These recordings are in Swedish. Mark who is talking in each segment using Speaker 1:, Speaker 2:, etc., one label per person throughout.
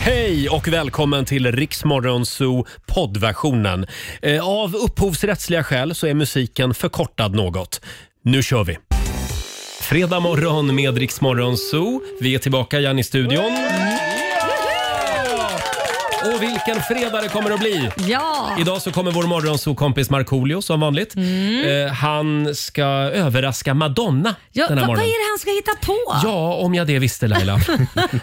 Speaker 1: Hej och välkommen till Riksmorgon Zoo poddversionen. Eh, Av upphovsrättsliga skäl så är musiken förkortad något. Nu kör vi! Fredag morgon med Riksmorgon Zoo. Vi är tillbaka igen i studion. Och vilken fredag det kommer att bli!
Speaker 2: Ja!
Speaker 1: Idag så kommer vår morgonsokompis Markoolio som vanligt. Eh, han ska överraska Madonna
Speaker 2: Mm. ja
Speaker 1: den
Speaker 2: vad,
Speaker 1: här
Speaker 2: vad
Speaker 1: morgonen.
Speaker 2: är det han ska hitta på?
Speaker 1: Ja, om jag det visste Laila.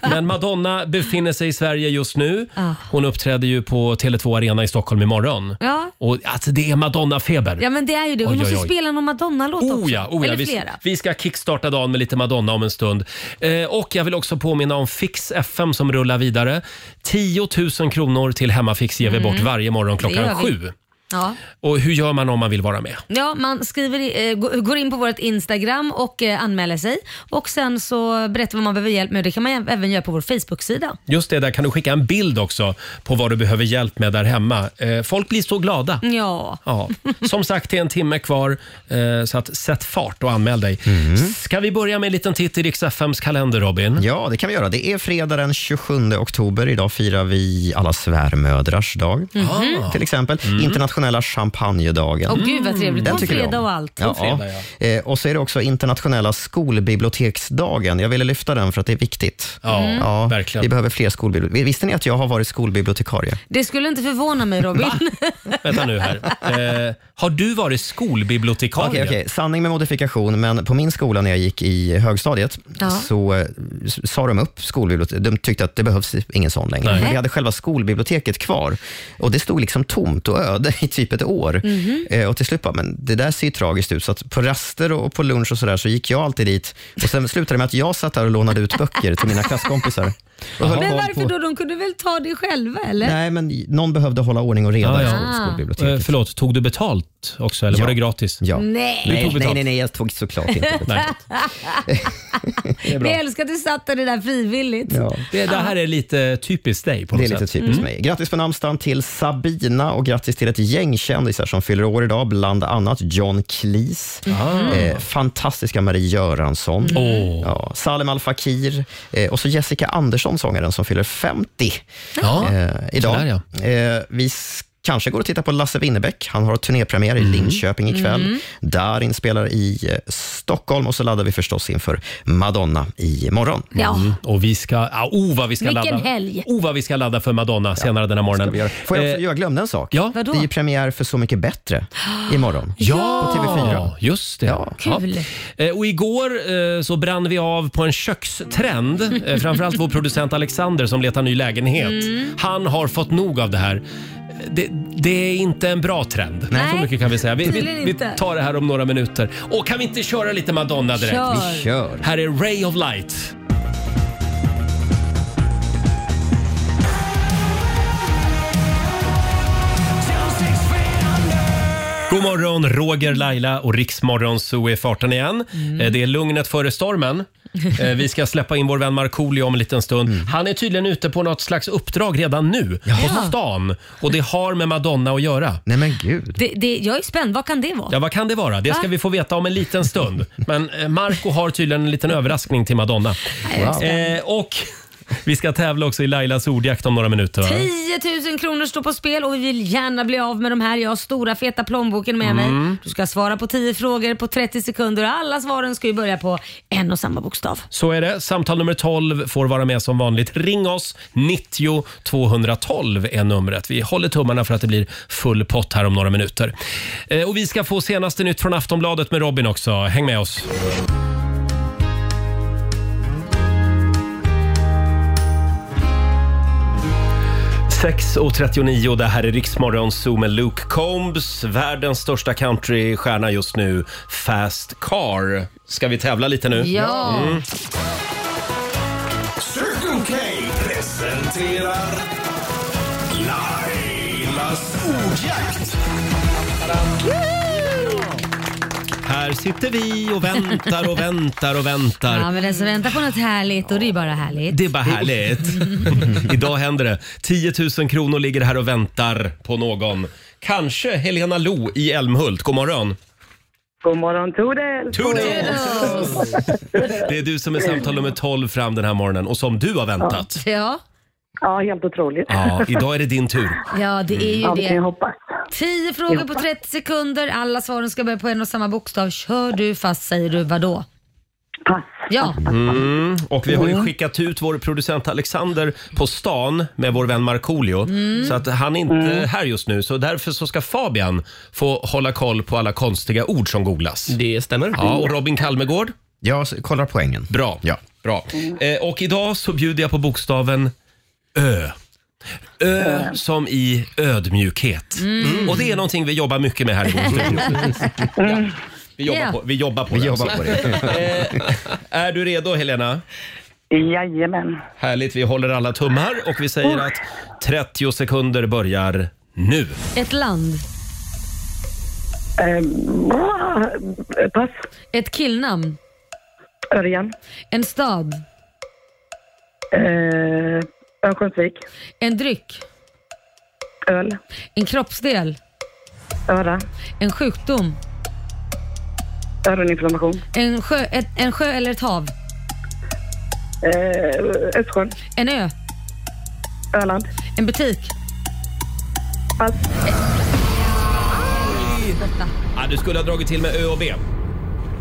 Speaker 1: Men Madonna befinner sig i Sverige just nu.
Speaker 2: Ah.
Speaker 1: Hon uppträder ju på Tele2 Arena i Stockholm imorgon.
Speaker 2: Ja.
Speaker 1: Och alltså, det är Madonna-feber.
Speaker 2: Ja, men det är ju det. Vi
Speaker 1: Oj,
Speaker 2: måste
Speaker 1: oj, oj.
Speaker 2: spela någon Madonna-låt också.
Speaker 1: Oh ja, oh ja.
Speaker 2: Eller
Speaker 1: Vi,
Speaker 2: flera.
Speaker 1: vi ska kickstarta dagen med lite Madonna om en stund. Eh, och jag vill också påminna om Fix FM som rullar vidare. 10 000 kronor till Hemmafix ger vi bort varje morgon klockan
Speaker 2: Mm. gör vi.
Speaker 1: sju.
Speaker 2: Ja.
Speaker 1: Och hur gör man om man vill vara med?
Speaker 2: Ja, man skriver, i- eh, gå- går in på vårt Instagram och eh, anmäler sig. Och Sen så berättar vad man behöver hjälp med. Det kan man ä- även göra på vår Facebook-sida.
Speaker 1: Just det, där kan du skicka en bild också på vad du behöver hjälp med där hemma. Eh, folk blir så glada.
Speaker 2: Ja.
Speaker 1: Ja, som sagt, det är en timme kvar, eh, så att sätt fart och anmäl dig.
Speaker 3: Mhm.
Speaker 1: Ska vi börja med en liten titt i Rix FMs kalender, Robin?
Speaker 3: Ja, det kan vi göra. Det är fredag den 27 oktober. Idag firar vi alla svärmödrars dag,
Speaker 2: Mhm.
Speaker 3: Ah. till exempel.
Speaker 1: Mm.
Speaker 3: Internationella champagnedagen. Mm.
Speaker 2: Och gud vad trevligt.
Speaker 3: Den
Speaker 2: På
Speaker 3: tycker vi om.
Speaker 2: fredag och allt.
Speaker 3: Ja,
Speaker 1: fredag,
Speaker 3: ja. Eh, Och så är det också internationella skolbiblioteksdagen. Jag ville lyfta den för att det är viktigt. Mm.
Speaker 1: Ja, verkligen.
Speaker 3: Vi behöver fler skolbibliotek. Visste ni att jag har varit skolbibliotekarie?
Speaker 2: Det skulle inte förvåna mig Robin.
Speaker 1: Vänta nu här. Eh, har du varit skolbibliotekarie?
Speaker 3: Okej, okej. Sanning med modifikation, men på min skola när jag gick i högstadiet
Speaker 2: Ja.
Speaker 3: så eh, s- sa de upp skolbiblioteket. De tyckte att det behövs ingen sån längre.
Speaker 1: Nej.
Speaker 3: Men vi hade själva skolbiblioteket kvar och det stod liksom tomt och öde i typ ett år.
Speaker 2: Mhm.
Speaker 3: Eh, och till slut bara, men det där ser ju tragiskt ut. Så att på raster och på lunch och sådär så gick jag alltid dit och sen slutade det med att jag satt där och lånade ut böcker till mina klasskompisar. Och höll
Speaker 2: Men
Speaker 3: koll
Speaker 2: varför
Speaker 3: på-
Speaker 2: då? De kunde väl ta det själva eller?
Speaker 3: Nej, men någon behövde hålla ordning och reda
Speaker 1: Ja, ja.
Speaker 3: i skol-
Speaker 2: Ah.
Speaker 1: Eh,
Speaker 3: skolbiblioteket.
Speaker 1: förlåt, tog du betalt också eller
Speaker 3: Ja.
Speaker 1: var det gratis?
Speaker 3: Ja.
Speaker 2: Nej.
Speaker 1: Du
Speaker 3: Nej,
Speaker 1: tog
Speaker 3: nej,
Speaker 1: betalt.
Speaker 3: nej, nej, jag tog såklart inte betalt.
Speaker 1: Nej.
Speaker 2: det är bra. Jag älskar att du satte det där frivilligt.
Speaker 3: Ja.
Speaker 1: Det, det här är lite typiskt dig på
Speaker 3: Det
Speaker 1: något
Speaker 3: är lite
Speaker 1: sätt. Mm.
Speaker 3: typiskt mig. Grattis på namnsdagen till Sabina och grattis till ett gäng kändisar som fyller år idag, bland annat John Cleese, eh, fantastiska Marie Göransson,
Speaker 1: Ah. Åh.
Speaker 3: ja, Salem Al Fakir eh, och så Jessica Andersson, sångaren som fyller 50
Speaker 1: Ja.
Speaker 3: eh, idag.
Speaker 1: sådär,
Speaker 3: eh, vi s- Kanske går och tittar på Lasse Winnerbäck. Han har turnépremiär i
Speaker 1: Mm.
Speaker 3: Linköping ikväll. Darin spelar i eh, Stockholm och så laddar vi förstås inför Madonna imorgon.
Speaker 2: Ja.
Speaker 1: Mm. Och vi ska, ah, oh vad vi ska
Speaker 2: Vilken
Speaker 1: ladda.
Speaker 2: helg.
Speaker 1: Oh vad vi ska ladda för Madonna senare den här morgonen.
Speaker 3: Får jag, också-
Speaker 1: Eh,
Speaker 3: jag glömde en sak.
Speaker 1: ja.
Speaker 2: Vadå?
Speaker 3: Det är ju premiär för Så mycket bättre imorgon.
Speaker 1: Ja,
Speaker 3: På TV4.
Speaker 1: just det.
Speaker 3: Ja.
Speaker 2: Kul.
Speaker 1: Eh, Och igår eh, så brann vi av på en kökstrend. Eh, Framförallt vår producent Alexander som letar ny lägenhet.
Speaker 2: Mm.
Speaker 1: Han har fått nog av det här. Det, det är inte en bra trend.
Speaker 2: Nej.
Speaker 1: Så mycket kan vi säga. Vi, vi,
Speaker 2: Tydligen
Speaker 1: vi
Speaker 2: inte.
Speaker 1: tar det här om några minuter. Och kan vi inte köra lite Madonna direkt?
Speaker 2: Kör.
Speaker 3: Kör!
Speaker 1: Här är Ray of Light. God morgon, Roger, Laila och Riksmorgon så är farten igen.
Speaker 3: Mm.
Speaker 1: Eh, Det är lugnet före stormen. Eh, Vi ska släppa in vår vän Markoolio om en liten stund.
Speaker 3: Mm.
Speaker 1: Han är tydligen ute på något slags uppdrag redan nu på stan och det har med Madonna att göra.
Speaker 3: Nej men gud.
Speaker 2: Det, det, jag är spänd. Vad kan det vara?
Speaker 1: Ja, vad kan det vara? Det ska
Speaker 2: Va?
Speaker 1: vi få veta om en liten stund. Men eh, Marco har tydligen en liten överraskning till Madonna. Eh, och vi ska tävla också i Lailas ordjakt om några minuter. Va?
Speaker 2: 10 000 kronor står på spel och vi vill gärna bli av med de här. Jag har stora feta plånboken med
Speaker 1: Mm.
Speaker 2: mig. Du ska svara på 10 frågor på 30 sekunder och alla svaren ska ju börja på en och samma bokstav.
Speaker 1: Så är det. Samtal nummer 12 får vara med som vanligt. Ring oss! 90 212 är numret. Vi håller tummarna för att det blir full pott här om några minuter. Eh, och vi ska få senaste nytt från Aftonbladet med Robin också. Häng med oss! Sex och 39, det här är Riksmorgon Zoo med Luke Combs. Världens största countrystjärna just nu, Fast Car. Ska vi tävla lite nu? Mm.
Speaker 2: Ja,
Speaker 4: Circle K presenterar Lailas ordjakt.
Speaker 1: Här sitter vi och väntar och väntar och väntar.
Speaker 2: ja men den som väntar på något härligt och det är bara härligt.
Speaker 1: Det är bara härligt. Idag händer det. 10 000 kronor ligger här och väntar på någon. Kanske Helena Lo i Älmhult. God morgon.
Speaker 5: God morgon Torel!
Speaker 1: Det är du som är samtal nummer 12 fram den här morgonen och som du har väntat.
Speaker 2: Ja.
Speaker 5: Ja, helt otroligt.
Speaker 1: Ja, idag är det din tur.
Speaker 2: Ja, det är ju
Speaker 5: Ja, vi kan ju
Speaker 2: det.
Speaker 5: hoppas.
Speaker 2: 10 frågor på 30 sekunder. Alla svaren ska börja på en och samma bokstav. Kör du fast säger du vadå?
Speaker 5: Pass.
Speaker 2: Ja,
Speaker 1: Mm. Och vi har ju skickat ut vår producent Alexander på stan med vår vän Markoolio. Så att han är inte här just nu. Så därför så ska Fabian få hålla koll på alla konstiga ord som googlas.
Speaker 6: Det stämmer.
Speaker 1: Ja, och Robin Kalmegård.
Speaker 3: Jag Mm. kollar poängen.
Speaker 1: Bra.
Speaker 3: Ja.
Speaker 1: Bra. Eh, och idag så bjuder jag på bokstaven Ö. Ö som i ödmjukhet. Och det är någonting vi jobbar mycket med här i vår studio. ja. Vi jobbar
Speaker 2: Ja.
Speaker 1: på, vi jobbar på
Speaker 3: Vi
Speaker 1: det.
Speaker 3: jobbar
Speaker 1: alltså. Eh,
Speaker 3: på det.
Speaker 1: Är du redo Helena?
Speaker 5: Jajamän.
Speaker 1: Härligt, vi håller alla tummar och vi säger
Speaker 5: Oh.
Speaker 1: att 30 sekunder börjar nu.
Speaker 2: ett land,
Speaker 5: Eh, bra. pass.
Speaker 2: ett killnamn,
Speaker 5: Örjan.
Speaker 2: en stad,
Speaker 5: Eh, Örnsköldsvik.
Speaker 2: en dryck,
Speaker 5: Öl.
Speaker 2: en kroppsdel,
Speaker 5: Öra.
Speaker 2: en sjukdom,
Speaker 5: Öroninflammation.
Speaker 2: en sjö, ett, en sjö eller ett hav,
Speaker 5: Eh, Östersjön.
Speaker 2: en ö,
Speaker 5: Öland.
Speaker 2: en butik.
Speaker 5: Pass.
Speaker 1: Ah, du skulle ha dragit till med Ö och B.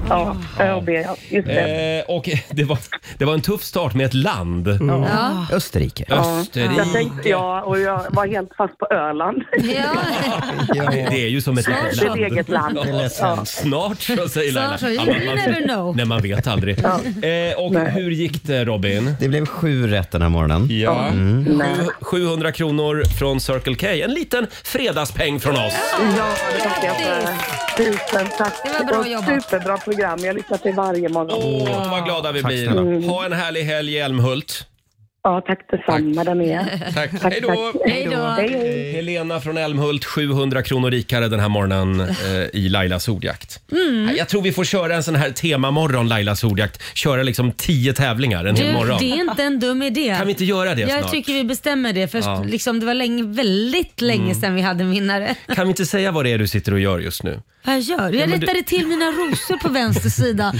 Speaker 5: Ja, Ö och B. Ja. Just det.
Speaker 1: Eh, och det, var, det var en tuff start med ett land.
Speaker 2: Mm. Ja.
Speaker 3: Österrike.
Speaker 1: Österrike.
Speaker 5: Jag tänkte, ja, och jag var helt fast på Öland.
Speaker 2: Ja.
Speaker 1: Det, det är ju som ett
Speaker 2: Snart
Speaker 1: eget
Speaker 5: Det är
Speaker 1: land.
Speaker 5: ett eget land.
Speaker 1: Ja. Snart så säger Laila.
Speaker 2: Snart så, you
Speaker 1: man-
Speaker 2: never know.
Speaker 1: Nej, man vet aldrig. Eh, och hur gick det Robin?
Speaker 3: Det blev sju rätt den här morgonen. Mm.
Speaker 1: Ja.
Speaker 5: Nej.
Speaker 1: 700 kronor från Circle K. En liten fredagspeng från oss.
Speaker 5: Ja, det tackar jag för. Tusen tack.
Speaker 2: Det var bra
Speaker 5: Och
Speaker 2: jobbat.
Speaker 5: Superbra program. Jag lyssnar till varje morgon.
Speaker 1: Åh, vad glada vi
Speaker 3: Tack
Speaker 1: blir.
Speaker 5: Mm.
Speaker 3: snälla.
Speaker 1: Ha en härlig helg i Älmhult.
Speaker 5: Ja, tack detsamma där nere.
Speaker 1: Tack.
Speaker 5: Tack,
Speaker 1: Hej då!
Speaker 5: tack.
Speaker 2: Hej då.
Speaker 5: Hej, hej.
Speaker 1: Helena från Älmhult, 700 kronor rikare den här morgonen eh, i Lailas ordjakt.
Speaker 2: Mm.
Speaker 1: Nej, Jag tror vi får köra en sån här temamorgon Lailas ordjakt. Köra liksom tio tävlingar en hel
Speaker 2: Du,
Speaker 1: morgon.
Speaker 2: det är inte en dum idé.
Speaker 1: Kan vi inte göra det
Speaker 2: jag
Speaker 1: snart?
Speaker 2: tycker vi bestämmer det för liksom, det var länge, väldigt länge
Speaker 1: Mm.
Speaker 2: sedan vi hade en vinnare.
Speaker 1: Kan vi inte säga vad det är du sitter och gör just nu?
Speaker 2: Vad jag gör? Jag
Speaker 1: men du-
Speaker 2: rättade till mina rosor på vänster sida.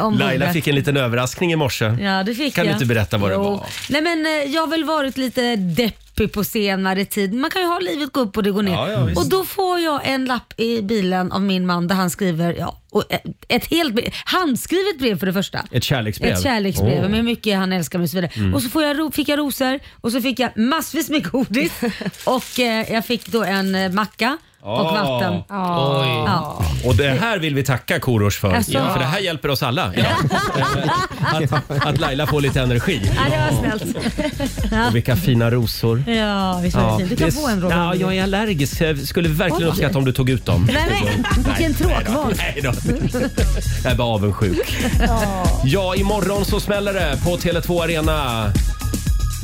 Speaker 2: om
Speaker 1: Laila
Speaker 2: bordet.
Speaker 1: fick en liten överraskning i morse.
Speaker 2: Ja, det fick
Speaker 1: Mm. Kan du
Speaker 2: jag.
Speaker 1: inte berätta vad det
Speaker 2: Jo.
Speaker 1: var?
Speaker 2: Nej, men eh, jag har väl varit lite deppig på senare tid. Man kan ju ha livet gå upp och det går ner.
Speaker 1: Ja, ja, visst.
Speaker 2: och då får jag en lapp i bilen av min man där han skriver ja, och ett, ett helt brev. handskrivet brev för det första.
Speaker 1: Ett kärleksbrev?
Speaker 2: Ett kärleksbrev
Speaker 1: Åh. Mm.
Speaker 2: med mycket han älskar mig och så vidare. Och så får jag, ro- fick jag rosor och så fick jag massvis med godis och eh, jag fick då en eh, macka och
Speaker 1: Ah.
Speaker 2: vatten. Ja.
Speaker 1: Och det här vill vi tacka Korosh för,
Speaker 2: Alltså.
Speaker 1: för det här hjälper oss alla. att, att Laila får lite energi.
Speaker 2: ja, det var snällt.
Speaker 1: Och vilka fina rosor.
Speaker 2: Ja, visst var det fint. Du kan
Speaker 1: Det-
Speaker 2: få en Robin.
Speaker 1: Ja, jag är allergisk så jag skulle verkligen
Speaker 2: Oj.
Speaker 1: uppskatta om du tog ut dem.
Speaker 2: Nej, men, vilken tråkval.
Speaker 1: Nej då. Jag är bara avundsjuk. Ja, imorgon så smäller det på Tele2 Arena.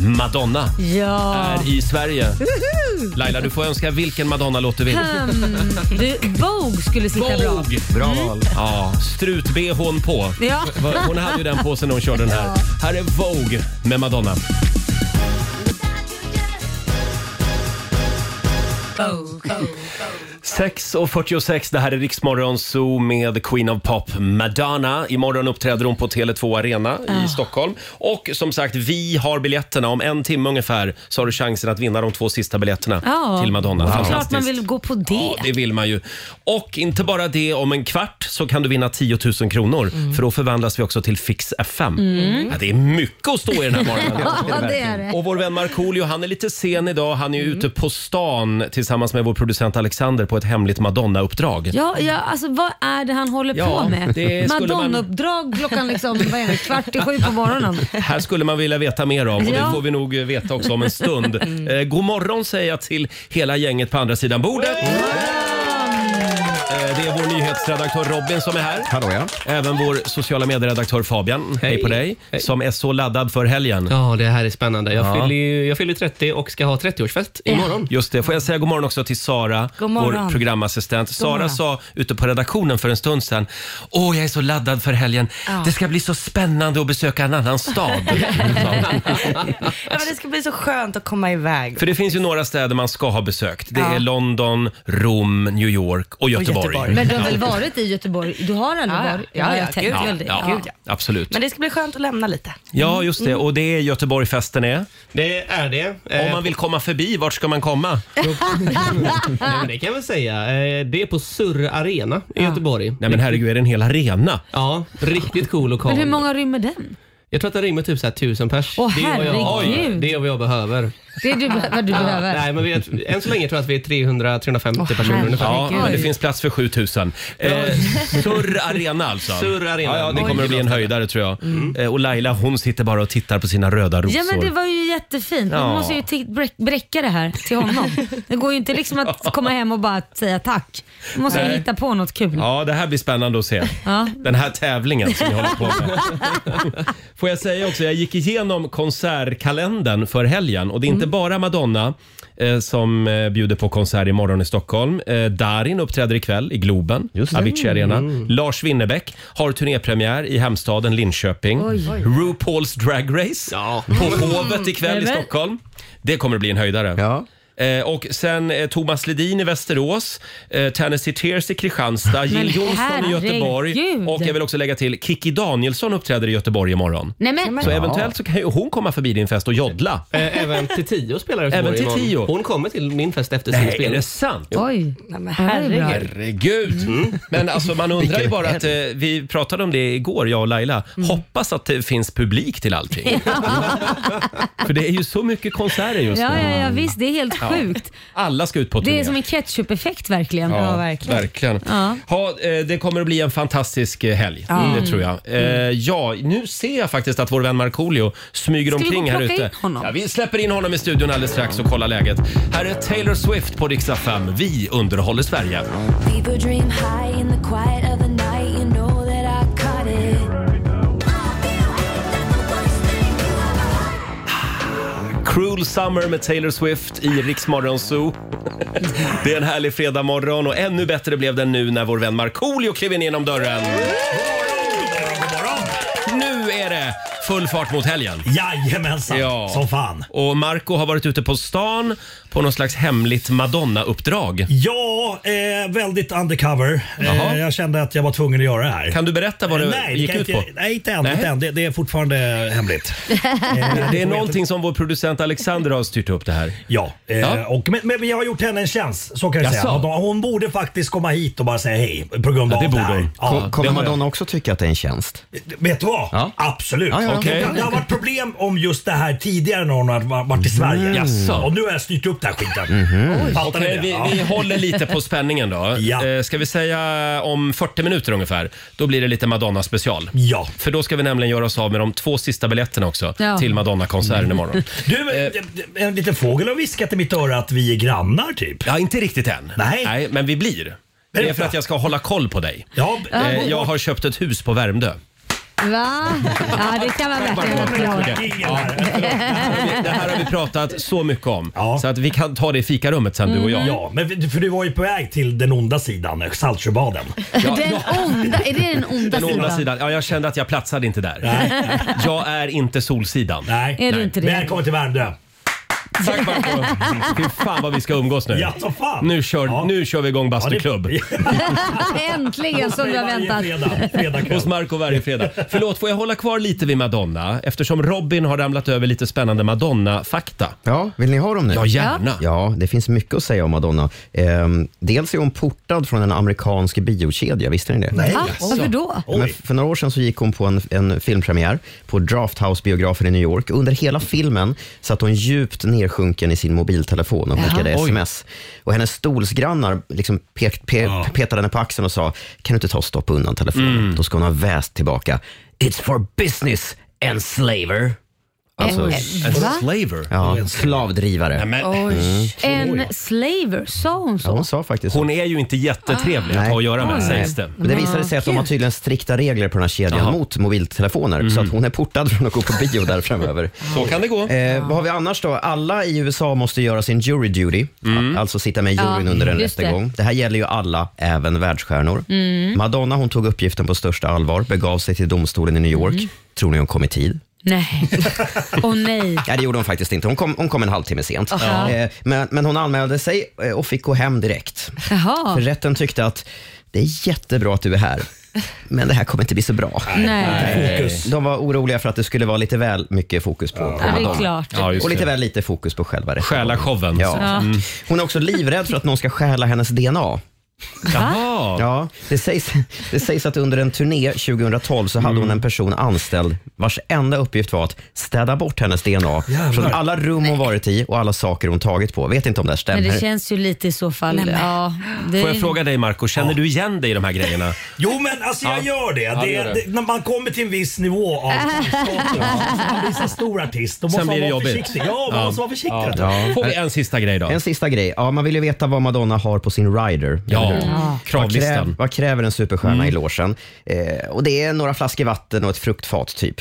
Speaker 1: Madonna
Speaker 2: Ja.
Speaker 1: är i Sverige. Laila, du får önska vilken Madonna-låt du vill.
Speaker 2: Mm, du, Vogue skulle sitta bra.
Speaker 1: Vogue!
Speaker 3: Bra val.
Speaker 1: Ja, strut-bhn på.
Speaker 2: Mm. Ja.
Speaker 1: Va- Hon hade ju den på sig när hon körde den här. Här är Vogue med Madonna.
Speaker 2: Oh,
Speaker 1: Sex och 46, det här är Riksmorgon Zoo med Queen of Pop, Madonna. Imorgon uppträder hon på Tele2 Arena
Speaker 2: Ah.
Speaker 1: i Stockholm. Och som sagt, vi har biljetterna. Om en timme ungefär så har du chansen att vinna de två sista biljetterna
Speaker 2: Ja.
Speaker 1: till Madonna.
Speaker 2: Det är klart
Speaker 1: Fantastiskt.
Speaker 2: man vill gå på det.
Speaker 1: Ja, det vill man ju. Och inte bara det, om en kvart så kan du vinna 10 000 kronor.
Speaker 2: Mm.
Speaker 1: För då förvandlas vi också till Fix FM. Ja, det är mycket att stå i den här morgonen.
Speaker 2: Ja, det är det. Mm.
Speaker 1: Och vår vän Markoolio, han är lite sen idag. Han är ju ute på stan tillsammans med vår producent Alexander på ett hemligt Madonna-uppdrag.
Speaker 2: Ja, ja, alltså vad är det han håller
Speaker 1: Ja,
Speaker 2: på med?
Speaker 1: det skulle man-
Speaker 2: Madonna-uppdrag klockan liksom, vad är det, kvart i sju på morgonen.
Speaker 1: Här skulle man vilja veta mer om och det
Speaker 2: Ja. Mm.
Speaker 1: får vi nog veta också om en stund. Eh, god morgon säger jag till hela gänget på andra sidan bordet. Eh, det är vår nyhetsredaktör Robin som är här.
Speaker 3: Hallå ja.
Speaker 1: Även vår sociala medieredaktör Fabian, hej,
Speaker 6: Hej.
Speaker 1: på dig,
Speaker 6: Hej.
Speaker 1: som är så laddad för helgen.
Speaker 6: Ja, det här är spännande. Jag,
Speaker 1: Ja.
Speaker 6: fyller, ju- jag fyller 30 och ska ha 30-årsfest imorgon.
Speaker 1: Just det, får jag säga god morgon också till Sara,
Speaker 2: God morgon.
Speaker 1: vår programassistent. Sara
Speaker 2: morgon.
Speaker 1: sa ute på redaktionen för en stund sedan, åh jag är så laddad för helgen. Det ska bli så spännande att besöka en annan stad. sa hon.
Speaker 7: Ja, men det ska bli så skönt att komma iväg.
Speaker 1: för det finns ju några städer man ska ha besökt. Det
Speaker 7: Ja.
Speaker 1: är London, Rom, New York och Göteborg.
Speaker 7: Göteborg.
Speaker 1: Göteborg.
Speaker 2: Men du har
Speaker 1: Ja.
Speaker 2: väl varit i Göteborg? Du har aldrig
Speaker 7: Ja, ja.
Speaker 2: varit?
Speaker 7: Ja, ja.
Speaker 2: jag har tänkt
Speaker 7: Gud, ja.
Speaker 2: väldigt.
Speaker 1: Ja,
Speaker 7: Gud, ja.
Speaker 1: absolut.
Speaker 7: Men det ska bli skönt att lämna lite.
Speaker 1: Ja, just det. Och det är Göteborgfesten är.
Speaker 6: Det är det.
Speaker 1: Om
Speaker 6: Eh,
Speaker 1: man vill komma förbi, vart ska man komma?
Speaker 2: oh.
Speaker 6: nej, men det kan jag väl säga. Eh, Det är på Surr Arena i Göteborg.
Speaker 1: Nej men herregud, är det en hel arena?
Speaker 6: Ja, riktigt cool lokal.
Speaker 2: Men hur många rymmer den?
Speaker 6: Jag tror att det rymmer typ så här tusen pers.
Speaker 2: Åh,
Speaker 6: det, är vad jag,
Speaker 2: herregud.
Speaker 6: det är vad jag behöver.
Speaker 2: Det är du, vad du behöver.
Speaker 6: Nej, men vi är, än så länge tror jag att vi är 300-350
Speaker 2: Åh,
Speaker 6: personer ungefär.
Speaker 1: Ja,
Speaker 2: Herregud.
Speaker 1: men det finns plats för 7000. Eh, Surr Arena alltså.
Speaker 6: Surr Arena.
Speaker 1: Ja, ja, det
Speaker 6: Oj. Mm.
Speaker 1: kommer att bli en höjdare tror jag. Eh, och Laila hon sitter bara och tittar på sina röda rosor.
Speaker 2: Ja men det var ju jättefint. Man
Speaker 1: Ja.
Speaker 2: måste ju till- bräck- bräcka det här till honom. Det går ju inte liksom att komma hem och bara säga tack. Man måste ju
Speaker 1: Nej.
Speaker 2: hitta på något kul. Ja.
Speaker 1: Ja, det här blir spännande att se. Den här tävlingen som vi håller på med. Får jag säga också, jag gick igenom konsertkalendern för helgen och det är
Speaker 2: Mm.
Speaker 1: inte bara Madonna eh, som eh, bjuder på konsert imorgon i Stockholm. Eh, Darin uppträder ikväll i Globen, Avicii Arena.
Speaker 2: Mm.
Speaker 1: Lars Winnerbäck har turnépremiär i hemstaden Linköping. RuPaul's Drag Race på Hovet ikväll i
Speaker 2: Nämen.
Speaker 1: Stockholm. Det kommer att bli en höjdare.
Speaker 3: Ja.
Speaker 1: Eh, och sen eh, Thomas Ledin i Västerås, eh, Tennessee Tears i Kristianstad,
Speaker 2: Men
Speaker 1: Jill Johnson i Göteborg
Speaker 2: herregud.
Speaker 1: och jag vill också lägga till Kiki Danielsson uppträder i Göteborg imorgon.
Speaker 2: Nej men,
Speaker 1: Så eventuellt så kan ju hon komma förbi din fest och joddla.
Speaker 6: Eh, Även till tio spelar jag i
Speaker 1: Även
Speaker 6: Göteborg
Speaker 1: till
Speaker 6: imorgon.
Speaker 1: tio?
Speaker 6: Hon kommer till min fest efter sin
Speaker 1: Nej, är
Speaker 6: spelning.
Speaker 1: det sant?
Speaker 2: oj.
Speaker 7: Nej, men
Speaker 2: Ja, det är bra.
Speaker 7: herregud.
Speaker 1: Herregud!
Speaker 6: Mm.
Speaker 1: Men alltså man undrar ju
Speaker 3: Vilken
Speaker 1: bara att eh, vi pratade om det igår, jag och Laila.
Speaker 2: Mm.
Speaker 1: Hoppas att det finns publik till allting. För det är ju så mycket konserter just
Speaker 2: Ja,
Speaker 1: nu.
Speaker 2: ja, ja visst. Det är helt sjukt.
Speaker 1: Alla ska ut på turné.
Speaker 2: Det är som en ketchup-effekt verkligen.
Speaker 1: verkligen.
Speaker 2: Ja.
Speaker 1: Ha, eh, det kommer att bli en fantastisk eh, helg, det tror jag.
Speaker 2: Mm.
Speaker 1: Eh, ja, nu ser jag faktiskt att vår vän Markoolio smyger
Speaker 2: Ska vi
Speaker 1: omkring
Speaker 2: gå och
Speaker 1: här
Speaker 2: plocka
Speaker 1: ute.
Speaker 2: in honom?
Speaker 1: Ja, vi släpper in honom i studion alldeles strax och kollar läget. Här är Taylor Swift på riksdag 5. Vi underhåller Sverige.
Speaker 8: People dream high in the quiet of the night. You know that I caught it.
Speaker 1: Cruel Summer med Taylor Swift i Riksmorgon Zoo. Det är en härlig fredagmorgon och ännu bättre blev den nu när vår vän Markoolio klev in genom dörren. Nu är det full fart mot helgen.
Speaker 9: Jajamensan,
Speaker 1: Ja.
Speaker 9: som fan.
Speaker 1: Och Marco har varit ute på stan på något slags hemligt Madonna-uppdrag.
Speaker 9: Ja, eh, väldigt undercover.
Speaker 1: Jaha.
Speaker 9: Eh, jag kände att jag var tvungen att göra det här. Eh,
Speaker 1: Kan du berätta vad det
Speaker 9: nej,
Speaker 1: gick
Speaker 9: kan
Speaker 1: ut
Speaker 9: jag
Speaker 1: på?
Speaker 9: inte, Nej, inte än.
Speaker 1: Nej.
Speaker 9: Inte än. Det, det är fortfarande hemligt. Eh,
Speaker 1: Det är någonting som vår producent Alexander har styrt upp det här.
Speaker 9: Ja, eh,
Speaker 1: Ja.
Speaker 9: Och, men, men jag har gjort henne en tjänst. Så kan jag
Speaker 1: Jaså?
Speaker 9: säga. Hon, hon borde faktiskt komma hit och bara säga hej på grund
Speaker 1: Ja,
Speaker 9: av
Speaker 1: det borde
Speaker 9: här.
Speaker 1: hon.
Speaker 9: Ja.
Speaker 3: Kommer
Speaker 1: det har jag.
Speaker 3: Madonna också tycka att det är en tjänst?
Speaker 9: Vet du vad?
Speaker 3: Ja.
Speaker 9: Absolut.
Speaker 3: Ja, ja,
Speaker 1: Okej.
Speaker 9: Det har varit problem om just det här tidigare när hon har varit i Sverige.
Speaker 1: Mm. Jaså? Mhm.
Speaker 9: Och nu har jag styrt upp den här skiten.
Speaker 2: Mm.
Speaker 9: Fattar ni
Speaker 1: Okej,
Speaker 9: det?
Speaker 1: vi,
Speaker 9: Ja.
Speaker 1: vi håller lite på spänningen då.
Speaker 9: Ja.
Speaker 1: Eh, Ska vi säga om 40 minuter ungefär, då blir det lite Madonna-special.
Speaker 9: Ja.
Speaker 1: För då ska vi nämligen göra oss av med de två sista biljetterna också
Speaker 2: Ja.
Speaker 1: till
Speaker 9: Mm.
Speaker 1: Madonna-konserten imorgon.
Speaker 9: Du, en liten fågel har viskat i mitt öra att vi är grannar typ.
Speaker 1: Eh. Ja, inte riktigt än.
Speaker 9: Nej.
Speaker 1: men vi blir. Det är för att jag ska hålla koll på dig.
Speaker 9: Ja,
Speaker 1: Eh, Jag har köpt ett hus på Värmdö.
Speaker 2: Va? Ja, det kan vara värt
Speaker 1: Bara
Speaker 2: en
Speaker 1: kort, kort,
Speaker 2: applåd.
Speaker 1: kort.
Speaker 9: ingen här.
Speaker 1: Det här har vi pratat så mycket om.
Speaker 9: Ja.
Speaker 1: Så att vi kan ta det i fikarummet sen du och jag.
Speaker 9: Mm. Ja, men för du var ju på väg till den onda sidan, eh, Saltsjöbaden.
Speaker 2: Den onda, är det den onda,
Speaker 1: Den onda
Speaker 2: sidan?
Speaker 1: sidan. Ja, jag kände att jag platsade inte där. Jag är inte Solsidan.
Speaker 9: Nej.
Speaker 2: Är du inte det?
Speaker 9: Välkommen till Värmdö.
Speaker 1: Tack Marco. Fy fan vad vi ska umgås nu.
Speaker 9: Ja, så fan.
Speaker 1: Nu kör,
Speaker 9: Ja.
Speaker 1: nu kör vi igång
Speaker 9: Ja, det-
Speaker 1: bastuklubb.
Speaker 2: Äntligen som vi har
Speaker 9: Varje
Speaker 2: väntat.
Speaker 9: Fredag, fredag kväll.
Speaker 1: Hos Marco varje fredag. Förlåt, får jag hålla kvar lite vid Madonna? Eftersom Robin har ramlat över lite spännande Madonna-fakta.
Speaker 3: Ja, vill ni ha dem nu?
Speaker 1: Ja, gärna.
Speaker 3: Ja, det finns mycket att säga om Madonna. Ehm, dels är hon portad från en amerikansk biokedja, visste ni det?
Speaker 9: Nej.
Speaker 2: Ah, varför då?
Speaker 3: Ja, Men
Speaker 9: Oj.
Speaker 3: för några år sedan så gick hon på en, en filmpremiär på Drafthouse-biografen i New York. Under hela filmen satt hon djupt nedsjunken i sin mobiltelefon och skickade sms. Och Hennes stolsgrannar liksom pek, pe, petade henne på axeln och sa, kan du inte ta och stoppa undan telefonen?
Speaker 1: Mm.
Speaker 3: Då ska hon ha väst tillbaka. It's for business, enslaver. Alltså,
Speaker 2: Eh,
Speaker 1: En
Speaker 2: Va?
Speaker 1: slaver.
Speaker 3: ja, slavdrivare. Mm.
Speaker 1: Men,
Speaker 2: En slaver, sa hon
Speaker 3: Ja,
Speaker 2: så?
Speaker 3: hon sa faktiskt så.
Speaker 1: hon är ju inte jättetrevlig att
Speaker 3: Nej.
Speaker 1: ha att göra med, sägs det.
Speaker 3: Men det visade sig att
Speaker 2: Mm.
Speaker 3: de har tydligen strikta regler på den här kedjan mot mobiltelefoner. Så
Speaker 1: Mm.
Speaker 3: att hon är portad från att gå på bio där framöver.
Speaker 1: Så kan det gå.
Speaker 3: Eh, vad har vi annars då? Alla i USA måste göra sin jury duty,
Speaker 1: Mm.
Speaker 3: alltså sitta med i juryn
Speaker 2: Ja,
Speaker 3: under en
Speaker 2: just det. Mm.
Speaker 3: rättegång. Det. här gäller ju alla, även världsstjärnor. Madonna hon tog uppgiften på största allvar, begav sig till domstolen i New York. Tror ni hon kom i tid?
Speaker 2: Mm. Nej. Åh nej.
Speaker 3: Nej, det gjorde hon faktiskt inte. Hon kom, hon kom en halvtimme sent.
Speaker 2: Aha.
Speaker 3: Eh, men, men hon anmälde sig eh, och fick gå hem direkt. För
Speaker 2: Jaha.
Speaker 3: rätten tyckte att det är jättebra att du är här, men det här kommer inte bli så bra.
Speaker 2: Nej.
Speaker 9: Fokus.
Speaker 3: De var oroliga för att det skulle vara lite väl mycket fokus på, på
Speaker 2: Ja, det är
Speaker 3: Madonna.
Speaker 2: klart.
Speaker 1: Ja, just
Speaker 3: Och lite
Speaker 1: det.
Speaker 3: väl lite fokus på själva
Speaker 1: Själashowen.
Speaker 3: Ja.
Speaker 2: Mm.
Speaker 3: Hon är också livrädd för att någon ska stjäla hennes DNA.
Speaker 1: Jaha.
Speaker 3: Ja, det, sägs, det sägs att under en turné 2012 så hade
Speaker 1: Mm.
Speaker 3: hon en person anställd vars enda uppgift var att städa bort hennes DNA från alla rum hon varit i och alla saker hon tagit på. Vet inte om det här
Speaker 2: Men det
Speaker 3: stämmer.
Speaker 2: känns ju lite i så fall.
Speaker 7: Nej, men.
Speaker 2: ja, det...
Speaker 1: Får jag fråga dig Marco, känner du igen dig i de här grejerna?
Speaker 9: Jo, men alltså jag
Speaker 1: Ja.
Speaker 9: gör det.
Speaker 1: Ja,
Speaker 9: det,
Speaker 1: det gör det.
Speaker 9: det. När man kommer till en viss nivå av kunskaper, man blir så stor artist, då måste
Speaker 1: Sen
Speaker 9: man
Speaker 1: blir det
Speaker 9: vara
Speaker 1: jobbigt.
Speaker 9: försiktig. Ja, man
Speaker 1: Ja.
Speaker 9: måste vara försiktig.
Speaker 1: Ja.
Speaker 9: Ja.
Speaker 1: Får vi en sista grej då?
Speaker 3: En sista grej. Ja, man vill ju veta vad Madonna har på sin rider.
Speaker 1: Ja,
Speaker 3: eller hur? Vad,
Speaker 1: kravlistan. Mm.
Speaker 3: krä- vad kräver en superstjärna i logen? Eh, och det är några flaskor vatten och ett fruktfat typ.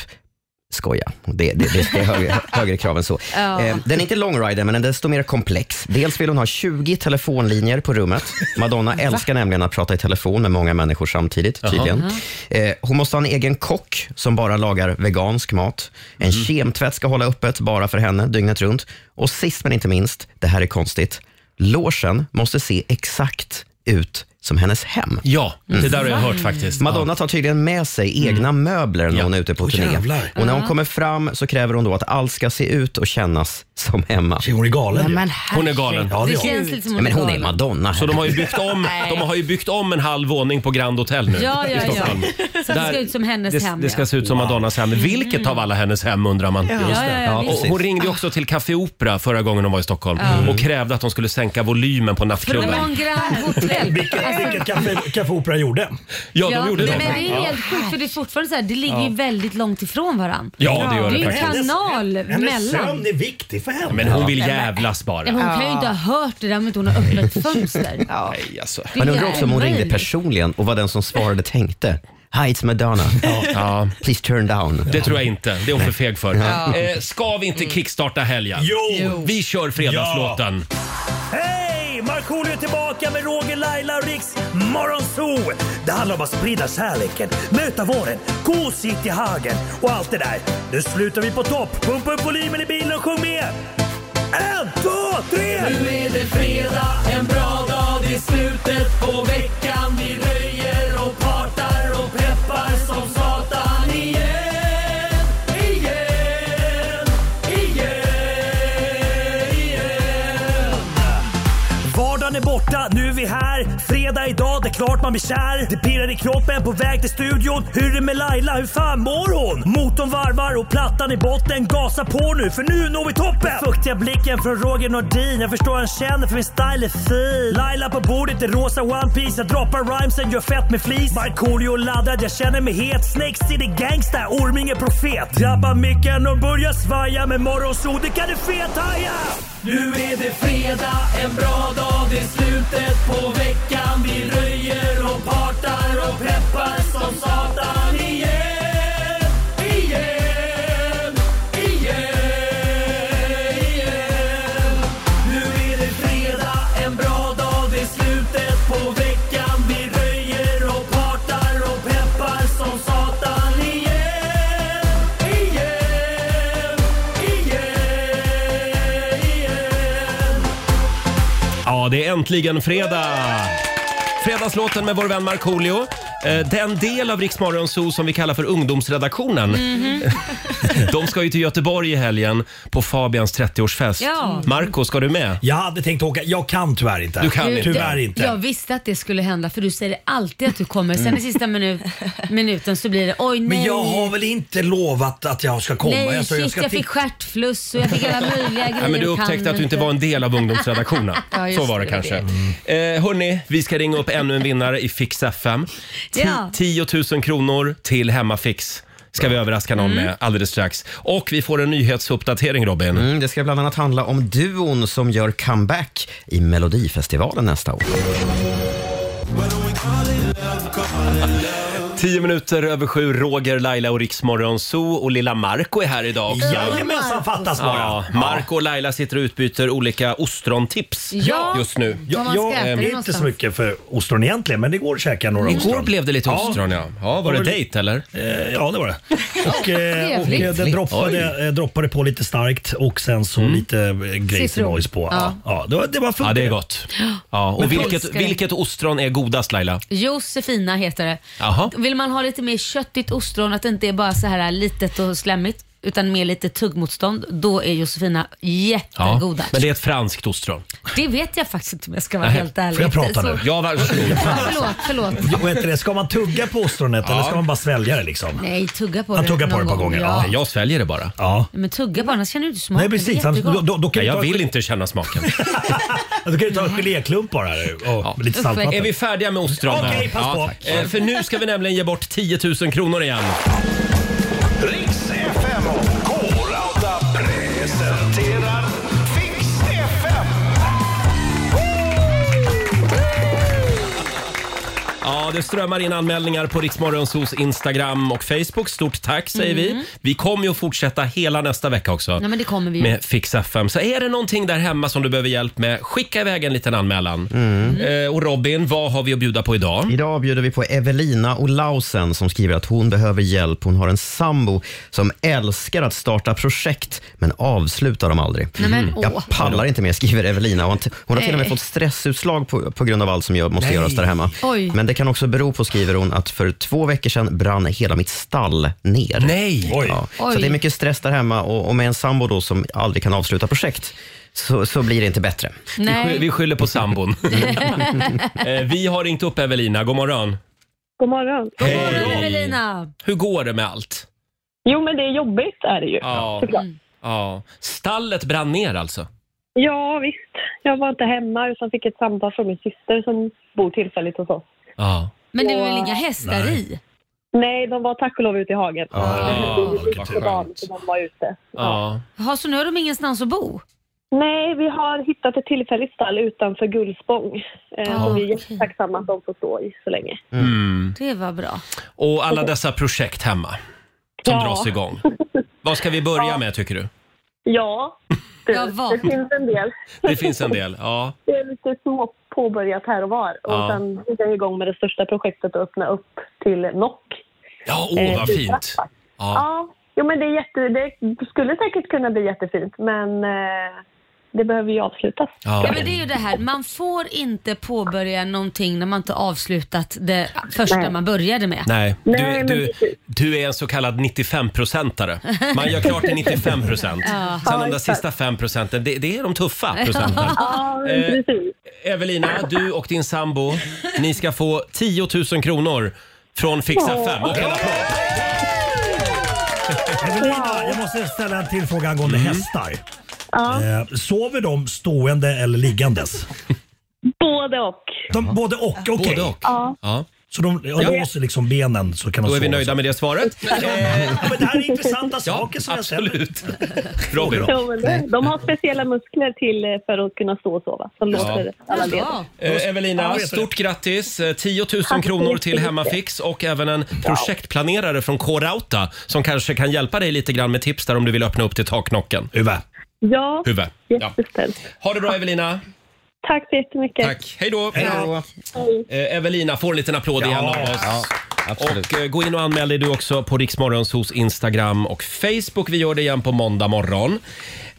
Speaker 3: Skoja, det, det, det är högre, högre krav än så. Eh, den är inte långrider, men den är desto mer komplex. Dels vill hon ha 20 telefonlinjer på rummet. Madonna älskar nämligen att prata i telefon med många människor samtidigt, tydligen. Eh, hon måste ha en egen kock som bara lagar vegansk mat. En
Speaker 1: Mhm.
Speaker 3: kemtvätt ska hålla öppet bara för henne dygnet runt. Och sist men inte minst, det här är konstigt, logen måste se exakt ut som hennes hem. Mm.
Speaker 1: Ja, det där har jag hört faktiskt. Mm.
Speaker 3: Madonna tar tydligen med sig egna möbler när hon är ute på turné.
Speaker 9: jävlar.
Speaker 3: Och när hon kommer fram så kräver hon då att allt ska se ut och kännas som hemma.
Speaker 9: Hon är galen ju.
Speaker 7: Men
Speaker 1: Hon är galen.
Speaker 9: Ja, det
Speaker 2: Det
Speaker 9: är hon.
Speaker 2: känns lite som
Speaker 3: Ja, men hon är
Speaker 2: galen.
Speaker 3: Madonna.
Speaker 1: Så de har ju byggt om, de har ju byggt om en halv våning på Grand Hotel nu
Speaker 2: Ja, ja,
Speaker 1: i
Speaker 2: ja.
Speaker 1: Stockholm.
Speaker 2: Så att det ska ut som hennes
Speaker 1: det,
Speaker 2: hem.
Speaker 1: Det ska
Speaker 2: ja. Mm.
Speaker 1: se ut som Madonnas hem. Vilket av alla hennes hem undrar man.
Speaker 2: Ja, ja, ja,
Speaker 1: och
Speaker 2: visst. Mm.
Speaker 1: hon ringde ju också till Café Opera förra gången hon var i Stockholm och krävde att de skulle sänka volymen på
Speaker 2: För det var
Speaker 1: nattklubben.
Speaker 2: en Grand Hotel.
Speaker 9: Vilket, vilket Café, Café Opera gjorde.
Speaker 1: Ja,
Speaker 2: Ja,
Speaker 1: de gjorde
Speaker 2: men
Speaker 1: det.
Speaker 2: det är ju helt sjukt för det är fortfarande så här, det ligger ju väldigt långt ifrån varandra.
Speaker 1: Ja, det gör
Speaker 2: Det
Speaker 1: det
Speaker 2: är ju
Speaker 1: faktiskt.
Speaker 2: kanal
Speaker 9: Hennes
Speaker 2: mellan.
Speaker 9: sömn är viktig för henne.
Speaker 1: Men hon vill jävlas bara.
Speaker 2: Ja, Hon kan ju inte ha hört det där med att hon har öppet fönster.
Speaker 1: Nej, alltså.
Speaker 3: Man undrar också om hon ringde
Speaker 2: omöjligt.
Speaker 3: personligen och vad den som svarade tänkte. Hi, it's Madonna.
Speaker 1: Ja,
Speaker 3: Please turn down.
Speaker 1: det tror jag inte. Det är hon för feg för. Eh, ska vi
Speaker 2: Mm.
Speaker 1: inte kickstarta helgen?
Speaker 9: Jo!
Speaker 1: Vi kör fredagslåten.
Speaker 9: Hej! Markoolio är tillbaka med Roger, Laila och Riks Morgonzoo! Det handlar om att sprida kärleken, möta våren, gosigt i hagen och allt det där. Nu slutar vi på topp! Pumpa upp volymen i bilen och sjung med! En, två, tre! Nu är det fredag, en bra dag, det är slutet på veckan. Vi röjer och partar och peppar som satan igen, igen, igen, igen. Vardagen är borta, nu är vi här. Fredag idag, det är klart man blir kär. Det pirrar i kroppen på väg till studion. Hur är det med Laila, hur fan mår hon? Motorn varvar och plattan i botten. Gasa på nu, för nu når vi toppen! Den Fuktiga blicken från Roger Nordin. Jag förstår han känner för min style är fin. Laila på bordet i rosa One Piece Jag droppar rhymesen, gör fett med flis. Markoolio laddad, jag känner mig het. Snakes city gangsta, Orminge profet. Drabbar micken och börjar svaja. Med morgonsol, det kan du fethaja! Nu är det fredag, en bra dag, det är slutet på veckan. Vi röjer och partar och peppar som satan igen. Igen, igen, igen. Nu är det fredag, en bra dag, det är slutet på veckan. Vi röjer och partar och peppar som satan igen. Igen, igen, igen.
Speaker 1: Ja, det är äntligen fredag! Fredagslåten med vår vän Markoolio. Eh, Den del av Riksmorgon Zoo som vi kallar för ungdomsredaktionen.
Speaker 2: Mm.
Speaker 1: De ska ju till Göteborg i helgen på Fabians 30-årsfest.
Speaker 2: Ja.
Speaker 1: Marco, ska du med?
Speaker 9: Jag hade tänkt åka, jag kan tyvärr inte.
Speaker 1: Du kan inte.
Speaker 9: Tyvärr inte. Mm.
Speaker 2: Jag visste att det skulle hända för du säger alltid att du kommer. Sen i sista minut, minuten så blir det oj nej.
Speaker 9: Men jag har väl inte lovat att jag ska komma?
Speaker 2: Nej,
Speaker 9: jag, sa,
Speaker 2: shit, jag,
Speaker 9: ska
Speaker 2: fick
Speaker 9: ti-
Speaker 2: stjärtfluss och jag fick alla möjliga grejer.
Speaker 1: Ja, men du
Speaker 2: Jag
Speaker 1: upptäckte
Speaker 2: kan
Speaker 1: att du inte var en del av ungdomsredaktionen.
Speaker 2: Ja, just
Speaker 1: Så var det
Speaker 2: det.
Speaker 1: kanske. Eh, hörni, vi ska ringa upp ännu en vinnare i Fix FM. Ti-
Speaker 2: Ja.
Speaker 1: 10 000 kronor till Hemmafix ska vi överraska någon
Speaker 2: Mm.
Speaker 1: med alldeles strax. Och vi får en nyhetsuppdatering Robin.
Speaker 3: Mm, det ska bland annat handla om duon som gör comeback i Melodifestivalen nästa år.
Speaker 1: Tio minuter över sju, Roger, Laila och Riksmorgon Zoo och lilla Marco är här idag också.
Speaker 9: Jajamensan, fattas bara.
Speaker 1: Ja, Marco och Laila sitter och utbyter olika ostrontips
Speaker 2: Ja.
Speaker 1: just nu. eh,
Speaker 2: Ja,
Speaker 9: Jag,
Speaker 2: man ska
Speaker 9: jag eh,
Speaker 2: äta det
Speaker 9: är inte
Speaker 2: någonstans.
Speaker 9: så mycket för ostron egentligen, men igår käkade jag några ostron.
Speaker 1: Igår blev det lite
Speaker 9: Ja.
Speaker 1: ostron ja. ja var det dejt eller?
Speaker 9: Eh, Ja, det var det. Och, eh, och
Speaker 2: Trevligt.
Speaker 9: eh, den droppade, eh, droppade på lite starkt och sen
Speaker 1: Mm.
Speaker 9: så lite eh, Gracie
Speaker 2: Citron.
Speaker 9: Noise på.
Speaker 2: Ja.
Speaker 9: Ja. Ja, det, var, det var
Speaker 1: Ja,
Speaker 9: funkar.
Speaker 1: det är gott. Ja, och vilket,
Speaker 2: älskar det.
Speaker 1: vilket ostron är godast Laila?
Speaker 2: Josefina heter det.
Speaker 1: Jaha.
Speaker 2: Vill man ha lite mer köttigt ostron, att det inte är bara så här litet och slemmigt, utan mer lite tuggmotstånd, då är Josefina
Speaker 1: Ja,
Speaker 2: jättegoda.
Speaker 1: men det är ett franskt ostron.
Speaker 2: Det vet jag faktiskt inte om jag ska vara
Speaker 1: Nej,
Speaker 2: helt ärlig.
Speaker 9: får jag prata
Speaker 2: Så-
Speaker 9: nu?
Speaker 1: Ja, varsågod.
Speaker 2: Ja, Förlåt, förlåt.
Speaker 9: Jo, vet du det, ska man tugga på ostronet eller ska man bara svälja det liksom?
Speaker 2: Nej, tugga på
Speaker 9: Han
Speaker 2: det.
Speaker 9: tuggar på
Speaker 2: någon
Speaker 9: det ett par
Speaker 2: gång.
Speaker 9: gånger,
Speaker 2: Ja.
Speaker 9: ja.
Speaker 1: Jag sväljer det bara.
Speaker 9: Ja.
Speaker 2: Men tugga på, annars känner du inte smaken.
Speaker 9: Nej precis,
Speaker 2: det är
Speaker 9: han, då,
Speaker 2: jättegott.
Speaker 9: då, då kan
Speaker 1: Nej,
Speaker 9: du
Speaker 1: jag
Speaker 9: ta,
Speaker 1: vill inte känna smaken.
Speaker 9: då kan du ta en geléklump bara och lite
Speaker 2: Usch, vad
Speaker 9: saltvatten.
Speaker 1: Är vi färdiga med ostron?
Speaker 9: Okej, pass på.
Speaker 1: tack. Eh, För nu ska vi nämligen ge bort 10 000 kronor igen.
Speaker 4: Riks FM och K-Rauta presenterar Fix FM.
Speaker 1: Ja, det strömmar in anmälningar på Riksmorgonsos Instagram och Facebook. Stort tack säger
Speaker 9: Mm.
Speaker 1: vi. Vi kommer ju att fortsätta hela nästa vecka också.
Speaker 2: Nej, men det kommer vi ju.
Speaker 1: Med Fix FM. Så är det någonting där hemma som du behöver hjälp med, skicka iväg en liten anmälan.
Speaker 9: Mm.
Speaker 1: Eh, och Robin, vad har vi att bjuda på idag?
Speaker 3: Mm. Idag bjuder vi på Evelina Olausen som skriver att hon behöver hjälp. Hon har en sambo som älskar att starta projekt men avslutar dem aldrig. Mm.
Speaker 2: men, åh.
Speaker 3: Jag pallar inte mer, skriver Evelina. Hon, hon har till och med
Speaker 2: Nej.
Speaker 3: fått stressutslag på, på grund av allt som jag måste göras där hemma.
Speaker 2: Oj.
Speaker 3: Men det kan också bero på, skriver hon, att för två veckor sedan brann hela mitt stall ner.
Speaker 1: Nej!
Speaker 9: Oj.
Speaker 3: Ja.
Speaker 2: Oj.
Speaker 3: Så det är mycket stress där hemma och, och med en sambo då som aldrig kan avsluta projekt så, så blir det inte bättre.
Speaker 1: Vi sky-
Speaker 2: Nej.
Speaker 1: Vi skyller på sambon. Eh, vi har ringt upp Evelina. God morgon.
Speaker 5: God morgon.
Speaker 2: God morgon Evelina.
Speaker 1: Hur går det med allt?
Speaker 5: Jo, men det är jobbigt är det ju.
Speaker 1: Ja.
Speaker 2: Mm.
Speaker 1: Mm. ja. Stallet brann ner alltså?
Speaker 5: Ja, visst. Jag var inte hemma utan fick ett samtal från min syster som bor tillfälligt hos oss.
Speaker 1: Ja.
Speaker 2: Men det är väl inga hästar i?
Speaker 5: Nej, de var tack och lov ute i hagen.
Speaker 1: Ja,
Speaker 9: Ah,
Speaker 1: vad
Speaker 5: Så barn,
Speaker 1: skönt.
Speaker 5: så de var ute.
Speaker 1: Ja.
Speaker 2: Jaha, så nu har de ingenstans att bo?
Speaker 5: Nej, vi har hittat ett tillfälligt stall utanför Gullspång. Eh,
Speaker 2: Ah,
Speaker 5: och vi är
Speaker 2: okej.
Speaker 5: jättetacksamma att de får stå i så länge.
Speaker 2: Det var bra.
Speaker 1: Mm. Och alla dessa projekt hemma som
Speaker 5: Ja.
Speaker 1: dras igång. Vad ska vi börja med tycker du?
Speaker 5: Ja, det,
Speaker 2: Ja, vad?
Speaker 5: det finns en del.
Speaker 1: Det finns en del. Ja.
Speaker 5: Det är lite små påbörjat här och var. Och
Speaker 1: Ja.
Speaker 5: sen är jag igång med det största projektet och öppna upp till Nock.
Speaker 1: Ja, åh
Speaker 5: Eh,
Speaker 1: vad fint. Ja.
Speaker 5: Ja, jo, men det, är jätte, det skulle säkert kunna bli jättefint, men eh, det behöver ju avslutas.
Speaker 2: Ja,
Speaker 1: Ja.
Speaker 2: men det är ju det här, man får inte påbörja någonting när man inte avslutat det första man började med.
Speaker 1: Nej, du,
Speaker 5: Nej, men
Speaker 1: du,
Speaker 5: precis.
Speaker 1: du är en så kallad 95-procentare. Man gör klart till 95 procent. Sen de där sista 5 procenten, det, det är de tuffa procenten.
Speaker 5: Ja, men
Speaker 1: Eh,
Speaker 5: precis.
Speaker 1: Evelina, du och din sambo, ni ska få 10 000 kronor från Fixa 5. Och en applåd.
Speaker 9: Eh, Evelina, jag måste ställa en till fråga angående
Speaker 1: Mm.
Speaker 9: hästar.
Speaker 5: Ja.
Speaker 9: Eh, sover de stående eller liggandes?
Speaker 5: Både och.
Speaker 9: De, både och? Okej.
Speaker 1: Både och. Ja.
Speaker 9: Så de ja. låser liksom benen så kan de
Speaker 1: Då är
Speaker 9: sova
Speaker 1: vi
Speaker 9: så.
Speaker 1: nöjda med det svaret.
Speaker 9: Ja, men det här är intressanta saker som jag säger.
Speaker 1: Absolut. Robin.
Speaker 5: Ja, men det- de har speciella muskler till eh, för att kunna stå och sova. Som låter alla delar.
Speaker 2: Ja,
Speaker 1: Eh, Evelina, stort grattis! Eh, 10 000 kronor till Hemmafix och även en projektplanerare från K-Rauta som kanske kan hjälpa dig lite grann med tips där om du vill öppna upp till taknocken.
Speaker 9: Uwe.
Speaker 5: Ja,
Speaker 1: Huvud. Ja.
Speaker 5: jätteställt.
Speaker 1: Ha det bra Evelina!
Speaker 5: Tack så jättemycket.
Speaker 1: Tack! Hej då!
Speaker 3: Ja.
Speaker 1: Eh, Evelina får en liten applåd igen av oss.
Speaker 3: absolut.
Speaker 1: Och eh, gå in och anmäl dig du också på Riksmorgons hos Instagram och Facebook. Vi gör det igen på måndag morgon.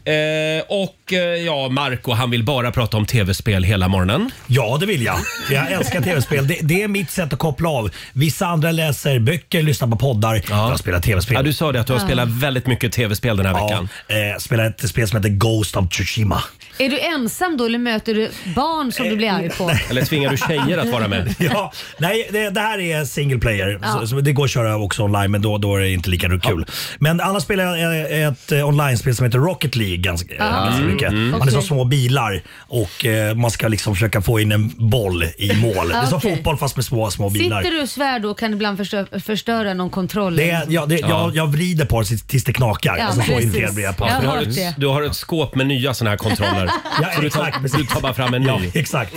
Speaker 1: Eh, och eh, ja, Marco han vill bara prata om tv-spel hela morgonen.
Speaker 9: Ja, det vill jag. Jag älskar tv-spel. Det, det är mitt sätt att koppla av. Vissa andra läser böcker, lyssnar på poddar. Jag spelar tv-spel.
Speaker 1: Ja, du sa det att du har spelat väldigt mycket tv-spel den här veckan.
Speaker 9: Ja, eh, spelar ett spel som heter Ghost of Tsushima.
Speaker 2: Är du ensam då eller möter du barn som du blir arg på?
Speaker 1: Eller tvingar du tjejer att vara med?
Speaker 9: Ja, nej, det, det här är single player. Så, så det går att köra också online, men då, då är det inte lika kul. Men annars spelar jag eh, ett eh, online-spel som heter Rocket League i ganska, eh, ganska
Speaker 1: Mm,
Speaker 9: mycket. Man är som
Speaker 2: Okej.
Speaker 9: små bilar och eh, man ska liksom försöka få in en boll i mål. Det är som
Speaker 2: Okej.
Speaker 9: fotboll fast med små, små bilar.
Speaker 2: Sitter du och svär då kan ibland förstö- förstöra någon kontroll.
Speaker 9: Det är, ja, det, Jag, jag vrider på det tills- tills det knakar.
Speaker 2: Ja,
Speaker 9: alltså, så
Speaker 2: precis.
Speaker 9: irriterad blir jag på
Speaker 2: Ja.
Speaker 9: det.
Speaker 1: Du har,
Speaker 2: hört det.
Speaker 1: ett, du har ett skåp med nya såna här kontroller.
Speaker 9: Ja,
Speaker 1: Så du
Speaker 9: exakt,
Speaker 1: tar,
Speaker 9: precis.
Speaker 1: du tar bara fram en
Speaker 9: Ja,
Speaker 1: ny.
Speaker 9: exakt.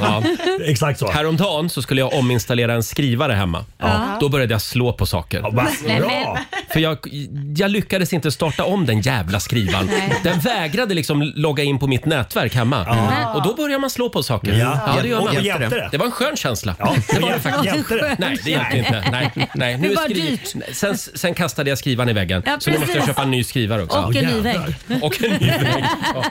Speaker 1: Ja.
Speaker 9: Exakt så.
Speaker 1: Häromdagen så skulle jag ominstallera en skrivare hemma. Då började jag slå på saker.
Speaker 9: Ja, va?
Speaker 2: Nej,
Speaker 9: Bra!
Speaker 1: För jag, jag lyckades inte starta om den jävla skrivaren.
Speaker 2: Nej.
Speaker 1: Den vägrade liksom logga in på mitt nätverk hemma. Och då börjar man slå på saker.
Speaker 9: Ja.
Speaker 1: det gör
Speaker 9: Och
Speaker 1: man.
Speaker 9: hjälpte det?
Speaker 1: Det var en skön känsla.
Speaker 9: Ja,
Speaker 1: Det var det
Speaker 9: hjälpte-
Speaker 1: faktiskt.
Speaker 9: Hjälpte det?
Speaker 1: Nej, det hjälpte inte. Nej, nej.
Speaker 2: Det
Speaker 1: är
Speaker 2: var
Speaker 1: skri-
Speaker 2: dyrt.
Speaker 1: Nej, Sen, sen kastade jag skrivaren i väggen.
Speaker 2: Ja,
Speaker 1: så nu måste jag
Speaker 2: precis.
Speaker 1: köpa en ny skrivare också.
Speaker 2: Och en ny
Speaker 9: jävlar.
Speaker 2: vägg.
Speaker 1: Och en ny vägg. Ja.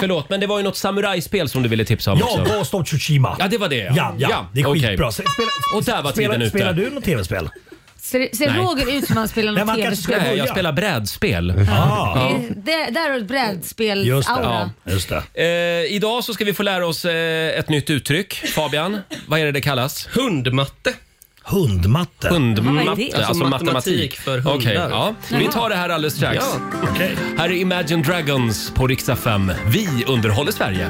Speaker 1: Förlåt, men det var ju något samurajspel som du ville tipsa om
Speaker 9: Ja,
Speaker 1: också.
Speaker 9: Ghost of Tsushima.
Speaker 1: Ja, det var det, ja.
Speaker 9: Ja, ja,
Speaker 1: Ja,
Speaker 9: det är
Speaker 1: okej.
Speaker 9: skitbra. Se- Spela,
Speaker 1: Och där var
Speaker 9: spela,
Speaker 1: tiden ute.
Speaker 9: Spelar du något tv-spel?
Speaker 2: Ser, ser
Speaker 1: Nej.
Speaker 2: Roger ut som han spelar
Speaker 9: Nej,
Speaker 2: något
Speaker 9: man kanske
Speaker 2: tv-spel?
Speaker 9: skulle-
Speaker 1: Nej, jag spelar brädspel.
Speaker 9: Ah,
Speaker 2: Det- det- Där har du ett
Speaker 9: just det.
Speaker 2: brädspels-aura.
Speaker 9: Ja, just det.
Speaker 1: Eh, idag så ska vi få lära oss eh, ett nytt uttryck. Fabian, vad är det det kallas?
Speaker 6: Hundmatte.
Speaker 9: Hundmatte.
Speaker 2: Vad
Speaker 1: Hundmatte,
Speaker 2: är det?
Speaker 1: alltså,
Speaker 6: Alltså
Speaker 1: matematik.
Speaker 6: matematik för hundar.
Speaker 1: Okej, ja. Vi tar det här alldeles strax.
Speaker 9: Okej.
Speaker 1: Här är Imagine Dragons på riksdag 5. Vi underhåller Sverige.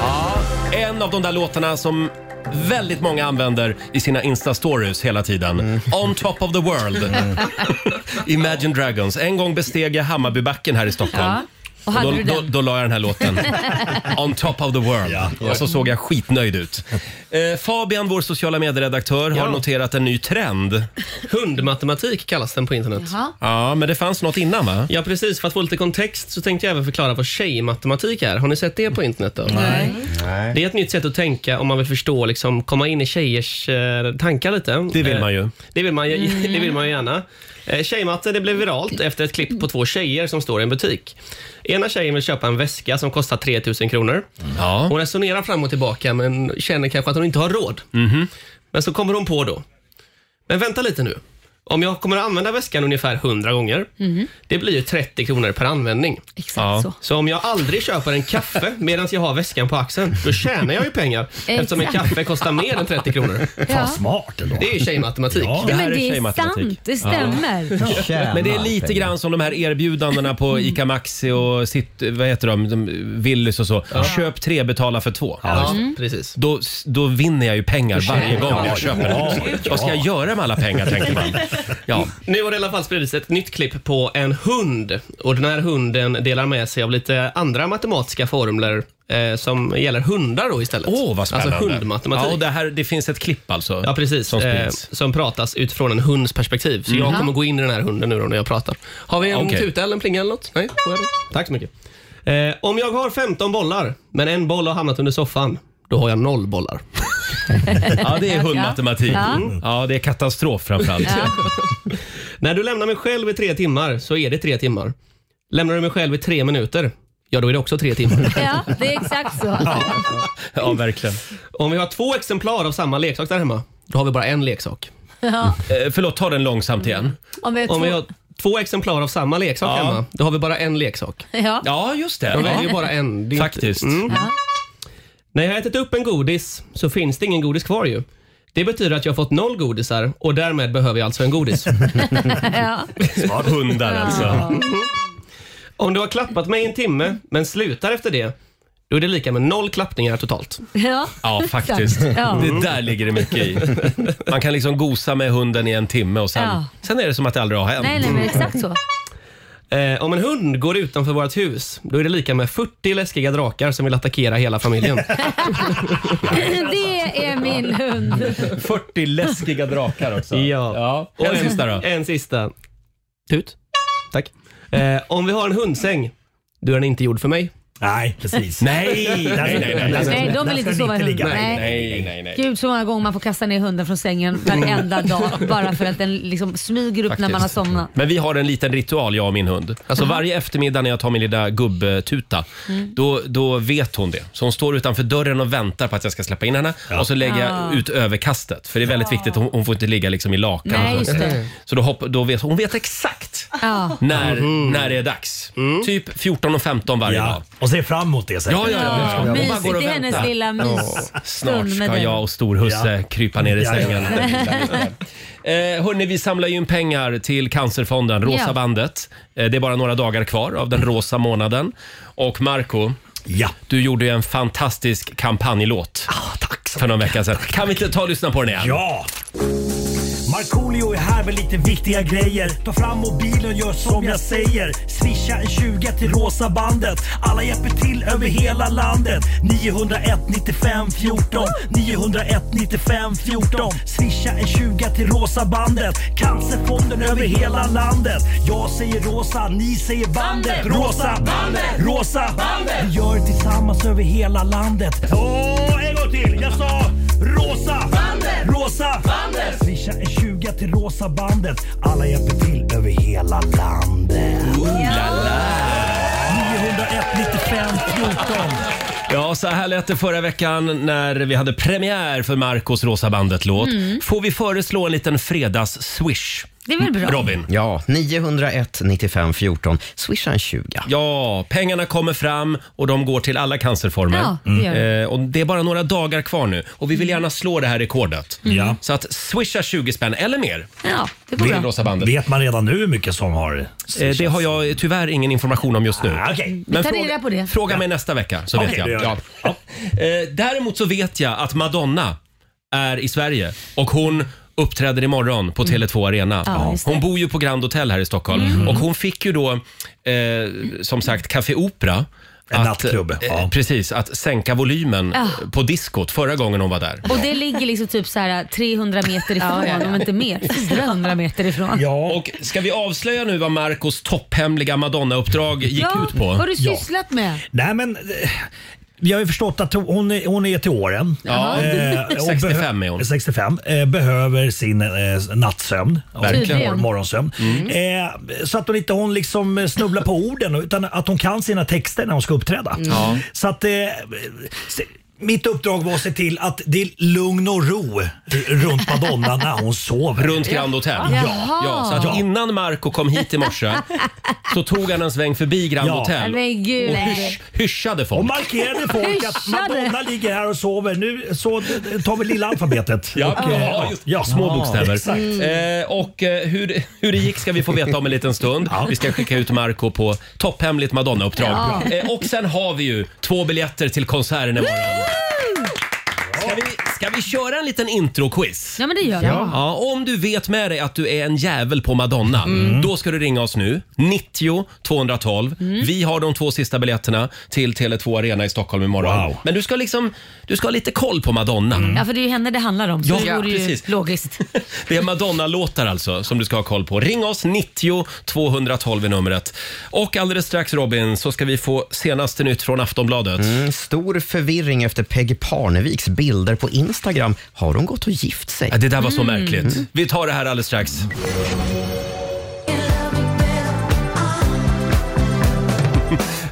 Speaker 1: Ja, En av de där låtarna som väldigt många använder i sina Insta-stories hela tiden. On top of the world.
Speaker 2: Mm.
Speaker 1: Imagine Dragons. En gång besteg jag Hammarbybacken här i Stockholm.
Speaker 2: Ja. Och
Speaker 1: Och
Speaker 2: hade
Speaker 1: då,
Speaker 2: du
Speaker 1: då,
Speaker 2: den?
Speaker 1: då la jag den här låten. On top of the world.
Speaker 9: Ja.
Speaker 1: Och så såg jag skitnöjd ut. Eh, Fabian, vår sociala medieredaktör, har
Speaker 6: Ja.
Speaker 1: noterat en ny trend.
Speaker 6: Hundmatematik kallas den på internet.
Speaker 2: Jaha.
Speaker 1: Ja, men det fanns något innan va?
Speaker 6: Ja, precis. För att få lite kontext så tänkte jag även förklara vad tjejmatematik är. Har ni sett det på internet? Då?
Speaker 2: Nej.
Speaker 6: Det är ett nytt sätt att tänka om man vill förstå, liksom, komma in i tjejers eh, tankar lite. Eh,
Speaker 1: Det vill man ju.
Speaker 6: Det vill man, ju-
Speaker 2: Mm.
Speaker 6: det vill man ju gärna. Eh, Tjejmatte det blev viralt efter ett klipp på två tjejer som står i en butik. Ena tjejen vill köpa en väska som kostar 3 000 kronor.
Speaker 1: Ja.
Speaker 6: Hon resonerar fram och tillbaka men känner kanske att hon inte har råd.
Speaker 1: Mhm.
Speaker 6: Men så kommer hon på då. Men vänta lite nu. Om jag kommer att använda väskan ungefär 100 gånger,
Speaker 1: Mm-hmm.
Speaker 6: det blir ju 30 kronor per användning.
Speaker 2: Exakt
Speaker 1: Ja.
Speaker 2: så.
Speaker 6: Så om jag aldrig köper en kaffe medan jag har väskan på axeln, då tjänar jag ju pengar eftersom en
Speaker 2: Exakt.
Speaker 6: kaffe kostar mer än 30 kronor.
Speaker 9: Fan,
Speaker 2: Ja.
Speaker 9: smart ändå.
Speaker 6: Det är ju tjejmatematik.
Speaker 9: Ja.
Speaker 1: Det
Speaker 2: Nej,
Speaker 1: här
Speaker 2: men
Speaker 1: är
Speaker 2: det är
Speaker 1: tjejmatematik.
Speaker 2: sant, det stämmer.
Speaker 1: Men det är lite grann som de här erbjudandena på ICA Maxi och sitt, vad heter de, de Willys och så. Köp tre, betala för två.
Speaker 6: Ja, precis.
Speaker 1: Då, då vinner jag ju pengar varje gång jag köper något. Vad ska jag göra med alla pengar tänker man. Ja.
Speaker 6: Nu har det i alla fall spridits ett nytt klipp på en hund. Och den här hunden delar med sig av lite andra matematiska formler eh, som gäller hundar då istället.
Speaker 1: Åh, vad spännande.
Speaker 6: Alltså hundmatematik.
Speaker 1: Ja, och det, här, det finns ett klipp alltså.
Speaker 6: Ja, precis.
Speaker 1: Som
Speaker 6: Som, eh,
Speaker 1: sprids.
Speaker 6: som pratas utifrån en hunds perspektiv. Så jag kommer gå in i den här hunden nu då när jag pratar. Har vi en
Speaker 1: Okej.
Speaker 6: tuta eller en plinga eller något? Nej, får jag det? Tack så mycket. Eh, om jag har 15 bollar, men en boll har hamnat under soffan, då har jag noll bollar.
Speaker 1: Ja, det är hundmatematik.
Speaker 2: Ja.
Speaker 9: Mm.
Speaker 1: Ja, det är katastrof framförallt.
Speaker 6: När du lämnar mig själv i tre timmar så är det tre timmar. Lämnar du mig själv i tre minuter, ja då är det också tre timmar.
Speaker 2: Ja, det är exakt så.
Speaker 1: Ja, verkligen.
Speaker 6: Om vi har två exemplar av samma leksak där hemma, då har vi bara en leksak.
Speaker 2: Ja.
Speaker 1: Eh, förlåt, ta den långsamt igen.
Speaker 2: Om vi har
Speaker 6: Om vi
Speaker 2: två...
Speaker 6: har två exemplar av samma leksak
Speaker 1: Ja.
Speaker 6: hemma, då har vi bara en leksak.
Speaker 2: Ja.
Speaker 1: Ja, just
Speaker 6: De
Speaker 1: det.
Speaker 6: väljer ju bara en. Det är
Speaker 1: Ja.
Speaker 6: inte- Mm.
Speaker 1: Faktiskt.
Speaker 6: När jag har ätit upp en godis så finns det ingen godis kvar ju. Det betyder att jag har fått noll godisar och därmed behöver jag alltså en godis.
Speaker 2: Ja.
Speaker 1: Hundar alltså.
Speaker 6: Om du har klappat mig i en timme men slutar efter det, då är det lika med noll klappningar totalt.
Speaker 2: Ja.
Speaker 1: Ja, faktiskt.
Speaker 2: Ja.
Speaker 1: Det där ligger det mycket i. Man kan liksom gosa med hunden i en timme och sen,
Speaker 2: Ja.
Speaker 1: sen är det som att det aldrig har hänt.
Speaker 2: Nej, nej, men exakt så.
Speaker 6: Eh, om en hund går utanför vårt hus, då är det lika med 40 läskiga drakar som vill attackera hela familjen.
Speaker 2: Det är min hund.
Speaker 1: 40 läskiga drakar också.
Speaker 6: Ja.
Speaker 1: ja. Och en sista då.
Speaker 6: En sista. Tut. Tack. Eh, om vi har en hundsäng, då är den inte gjord för mig.
Speaker 9: Nej, precis.
Speaker 1: Nej, nej, nej, nej.
Speaker 9: Där ska-
Speaker 2: Nej, de
Speaker 9: där
Speaker 2: vill
Speaker 9: ska
Speaker 2: inte
Speaker 9: den
Speaker 2: sova i
Speaker 9: ligga.
Speaker 2: hunden.
Speaker 9: Nej.
Speaker 2: Nej.
Speaker 1: Nej, nej, nej.
Speaker 2: Gud så många gånger man får kasta ner hunden från sängen varenda dag bara för att den liksom smyger upp när
Speaker 1: Mm.
Speaker 2: man har
Speaker 1: Faktiskt.
Speaker 2: somnat.
Speaker 1: Men vi har en liten ritual jag och min hund. Alltså varje eftermiddag när jag tar min lilla gubbtuta,
Speaker 2: Mm.
Speaker 1: då, då vet hon det. Så hon står utanför dörren och väntar på att jag ska släppa in henne och så lägger
Speaker 2: Ah.
Speaker 1: jag ut överkastet. För det är väldigt viktigt, hon, hon får inte ligga liksom i lakan.
Speaker 2: Nej,
Speaker 1: och
Speaker 2: just
Speaker 1: sånt.
Speaker 2: det.
Speaker 1: Så då, hopp, då vet hon vet exakt
Speaker 2: Ja.
Speaker 1: när, när det är dags. Typ 14 och 15 varje dag.
Speaker 9: Ja. Och ser fram emot det säkert.
Speaker 1: Ja, ja, ja.
Speaker 2: Ja,
Speaker 1: Och bara går och
Speaker 2: mysigt i hennes
Speaker 1: väntar.
Speaker 2: lilla
Speaker 1: Snart
Speaker 2: mysstund med
Speaker 1: ska
Speaker 2: dig.
Speaker 1: jag och storhusse
Speaker 9: Ja.
Speaker 1: krypa ner i
Speaker 9: Ja, ja.
Speaker 1: sängen. Eh, hörni, vi samlar ju in pengar till Cancerfonden, Rosa
Speaker 2: Ja.
Speaker 1: bandet. Eh, det är bara några dagar kvar av den rosa månaden. Och Marco,
Speaker 9: ja.
Speaker 1: du gjorde ju en fantastisk kampanjlåt
Speaker 9: Ah, tack så
Speaker 1: för någon vecka sedan. Kan vi inte ta och lyssna på den igen?
Speaker 9: Ja! Markoolio är här med lite viktiga grejer. Ta fram mobilen, gör som jag säger. Swisha en 20 till Rosa bandet. Alla hjälper till över hela landet. 901 95 14. 901 95 14. Swisha en 20 till Rosa bandet. Cancerfonden över hela landet. Jag säger Rosa, ni säger bandet. Rosa bandet! Rosa bandet! Vi gör det tillsammans över hela landet. Åh, en gång till! Jag sa Rosa bandet! Rosa bandet! Swisha en 20 till Rosa bandet. Alla hjälper till över hela landet. 901 95 14.
Speaker 1: Ja, så här lät det förra veckan när vi hade premiär för Marcos Rosa bandet-låt. Får vi föreslå en liten fredags-swish?
Speaker 2: Mm. Det är väl bra?
Speaker 1: Robin?
Speaker 3: Ja, 901 95 14. Swisha en 20.
Speaker 1: Ja, pengarna kommer fram och de går till alla cancerformer.
Speaker 2: Ja, det gör det.
Speaker 1: Eh, och det är bara några dagar kvar nu och vi vill gärna slå det här rekordet.
Speaker 9: Ja.
Speaker 1: Så att swisha 20 spänn eller mer
Speaker 2: Ja, det går
Speaker 1: till
Speaker 2: bra.
Speaker 1: Rosa bandet.
Speaker 9: Vet man redan nu hur mycket som har...
Speaker 1: Eh, det har jag tyvärr ingen information om just nu.
Speaker 9: Ah, Okej.
Speaker 1: Men
Speaker 2: tar reda på det.
Speaker 1: fråga mig nästa vecka så
Speaker 9: Okej,
Speaker 1: vet
Speaker 9: det
Speaker 1: jag.
Speaker 9: gör
Speaker 1: Ja.
Speaker 9: jag.
Speaker 1: Eh, Däremot så vet jag att Madonna är i Sverige och hon uppträder imorgon på Tele2 Arena.
Speaker 2: Mm. Ja, just det. Mm.
Speaker 1: hon bor ju på Grand Hotel här i Stockholm och hon fick ju då, eh, som sagt, Café Opera eh,
Speaker 9: En nattklubb, ja.
Speaker 1: Precis, att sänka volymen
Speaker 2: Ja.
Speaker 1: eh, på diskot förra gången hon var där.
Speaker 2: Och det ligger liksom typ så här 300 meter ifrån,
Speaker 7: Ja, ja, ja.
Speaker 2: om inte mer. 400 meter ifrån.
Speaker 1: Mm.
Speaker 9: Ja.
Speaker 1: Och ska vi avslöja nu vad Marcos topphemliga Madonna-uppdrag gick
Speaker 2: Ja,
Speaker 1: ut på?
Speaker 2: Vad har du
Speaker 9: Ja.
Speaker 2: sysslat med?
Speaker 9: Nej men, eh, vi har ju förstått att hon är, hon är till åren.
Speaker 1: Ja.
Speaker 9: Eh, och
Speaker 1: 65
Speaker 9: behö-
Speaker 1: är hon.
Speaker 9: 65. Eh, behöver sin eh, nattsömn. och
Speaker 1: Verkligen. Mm.
Speaker 9: mor- Morgonsömn. Eh, så att hon inte hon liksom eh, snubblar på orden utan att hon kan sina texter när hon ska uppträda.
Speaker 1: Mm.
Speaker 9: Så att eh, se- mitt uppdrag var att se till att det är lugn och ro runt Madonna när hon sover.
Speaker 1: Runt Grand Hotel.
Speaker 2: Jaha.
Speaker 1: Ja, så att innan Marco kom hit i morse så tog han en sväng förbi Grand
Speaker 9: Ja.
Speaker 1: Hotel
Speaker 2: Men gud.
Speaker 1: och hysch, hyschade
Speaker 9: Och
Speaker 1: folk.
Speaker 9: markerade folk att
Speaker 2: Hyschade.
Speaker 9: Madonna ligger här och sover. Nu så eh, tar vi lilla alfabetet.
Speaker 1: Ja,
Speaker 9: Och, eh,
Speaker 1: ja, just, ja, små
Speaker 9: Ja, Mm.
Speaker 1: bokstäver.
Speaker 9: exakt.
Speaker 2: Mm.
Speaker 1: Eh, och eh, hur, hur det gick ska vi få veta om en liten stund. Vi ska skicka ut Marco på topphemligt Madonna-uppdrag. Eh, och sen har vi ju två biljetter till konserten imorgon. Ska vi, ska vi köra en liten intro-quiz?
Speaker 2: Ja men det gör jag.
Speaker 1: Ja, om du vet med dig att du är en jävel på Madonna,
Speaker 2: Mm.
Speaker 1: då ska du ringa oss nu. 90 212.
Speaker 2: Mm.
Speaker 1: Vi har de två sista biljetterna till Tele2 Arena i Stockholm imorgon.
Speaker 9: Wow.
Speaker 1: Men du ska liksom, du ska ha lite koll på Madonna.
Speaker 2: Ja för det är ju henne det handlar om så
Speaker 1: Ja,
Speaker 2: det vore ju
Speaker 1: precis.
Speaker 2: logiskt.
Speaker 1: Det är Madonna-låtar alltså som du ska ha koll på. Ring oss, 90 212 är numret. Och alldeles strax Robin så ska vi få senaste nytt från Aftonbladet.
Speaker 3: Mm, stor förvirring efter Peggy Parneviks bilder på Instagram. Har hon gått och gift sig? Mm.
Speaker 1: Ja, Det där var
Speaker 2: Mm.
Speaker 1: så märkligt. Vi tar det här alldeles strax.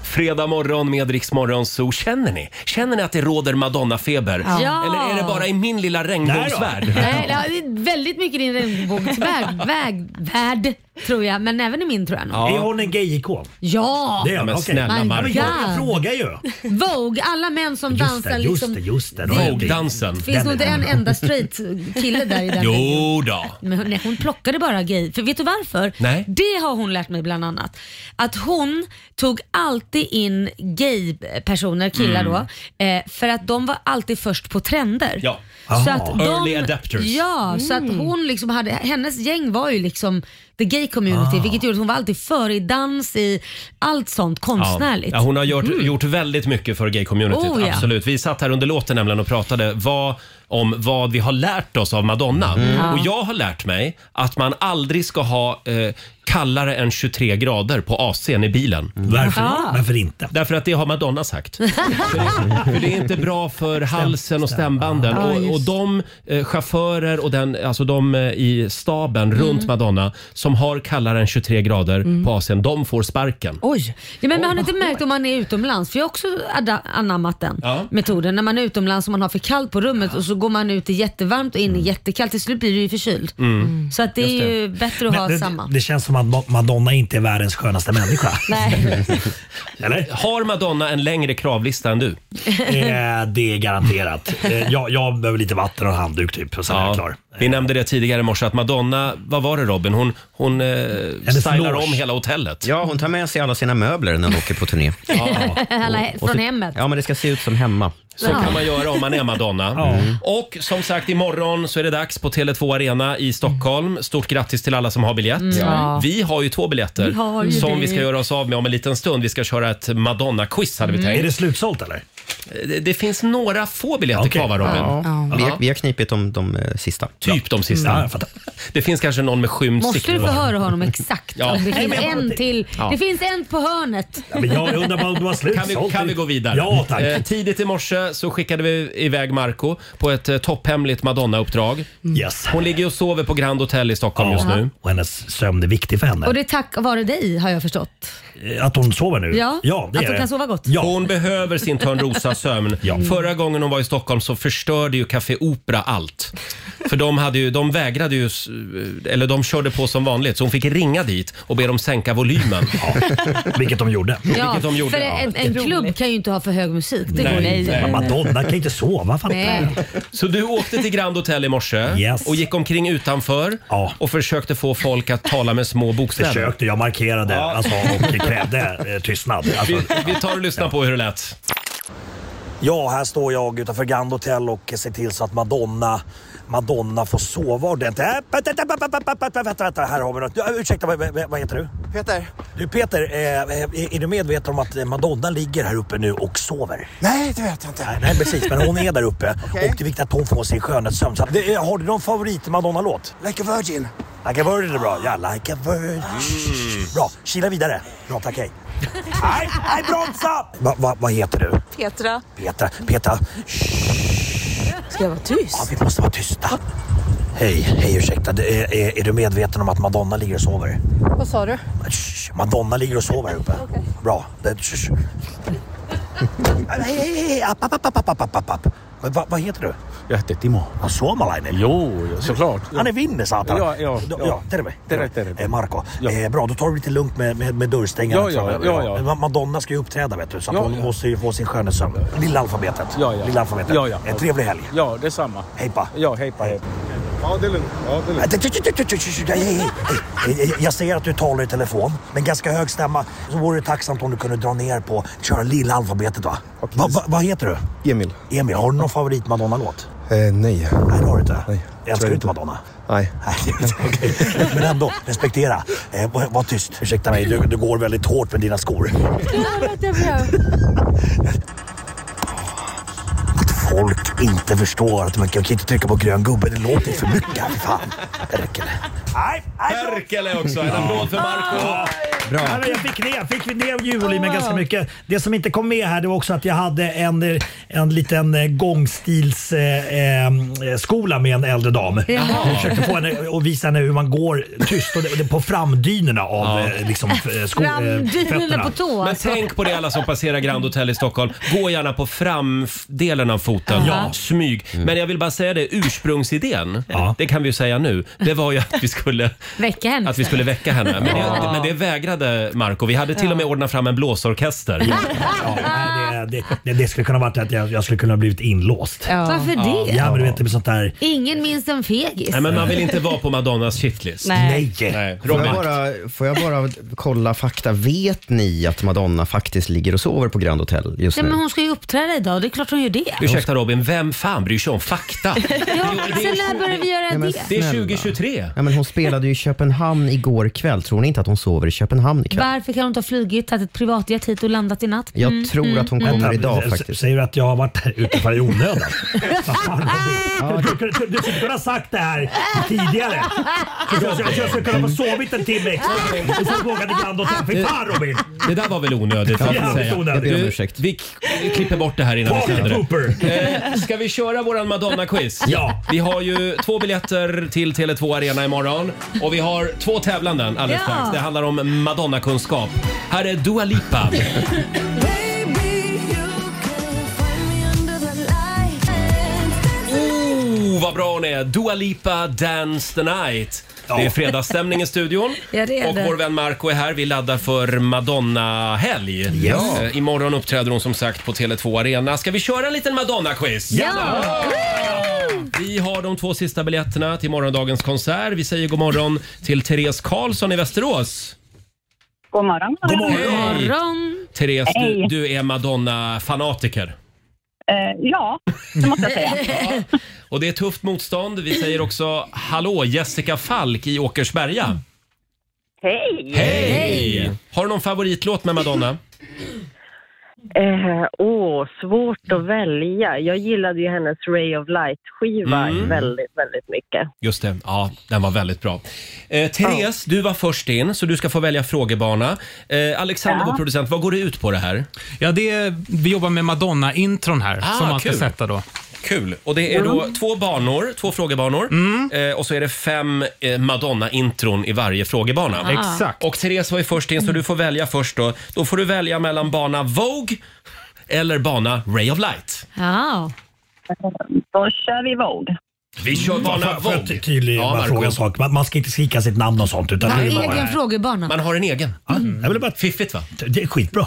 Speaker 1: Fredag morgon med Rix Morgon Zoo. Känner ni? Känner ni att det råder Madonna-feber?
Speaker 2: Ja.
Speaker 1: Eller är det bara i min lilla regnbågsvärld?
Speaker 2: Nej, ja, det är väldigt mycket i din regnbågsväg, väg, värld tror jag. Men även i min tror jag nog.
Speaker 9: Är hon en gay-ikon?
Speaker 2: Ja!
Speaker 9: Det är
Speaker 1: Ja, men
Speaker 9: hon, okej.
Speaker 1: snälla Mm.
Speaker 2: My
Speaker 9: Ja, men
Speaker 1: Marco.
Speaker 9: jag,
Speaker 2: God.
Speaker 9: jag frågar ju.
Speaker 2: Vogue, alla män som
Speaker 9: Just
Speaker 2: dansar
Speaker 9: det, just
Speaker 2: liksom.
Speaker 9: det, just det.
Speaker 1: Vogue-dansen.
Speaker 2: Finns
Speaker 9: Den
Speaker 2: nog
Speaker 9: är
Speaker 2: inte en
Speaker 9: den.
Speaker 2: enda straight kille där i den videon.
Speaker 1: Jo då.
Speaker 2: Men hon, nej, hon plockade bara gay. För vet du varför?
Speaker 1: Nej.
Speaker 2: Det har hon lärt mig bland annat. Att hon tog alltid in gay-personer, killar
Speaker 1: Mm.
Speaker 2: då, eh, för att de var alltid först på trender.
Speaker 1: Ja. Ah.
Speaker 2: Så
Speaker 9: Aha.
Speaker 2: att de,
Speaker 1: Early adapters.
Speaker 2: Ja, så att hon liksom hade, hennes gäng var ju liksom the gay
Speaker 1: Ah.
Speaker 2: community vilket gjorde att hon var alltid före i dans, i allt sånt konstnärligt. Mm.
Speaker 1: Ja, hon har gjort, gjort väldigt mycket för gay-communityt.
Speaker 2: Oh, ja.
Speaker 1: Absolut. Vi satt här under låten nämligen och pratade vad, om vad vi har lärt oss av Madonna.
Speaker 2: Mm.
Speaker 1: Och jag har lärt mig att man aldrig ska ha eh, kallare än 23 grader på AC'n i bilen.
Speaker 9: Mm. Varför,
Speaker 2: Aha.
Speaker 9: varför inte?
Speaker 1: Därför att det har Madonna sagt. för, för det är inte bra för halsen och stämbanden. och, och de eh, chaufförer och den, alltså de eh, i staben runt
Speaker 2: Mm.
Speaker 1: Madonna som har kallare än 23 grader på AC'n, de får sparken.
Speaker 2: Oj! Ja, men har ni inte märkt om man är utomlands? För jag har också ada- anammat den
Speaker 1: Ja.
Speaker 2: metoden. När man är utomlands och man har för kallt på rummet och så går man ut i jättevarmt och in i jättekallt. Till slut blir du ju förkyld. Så att det är ju bättre att ha
Speaker 9: det,
Speaker 2: Mm. samma.
Speaker 9: det känns som att Ma- Madonna inte är världens skönaste människa.
Speaker 2: Nej.
Speaker 9: Eller?
Speaker 1: Har Madonna en längre kravlista än du?
Speaker 9: Eh, det är garanterat. Eh, jag, jag behöver lite vatten och en handduk typ och sen är jag klar.
Speaker 1: Vi nämnde det tidigare i morse att Madonna, vad var det Robin? Hon, hon eh, stylar
Speaker 9: loge.
Speaker 1: om hela hotellet.
Speaker 3: Ja, hon tar med sig alla sina möbler när hon åker på turné.
Speaker 2: Alla
Speaker 3: Och
Speaker 2: från
Speaker 3: så-
Speaker 2: hemmet.
Speaker 3: Ja, men det ska se ut som hemma.
Speaker 1: Så kan man göra om man är Madonna.
Speaker 9: Mm.
Speaker 1: Och som sagt, imorgon så är det dags på Tele2 Arena i Stockholm. Stort grattis till alla som har biljett. Vi har ju två biljetter
Speaker 2: Mm. Vi har ju
Speaker 1: som
Speaker 2: det.
Speaker 1: vi ska göra oss av med om en liten stund. Vi ska köra ett Madonna-quiz hade vi
Speaker 9: Mm. Är det
Speaker 1: tänkt. Eh,
Speaker 9: slutsålt eller?
Speaker 1: Det, det finns några få biljetter
Speaker 9: Okej.
Speaker 1: kvar va Robin?
Speaker 3: Vi, har, vi har knipit de, de eh, sista.
Speaker 1: Typ de sista.
Speaker 9: Ja, jag fattar.
Speaker 1: Det finns kanske någon med skymd
Speaker 2: Måste du
Speaker 1: sikt.
Speaker 2: förhöra honom exakt?
Speaker 1: Ja.
Speaker 2: Om det
Speaker 1: Nej,
Speaker 2: finns
Speaker 9: men jag-
Speaker 2: en till. Det finns en på hörnet.
Speaker 9: Ja, men jag undrar bara om det var
Speaker 1: Kan
Speaker 9: slutsålt.
Speaker 1: vi, kan vi gå vidare?
Speaker 9: Ja, tack.
Speaker 1: Eh, tidigt i morse så skickade vi iväg Marco på ett eh, topphemligt Madonna-uppdrag.
Speaker 9: Mm. Yes.
Speaker 1: Hon ligger och sover på Grand Hotel i Stockholm just nu.
Speaker 9: Och hennes sömn är viktig för henne.
Speaker 2: Och det är tack vare dig har jag förstått.
Speaker 9: Eh, Att hon sover nu?
Speaker 2: Ja,
Speaker 9: ja det
Speaker 2: att
Speaker 9: är
Speaker 2: hon
Speaker 9: det.
Speaker 2: kan sova gott. Mm.
Speaker 9: Ja.
Speaker 1: Hon behöver sin Törnrosa-sömn. Förra gången hon var i Stockholm så förstörde ju Café Opera allt. För de, hade ju, de vägrade ju, s- eh, eller de körde på som vanligt så hon fick ringa dit och be dem sänka volymen.
Speaker 9: Vilket de gjorde.
Speaker 1: Vilket de gjorde,
Speaker 2: för
Speaker 1: ja.
Speaker 2: en, en klubb kan ju inte ha för hög musik. Det
Speaker 1: Nej,
Speaker 2: går inte.
Speaker 1: nej.
Speaker 9: Men Madonna kan inte sova, fattar
Speaker 2: Nej.
Speaker 9: du?
Speaker 1: Så du åkte till Grand Hotel i morse
Speaker 9: Yes.
Speaker 1: och gick omkring utanför
Speaker 9: Ja.
Speaker 1: och försökte få folk att tala med små bokstäver.
Speaker 9: Försökte, jag markerade alltså, och krävde eh, tystnad. Alltså,
Speaker 1: Vi tar och lyssnar på hur det lät.
Speaker 9: Ja, här står jag utanför Grand Hotel och ser till så att Madonna, Madonna får sova ordentligt. Äh, Vänta, vänta, vänta, vänta, vänta, vänta, vänta, här har vi något. Ja, Ursäkta, vad, vad- vad heter du?
Speaker 10: Peter?
Speaker 9: Du Peter, eh, är, är du medveten om att eh, Madonna ligger här uppe nu och sover?
Speaker 10: Nej, det vet jag inte.
Speaker 9: Nej, nej precis, men hon är där uppe
Speaker 10: Okej.
Speaker 9: och det är viktigt att hon får sin skönhetssömn. Så att- det- eh, Har du någon favorit Madonna-låt?
Speaker 10: Like a virgin.
Speaker 9: Like a virgin är bra. Ja, like a virgin.
Speaker 10: Mm.
Speaker 9: Bra, kila vidare. Bra, tack, hej. Nej, nej, bromsa! Va, va, vad heter du?
Speaker 7: Petra.
Speaker 9: Petra, Petra.
Speaker 7: Ska jag vara
Speaker 9: Ja,
Speaker 7: tyst?
Speaker 9: vi måste vara tysta. Hej, hej ursäkta. Det Är, är, är du medveten om att Madonna ligger och sover?
Speaker 7: Vad sa du?
Speaker 9: Shh, Madonna ligger och sover här uppe. Bra. Det, shh, shh. Hej, hej, hej. App, app, app, app, app, app, app. Men va, vad heter du?
Speaker 10: Jag heter Timo.
Speaker 9: Ja, Suomalainen.
Speaker 10: Jo, såklart.
Speaker 9: Han är vinner satan.
Speaker 10: Ja, ja,
Speaker 9: ja.
Speaker 10: ja.
Speaker 9: ja terve.
Speaker 10: Terve, terve.
Speaker 9: Eh, Marco.
Speaker 10: Ja.
Speaker 9: Eh, bra, då tar du lite lugnt med, med, med dörrstängarna.
Speaker 10: Ja, ja,
Speaker 9: framöver.
Speaker 10: ja, ja.
Speaker 9: Ma- Madonna ska ju uppträda vet du, så att
Speaker 10: Ja,
Speaker 9: hon
Speaker 10: ja.
Speaker 9: måste ju få sin skönhetssömn. Lilla alfabetet.
Speaker 10: Ja, ja.
Speaker 9: Lilla alfabetet.
Speaker 10: Ja, ja.
Speaker 9: Eh, trevlig helg.
Speaker 10: Ja, detsamma.
Speaker 9: Hej Äh, pa.
Speaker 10: Ja, hej på hej. Ja, det är lugnt. Ja, det är
Speaker 9: Nej, tju, tju, tju, tju, tju, tju, hej, hej, hej. Jag ser att du talar i telefon med ganska hög stämma. Så vore det tacksamt om du kunde dra ner på köra lilla alfabetet va?
Speaker 10: Okej.
Speaker 9: Va- va- Vad heter du?
Speaker 10: Emil?
Speaker 9: Emil, har du någon favorit Madonna-låt?
Speaker 10: Eh, nej.
Speaker 9: Nej, det har du inte.
Speaker 10: Nej, tror
Speaker 9: Älskar du
Speaker 10: jag
Speaker 9: inte
Speaker 10: inte.
Speaker 9: Madonna?
Speaker 10: Nej.
Speaker 9: Nej, okej. Men ändå, respektera. Eh, var, var tyst. Ursäkta mig, du, du går väldigt hårt med dina skor. Att folk inte förstår att man kan kan inte trycka på grön gubbe. Det låter för mycket. Fan, det räcker det. Nej, nej,
Speaker 1: Perkele också! En applåd för Marco
Speaker 9: Ja, men jag fick ner, fick vi ner ljudvolymen ganska mycket. Det som inte kom med här det var också att jag hade en, en liten eh, gångstilsskola eh, eh, skola med en äldre dam. Jag försökte få henne och visa henne hur man går tyst och det, det, på framdynorna av eh, liksom, f- eh, sko, eh,
Speaker 2: Framdynorna
Speaker 9: fötterna.
Speaker 2: på tå.
Speaker 1: Men tänk på det alla som passerar Grand Hotel i Stockholm. Gå gärna på framdelen av foten.
Speaker 9: Ja.
Speaker 1: Smyg. Men jag vill bara säga det, ursprungsidén,
Speaker 9: Ja.
Speaker 1: det kan vi ju säga nu, det var ju att vi skulle
Speaker 2: Väcka henne.
Speaker 1: Att vi skulle väcka henne. Men det, men det vägrade Marco. Vi hade till och med ordnat fram en blåsorkester.
Speaker 9: Ja, nej, det, det, det skulle kunna varit att jag, jag skulle kunna ha blivit inlåst. Ja,
Speaker 7: Ja.
Speaker 2: Varför det?
Speaker 9: men du vet, det blir sånt där...
Speaker 2: Ingen minns en fegis.
Speaker 1: Nej, men man vill inte vara på Madonnas shitlist.
Speaker 9: Nej!
Speaker 1: Nej.
Speaker 3: Får
Speaker 1: Robin,
Speaker 3: jag, bara, får jag bara kolla fakta? Vet ni att Madonna faktiskt ligger och sover på Grand Hotel just
Speaker 2: Nej,
Speaker 3: nu?
Speaker 2: men hon ska ju uppträda idag, det är klart hon gör det.
Speaker 1: ursäkta Robin, vem fan bryr sig om fakta?
Speaker 2: Ja, sen när började vi göra
Speaker 3: Nej, men
Speaker 2: det?
Speaker 1: Det är
Speaker 3: snälla.
Speaker 1: 2023.
Speaker 3: Ja, men hon spelade ju i Köpenhamn igår kväll. Tror ni inte att hon sover i Köpenhamn ikväll?
Speaker 2: Varför kan hon inte ha flugit, tagit ett privatjet hit och landat i natt? Mm,
Speaker 3: Jag tror att hon kommer idag
Speaker 9: S-
Speaker 3: faktiskt.
Speaker 9: Säger du att jag har varit här utanför i onödan? Vad fan har du- Du skulle- Du skulle kunna ha sagt det här tidigare. Så Jag Alltså, jag- jag skulle kunna ha sovit en timme extra och så vågat ibland och tänkt fy fan Robin.
Speaker 1: Det där var väl onödigt. får jag
Speaker 9: Ja,
Speaker 1: säga.
Speaker 9: jag ber om
Speaker 1: Du,
Speaker 3: ursäkt.
Speaker 1: Vi k- klipper bort det här innan vi sänder
Speaker 9: Party
Speaker 1: det.
Speaker 9: pooper!
Speaker 1: Eh, Ska vi köra våran Madonna-quiz?
Speaker 9: Ja.
Speaker 1: Vi har ju två biljetter till Tele2 Arena imorgon och vi har två tävlanden alldeles
Speaker 2: Ja.
Speaker 1: strax. Det handlar om Madonna-kunskap. Här är Dua Lipa.
Speaker 8: Baby, you can find me under the light.
Speaker 1: vad bra hon är! Dua Lipa, Dance the Night. Det är fredagsstämning i studion.
Speaker 2: Ja, det är
Speaker 1: och
Speaker 2: det.
Speaker 1: vår vän Marco är här. Vi laddar för Madonna-helg.
Speaker 2: Ja.
Speaker 1: Eh, Imorgon uppträder hon som sagt på Tele2 Arena. Ska vi köra en liten Madonna-quiz? Vi har de två sista biljetterna till morgondagens konsert. Vi säger god morgon till Therese Karlsson i Västerås.
Speaker 11: God morgon.
Speaker 1: God morgon. Therese, du,
Speaker 11: Hej.
Speaker 1: du är Madonna-fanatiker.
Speaker 11: Eh, ja, det måste jag säga.
Speaker 1: Och det är tufft motstånd. Vi säger också hallå Jessica Falk i Åkersberga.
Speaker 11: Hej!
Speaker 1: Hej! Har du någon favoritlåt med Madonna?
Speaker 11: Eh, åh, svårt att välja. Jag gillade ju hennes Ray of Light-skiva
Speaker 1: Mm.
Speaker 11: väldigt, väldigt mycket.
Speaker 1: Just det, ja den var väldigt bra. Eh, Therese, du var först in så du ska få välja frågebana. Eh, Alexander,
Speaker 11: Ja.
Speaker 1: vår producent, vad går det ut på det här?
Speaker 12: Ja, det är, vi jobbar med Madonna-intron här,
Speaker 1: Ah,
Speaker 12: som man ska
Speaker 1: kul.
Speaker 12: sätta då. Mm.
Speaker 1: Kul! Och det är då två banor, två frågebanor eh, och så är det fem eh, Madonna-intron i varje frågebana.
Speaker 12: Ah. Exakt.
Speaker 1: Och Therese var ju först in så du får välja först då. Då får du välja mellan bana Vogue eller bana Ray of Light.
Speaker 2: Ja.
Speaker 11: Då kör vi Vogue.
Speaker 1: Vi kör bana
Speaker 9: För
Speaker 1: Vogue.
Speaker 9: att tydliggöra
Speaker 1: Ja, Marco.
Speaker 9: fråga en sak. Man, man ska inte skrika sitt namn och sånt. Utan
Speaker 2: Man har
Speaker 9: det är bara-
Speaker 2: egen frågebana.
Speaker 1: Man har en egen.
Speaker 9: Mm. Jag vill bara...
Speaker 1: Fiffigt va?
Speaker 9: Det är skitbra.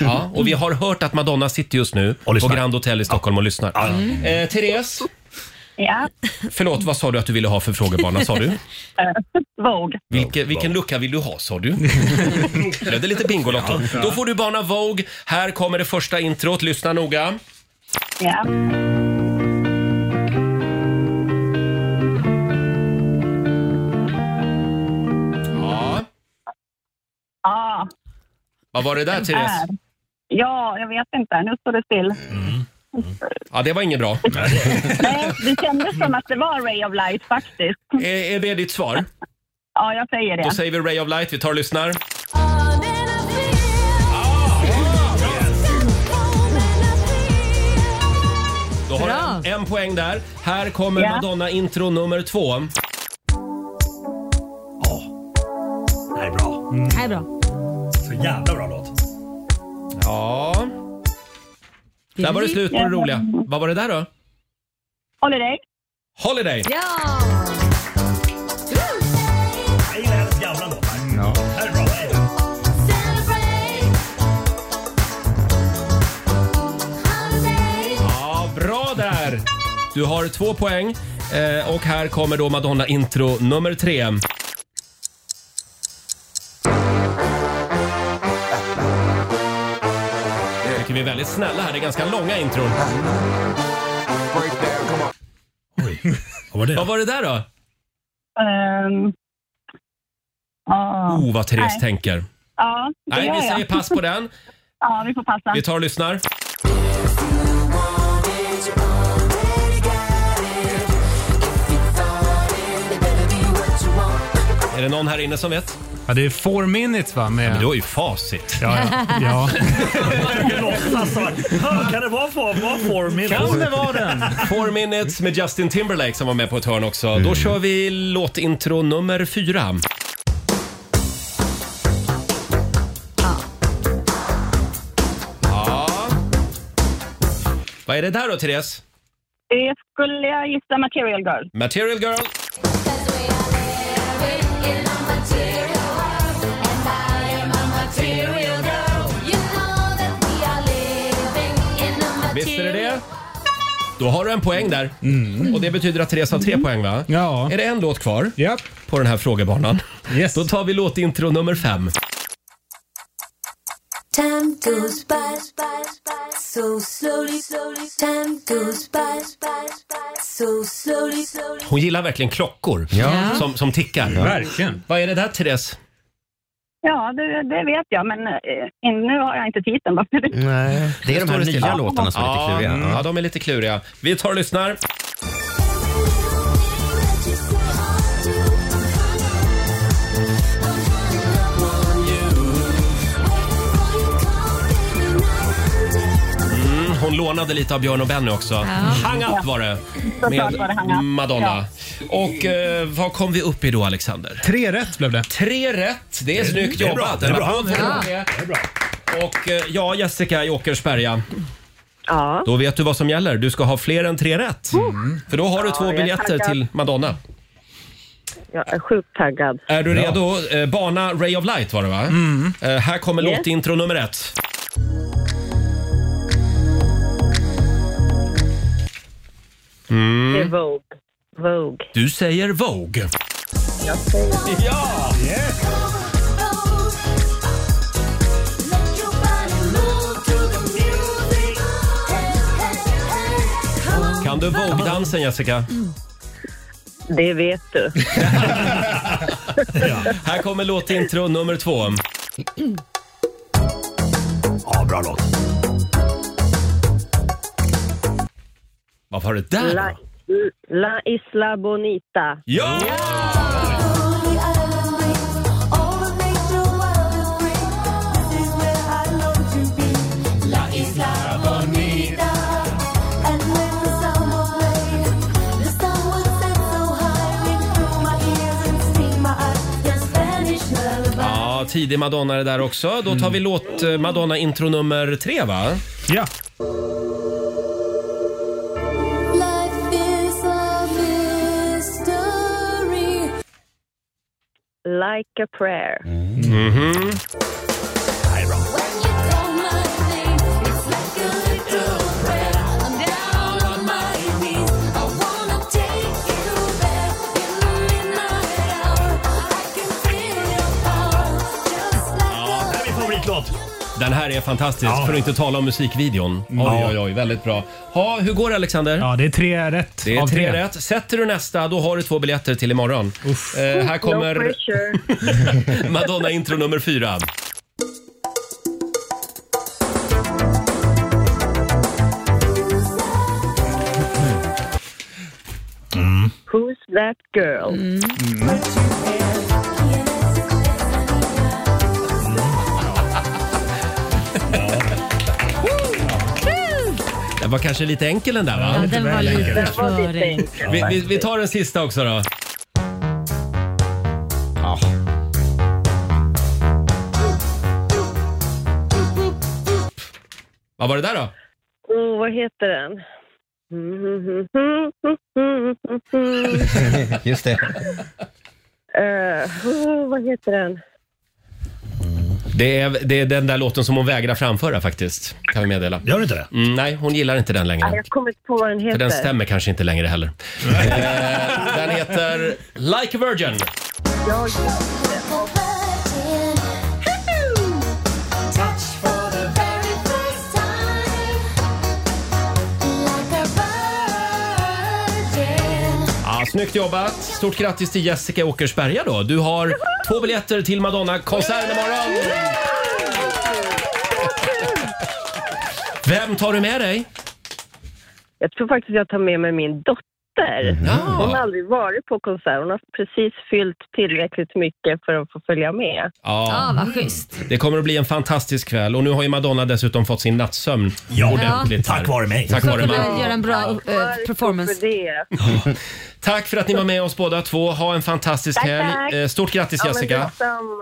Speaker 1: Ja, och vi har hört att Madonna sitter just nu på
Speaker 9: lyssnar.
Speaker 1: Grand Hotel i Stockholm och lyssnar. Eh, Therese,
Speaker 11: Ja.
Speaker 1: förlåt vad sa du att du ville ha för frågebana sa du?
Speaker 11: Eh, Vogue.
Speaker 1: Vilke, vilken lucka vill du ha sa du? Blev det lite Bingolotto? Då får du bana Vogue. Här kommer det första introt. Lyssna noga.
Speaker 11: Ja.
Speaker 1: Ja.
Speaker 11: Ja,
Speaker 1: Vad var det där Therese? Mm.
Speaker 11: här. Ja, jag vet inte. Nu står det still.
Speaker 1: Ja, det var inget bra.
Speaker 11: Nej, Eh, det kändes som att det var Ray of Light faktiskt.
Speaker 1: Är, Eh, är det ditt svar?
Speaker 11: Ja, jag säger det.
Speaker 1: Då säger vi Ray of Light. Vi tar och lyssnar. Då har
Speaker 13: Bra.
Speaker 1: du en, en poäng där. Här kommer
Speaker 13: Ja.
Speaker 1: Madonna intro nummer två.
Speaker 9: Det här är bra.
Speaker 2: Det här är bra.
Speaker 9: Så jävla bra låt.
Speaker 1: Ja. Där var det slut på det roliga. Vad var det där då?
Speaker 11: Holiday.
Speaker 1: Holiday.
Speaker 2: Ja!
Speaker 9: Jag gillar hennes gamla låtar. Det här är bra. det här är bra.
Speaker 1: Ja, bra där! Du har två poäng. Eh, och här kommer då Madonna intro nummer tre. Jag tycker vi är väldigt snälla här. Det är ganska långa intron.
Speaker 9: Vad var det?
Speaker 1: Vad var det där då?
Speaker 11: Ehm, ja.
Speaker 1: Oh, vad Therese
Speaker 11: Nej.
Speaker 1: tänker.
Speaker 11: Ja, det
Speaker 1: Nej,
Speaker 11: gör
Speaker 1: vi
Speaker 11: jag.
Speaker 1: säger pass på den.
Speaker 11: Ja, vi får passa.
Speaker 1: Vi tar och lyssnar. Är det någon här inne som vet?
Speaker 12: Ja, det är four minutes va? Med... Ja, men
Speaker 1: du har ju facit.
Speaker 12: Ja, ja.
Speaker 9: Alltså, ja, kan det vara form? Var form
Speaker 1: Kan det vara den? Four minutes med Justin Timberlake som var med på ett hörn också. Då kör vi låtintro nummer fyra. Ja. Vad är det där då, Therese?
Speaker 11: Det Eh, skulle jag gissa Material Girl.
Speaker 1: Material Girl. Visst är det det? Då har du en poäng där. Och det betyder att Therese har tre poäng va? Ja. Är det en låt kvar på den här frågebanan? Yes. Då tar vi låtintro nummer fem.
Speaker 4: Time goes by, so slowly, slowly. Time goes by, so slowly, slowly.
Speaker 1: Hon gillar verkligen klockor
Speaker 4: Ja.
Speaker 1: som, som tickar.
Speaker 12: Ja. Verkligen.
Speaker 1: Vad är det där Therese?
Speaker 11: Ja, det, det vet jag, men eh, in- nu har jag inte titeln. bara för det.
Speaker 1: Nej,
Speaker 3: det är de här nya låtarna som är lite kluriga.
Speaker 1: Ja, Mm. ja, de är lite kluriga. Vi tar och lyssnar. Mm, hon lånade lite av Björn och Benny också. Hang up var det.
Speaker 11: Såklart var det Hang Up.
Speaker 1: Madonna. Och eh, vad kom vi upp i då Alexander?
Speaker 12: Tre rätt blev det.
Speaker 1: Tre rätt. Det är snyggt
Speaker 12: det är bra,
Speaker 1: jobbat.
Speaker 12: det är
Speaker 1: En
Speaker 12: bra.
Speaker 1: applåd för
Speaker 12: Ja.
Speaker 1: det. Och eh, ja, Jessica i Åkersberga.
Speaker 14: Ja.
Speaker 1: Då vet du vad som gäller. Du ska ha fler än tre rätt. För då har
Speaker 14: Mm.
Speaker 1: du
Speaker 14: Ja,
Speaker 1: två
Speaker 14: jag är
Speaker 1: biljetter
Speaker 14: taggad.
Speaker 1: till Madonna.
Speaker 14: Jag är sjukt taggad.
Speaker 1: Är du redo? Eh, Bana Ray of Light var det va? Eh, Här kommer
Speaker 14: Mm. Yes.
Speaker 1: låtintro nummer ett.
Speaker 14: Det är
Speaker 1: Mm.
Speaker 14: Vogue. Vogue.
Speaker 1: Du säger Vogue.
Speaker 14: Jag säger...
Speaker 1: Ja! Kan du Vogue-dansen Jessica?
Speaker 14: Det vet du.
Speaker 1: Här kommer låtintro nummer två.
Speaker 9: Ja, bra låt.
Speaker 1: Vad var det där?
Speaker 14: La, La Isla Bonita.
Speaker 1: Ja! Ja, tidig Madonna är det där också. Då
Speaker 15: Mm.
Speaker 1: tar vi låt eh, Madonna intro nummer tre va? Ja.
Speaker 14: Like a prayer.
Speaker 1: Mhm.
Speaker 9: Det här är min favoritlåt.
Speaker 1: Den här är fantastisk, för att inte tala om musikvideon. Oj,
Speaker 15: Mm. Ja.
Speaker 1: oj, oj, väldigt bra. Ha, hur går det Alexander?
Speaker 15: Ja, det är tre rätt
Speaker 1: Det är
Speaker 15: av
Speaker 1: tre
Speaker 15: tre.
Speaker 1: rätt. Sätter du nästa, då har du två biljetter till imorgon. Eh, här
Speaker 14: No
Speaker 1: kommer
Speaker 14: pressure.
Speaker 1: Madonna intro nummer fyra.
Speaker 14: Who's that girl?
Speaker 1: Den var kanske lite enkel den där va?
Speaker 2: Ja, den var lite före.
Speaker 1: Vi, vi, vi tar den sista också då. Ja. Vad var det där då?
Speaker 14: Oh, vad heter den?
Speaker 3: Just det.
Speaker 14: Eh, oh, vad heter den?
Speaker 1: Det är, det är den där låten som hon vägrar framföra faktiskt. Kan vi meddela. Gör du inte det? Mm, nej, hon gillar inte den
Speaker 14: Ah,
Speaker 1: längre.
Speaker 14: jag kommer inte på vad den
Speaker 1: För
Speaker 14: heter.
Speaker 1: den stämmer kanske inte längre heller. eh, den heter Like a Virgin.
Speaker 14: Ja,
Speaker 1: Ja, snyggt jobbat! Stort grattis till Jessica Åkersberga då. Du har två biljetter till Madonna-konsert imorgon. Vem tar du med dig?
Speaker 14: jag tror faktiskt jag tar med mig min dotter.
Speaker 1: Mm.
Speaker 14: Hon har aldrig varit på konsert. Hon har precis fyllt tillräckligt mycket för att få följa med.
Speaker 1: Ja,
Speaker 2: vad schysst.
Speaker 1: Det kommer att bli en fantastisk kväll och nu har ju Madonna dessutom fått sin nattsömn
Speaker 9: Ja.
Speaker 1: ordentligt.
Speaker 9: Tack vare mig.
Speaker 1: Tack
Speaker 2: För
Speaker 1: vare
Speaker 2: att
Speaker 1: mig.
Speaker 2: kunna göra en bra eh, performance.
Speaker 1: Tack för att ni var med oss båda två. Ha en fantastisk
Speaker 2: Tack,
Speaker 1: helg.
Speaker 2: tack.
Speaker 1: Eh, Stort grattis Jessica.